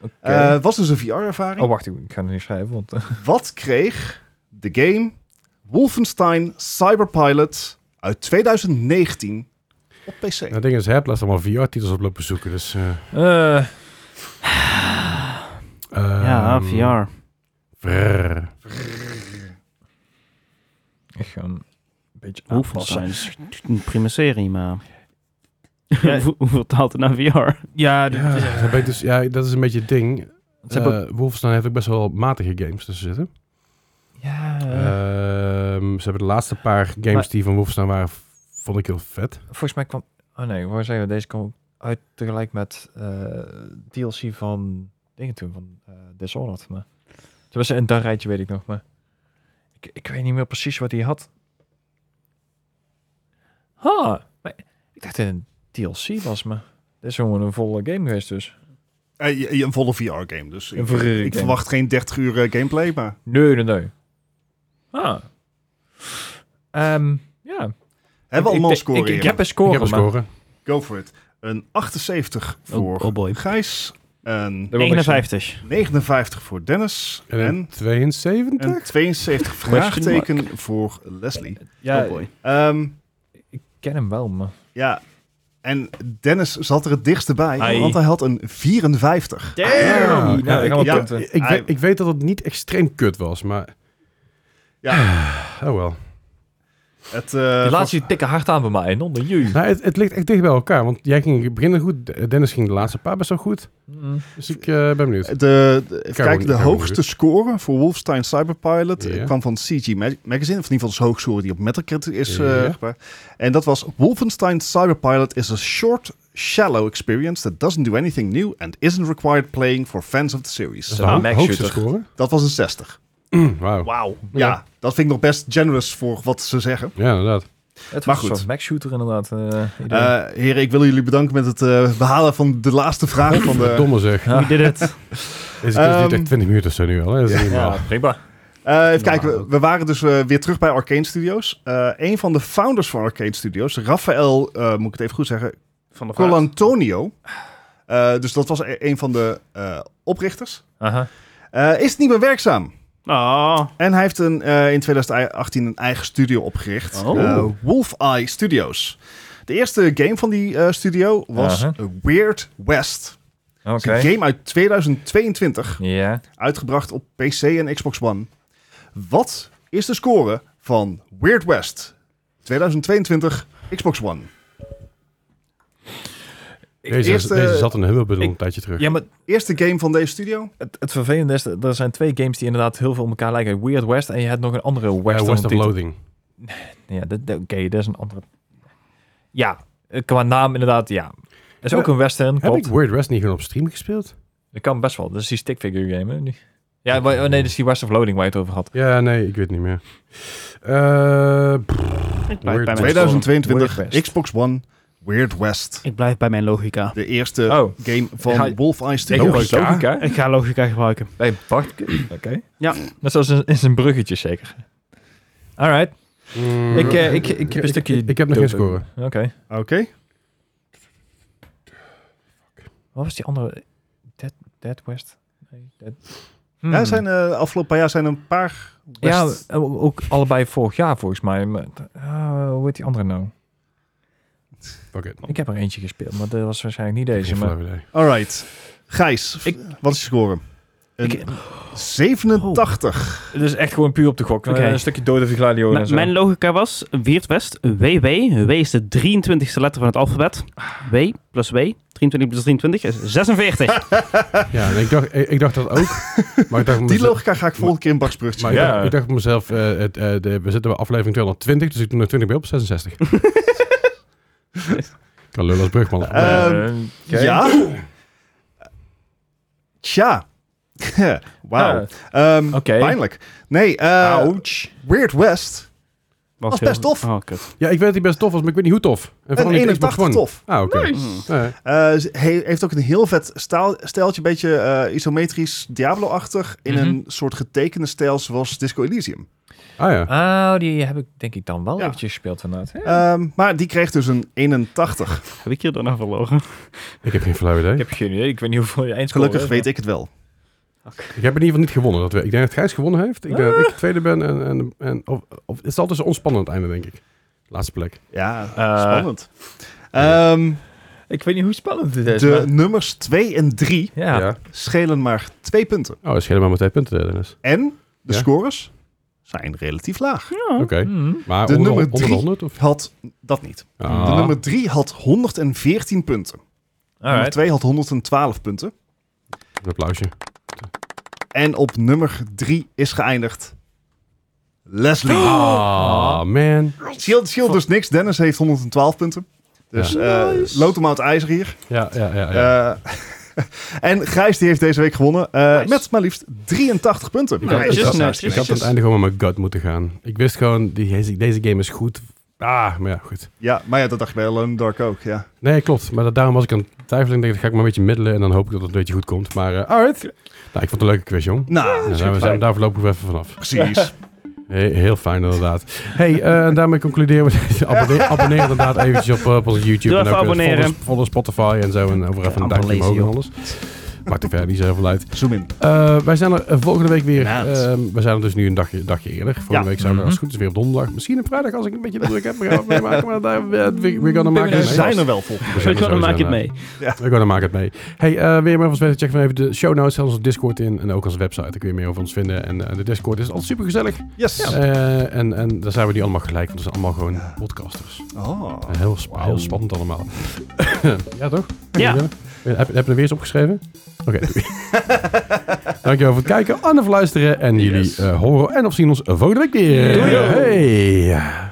S2: Oké.
S3: Eh, was dus een VR-ervaring.
S2: oh, wacht. Ik ga het niet schrijven, want... eh,
S3: Wat kreeg de game Wolfenstein Cyberpilot uit 2019 op PC?
S1: Nou, het ding is, heb laat allemaal VR-titels op lopen zoeken, dus... eh,
S2: eh,
S4: Ja,
S1: ehm,
S4: VR.
S1: brrr.
S2: ik ga een beetje
S4: Hoeveel
S2: aanpassen.
S4: zijn? Een prima serie, maar... Ja, hoe- hoeveel taalt het naar VR?
S5: Ja, dit-
S1: Ja,
S5: eh,
S1: dan ben je dus, ja, dat is een beetje het ding.
S2: Ze hebben
S1: Eh, Wolfenstein heeft ook best wel matige games tussen zitten.
S2: Ja,
S1: Ehm, ze hebben de laatste paar games
S2: Maar-
S1: die van Wolfenstein waren, vond ik heel vet.
S2: volgens mij kwam... Oh nee, waar zijn we? Deze kwam uit tegelijk met eh, DLC van dingen toen, van eh Dishonored. Maar. Toen was een dat rijtje, weet ik nog, maar... Ik, ik weet niet meer precies wat hij had. Ha! maar ik dacht dat het een DLC was, maar... Dit is gewoon een volle game geweest dus.
S3: Eh, je- je- een volle VR-game, dus ik,
S2: Een VR
S3: ik
S2: game.
S3: verwacht geen 30 uur eh, gameplay, maar
S2: Nee, nee, nee. Ah. Ehm, ja.
S3: hebben we
S2: Ik-
S3: allemaal
S2: ik-
S3: scoren
S2: Ik, ik
S3: hier?
S2: heb een score,
S1: ik heb een
S2: maar-
S1: score.
S3: Go for it. Een 78 voor
S4: Oh, oh boy.
S3: Gijs, een
S2: Dat wil niks zeggen.
S4: 51.
S3: 59 voor Dennis
S1: En een
S3: en
S1: 72?
S3: een 72 vraagteken voor Leslie.
S2: Ja,
S4: oh boy.
S3: Ehm,
S2: ik ken hem wel, maar...
S3: ja, en Dennis zat er het dichtst bij,
S2: Ai.
S3: want hij had een 54.
S1: Ja,
S2: nou,
S1: ja,
S2: daar gaan we
S1: ik,
S3: ja.
S2: punten.
S1: ik, ik weet, ik weet dat het niet extreem kut was, maar...
S3: Ja.
S1: Oh wel.
S3: Het, eh,
S2: Die laatste die tikken hard aan bij mij, en onder jullie.
S1: Nou, het, het ligt echt dicht bij elkaar, want jij ging in het begin goed, eh, Dennis ging de laatste paar best wel goed.
S2: Mm.
S1: Dus ik eh, ben benieuwd.
S3: De, de- even
S1: Kijk,
S3: kijken, de
S1: kijk,
S3: hoogste
S1: kijk.
S3: score voor Wolfenstein Cyberpilot eh,
S1: Ja.
S3: kwam van CG Mag- Magazine. Of in ieder geval de hoogste score die op Metacritic is eh,
S1: Ja.
S3: gebracht. En dat was Wolfenstein Cyberpilot is a short, shallow experience that doesn't do anything new and isn't required playing for fans of the series.
S1: Dat is
S2: Ah,
S1: de
S2: Max
S1: hoogste
S2: Shooter.
S1: score.
S3: Dat was een 60.
S1: Wauw.
S3: Wauw. Ja,
S1: Ja.
S3: dat vind ik nog best generous voor wat ze zeggen.
S1: Ja, inderdaad.
S2: Het
S3: Maar
S2: was
S3: goed.
S2: een soort Max Shooter inderdaad. eh, idee.
S3: Eh heren, ik wil jullie bedanken met het eh, behalen van de laatste vraag van de,
S1: Domme zeg.
S2: Ja.
S4: We did it.
S1: Is het
S3: Ehm,
S1: duurt echt 20 minuten of zo nu al. Hè? Dat is niet normaal.
S2: ja, prima.
S3: Eh, even
S2: Nou,
S3: kijken, we,
S2: ook.
S3: we waren dus eh, weer terug bij Arcane Studios. Eh, een van de founders van Arcane Studios, Raphaël, eh, moet ik het even goed zeggen,
S5: van de vaart.
S3: Colantonio. Eh, dus dat was e- een van de eh, oprichters.
S2: Aha.
S3: Eh, is niet meer werkzaam.
S4: Oh.
S3: En hij heeft een, eh, in 2018 een eigen studio opgericht.
S4: Oh.
S3: eh, Wolf Eye Studios. De eerste game van die eh, studio was
S2: Aha.
S3: Weird West.
S2: Oké.
S3: Een game uit 2022.
S2: Ja.
S3: uitgebracht op PC en Xbox One. Wat is de score van Weird West 2022 Xbox One?
S1: Deze,
S3: eerste-
S1: deze zat in de hummelbundel
S2: ik-
S1: een tijdje terug.
S2: Ja, maar
S3: Eerste game van deze studio?
S2: het, het vervelende is, dat er zijn twee games die inderdaad heel veel op elkaar lijken. Weird West en je hebt nog een andere
S1: Eh,
S2: Western
S1: West of
S2: titel.
S1: Loading.
S2: Ja, dat- dat- oké, dat is een andere... Ja, eh, qua naam inderdaad, ja. Dat is
S1: Ja,
S2: ook een Western,
S1: Heb ik
S2: klopt.
S1: Weird West niet gewoon op stream gespeeld?
S2: Dat kan best wel. Dat is die stickfigure game, hè? Die- Ja, wa- oh, nee, dat is die West of Loading waar je het over had.
S1: Ja, nee, ik weet niet meer. Eh, pff,
S4: Ik
S1: Weird
S4: blijf, bij mijn,
S1: West.
S3: 2022
S2: Weird West.
S3: Xbox One Weird West.
S4: ik blijf bij mijn logica.
S3: De eerste
S2: Oh.
S3: game van
S2: Ja,
S3: Wolf Eye
S2: Ik
S3: Studios.
S2: ook logica.
S4: Ik ga logica gebruiken.
S2: Bij Bart. Oké.
S4: Ja.
S2: Net zoals in, in zijn bruggetje zeker. Alright.
S1: mm,
S2: Ik, eh, ik, ik heb een stukje...
S1: Ik, ik heb nog geen score.
S2: Oké.
S3: Oké.
S2: Wat was die andere? Dead, Dead West? Nee, Dead... Hmm.
S3: Ja, zijn, eh, afgelopen paar jaar zijn een paar
S2: Ja, eh,
S3: West...
S2: o- ook allebei vorig jaar volgens mij. Maar, eh, hoe heet die andere nou?
S1: Fuck it.
S2: Ik heb er eentje gespeeld, maar dat was waarschijnlijk niet deze.
S1: Geen
S2: Maar...
S1: flauw idee.
S3: Alright. Gijs,
S4: Ik-
S3: wat is je score? Een 87.
S2: Het is echt gewoon puur op de gok.
S4: Oké.
S2: Eh, Een stukje dode vergladio en
S4: M- Nou,
S2: zo.
S4: mijn logica was Weird West, WW. W is de 23ste letter van het alfabet. W plus W, 23 plus 23 is 46.
S1: Ja, en ik dacht, ik, ik dacht dat ook. maar ik dacht
S2: Oh.
S3: Die logica ga ik volgende keer in Baks Brugge
S1: Maar ik
S2: Ja.
S1: dacht- ik dacht op mezelf, eh, het, eh, de- we zitten bij aflevering 220, dus ik doe er 20 bij op, 66. Ik kan lullen als brugman.
S3: Eh,
S2: Ehm, oké.
S3: Ja. Tja. Wauw.
S2: Ah,
S3: Ehm,
S2: Oké.
S3: Pijnlijk. Nee, eh,
S2: Ouch.
S3: Weird West. was
S4: heel-
S3: best tof.
S4: Oh, kut.
S1: ja, ik weet dat hij best tof was, maar ik weet niet hoe tof. En
S3: Een
S1: vooral niet Xbox
S3: 81
S1: One.
S3: tof.
S1: Ah, oké.
S4: Mm.
S1: Eh,
S3: Eh, ze- hij heeft ook een heel vet staal, stijltje, beetje eh, isometrisch Diablo-achtig. In
S2: Mhm.
S3: een soort getekende stijl zoals Disco Elysium.
S1: ah ja.
S2: Oh, die heb ik denk ik dan wel
S3: Ja.
S2: eventjes gespeeld vanuit.
S3: Ehm, maar die kreeg dus een 81.
S4: Heb ik hier dan aan verloren?
S1: Ik heb geen flauw idee.
S2: Ik heb geen idee. Ik weet niet hoeveel je eindscore
S3: Gelukkig
S2: is,
S3: weet
S2: maar-
S3: ik het wel.
S1: Ik heb in ieder geval niet gewonnen. Dat we, ik denk dat Gijs gewonnen heeft. Ik denk
S3: Ah.
S1: dat ik tweede ben. En, en, en, of, of, het is altijd zo ontspannend aan het einde, denk ik. Laatste plek.
S3: Ja,
S2: Eh,
S3: spannend. Ehm,
S2: Ik weet niet hoe spannend dit is.
S3: de
S2: maar-
S3: nummers 2 en 3
S2: Ja.
S1: Ja.
S3: schelen maar 2 punten.
S1: Oh, dat is helemaal maar twee punten, Dennis.
S3: En de
S1: Ja.
S3: scores zijn relatief laag.
S1: Oké.
S2: Hmm.
S1: Maar
S3: De
S1: onder,
S3: nummer
S1: onder de
S3: drie.
S1: 100? Of?
S3: Had dat niet.
S1: Ah.
S3: De nummer 3 had 114 punten. Nummer
S2: Alright.
S3: 2 had 112 punten.
S1: Een applausje.
S3: En op nummer 3 is geëindigd Leslie.
S1: Ah, man.
S3: Scheelt, scheelt dus niks. Dennis heeft 112 punten. Dus eh lood hem uit ijzer hier.
S1: Ja, ja, ja. Ah, ja.
S3: Eh, en Gijs die heeft deze week gewonnen eh, met maar liefst 83 punten.
S1: Ik had-
S4: Netjes,
S1: ik had-
S4: netjes.
S1: Eh, Ik had aan het einde gewoon met mijn gut moeten gaan. Ik wist gewoon, die, deze- deze game is goed. Ah, maar ja, goed.
S3: Ja, maar ja, dat dacht ik bij Alone in the Dark ook. Ja.
S1: Nee, klopt. Maar dat, daarom was ik aan het twijfelen. Ik dacht, dat ga ik maar een beetje middelen en dan hoop ik dat het een beetje goed komt. Maar, eh, alright. Nou, ik vond het een leuke quiz, jong.
S3: Nou,
S1: Ja, zijn we zijn we daar voorlopig even vanaf.
S3: precies.
S1: He- heel fijn, inderdaad. hey, eh, en daarmee concluderen we deze. Abonneer, abonneer inderdaad eventjes op, eh, op onze YouTube.
S4: Doe
S1: en
S4: even
S1: ook, eh,
S4: abonneren.
S1: Volg, ons- volg ons Spotify en zo. En over even een
S4: Amper
S1: duimpje
S4: lezen,
S1: omhoog en
S4: joh.
S1: alles. Maakt er verder niet zoveel uit.
S3: Zoom in.
S1: Eh, wij zijn er eh, volgende week weer.
S4: Maat.
S1: Ehm, we zijn er dus nu een dagje, dagje eerder. Volgende
S3: Ja.
S1: week zijn we
S2: Mhm.
S1: als het goed is weer op donderdag. Misschien op vrijdag als ik een beetje druk heb. We gaan het meemaken. Maar daar, we, we, we're gonna maken
S3: Dus We
S1: het mee.
S3: zijn er wel volgens
S1: We
S4: Zo
S1: zijn er
S4: dan maak je
S1: sowieso,
S4: het mee.
S1: We're gonna make it mee. Hey, eh, weer maar van verder. Check van even de show notes, zelfs onze Discord in en ook onze website. Daar kun je meer over ons vinden. En eh, de Discord is altijd super gezellig.
S3: Yes.
S1: en, en daar zijn we niet allemaal gelijk, want we zijn allemaal gewoon podcasters.
S3: Oh.
S1: En heel, sp- heel spannend allemaal. ja, toch?
S4: Ja.
S1: Heb, heb je er weer eens opgeschreven? Oké, doei. Dankjewel voor het kijken en of luisteren. En jullie
S3: Yes.
S1: eh, horen en of zien ons volgende week weer.
S4: Doei.
S1: Hey.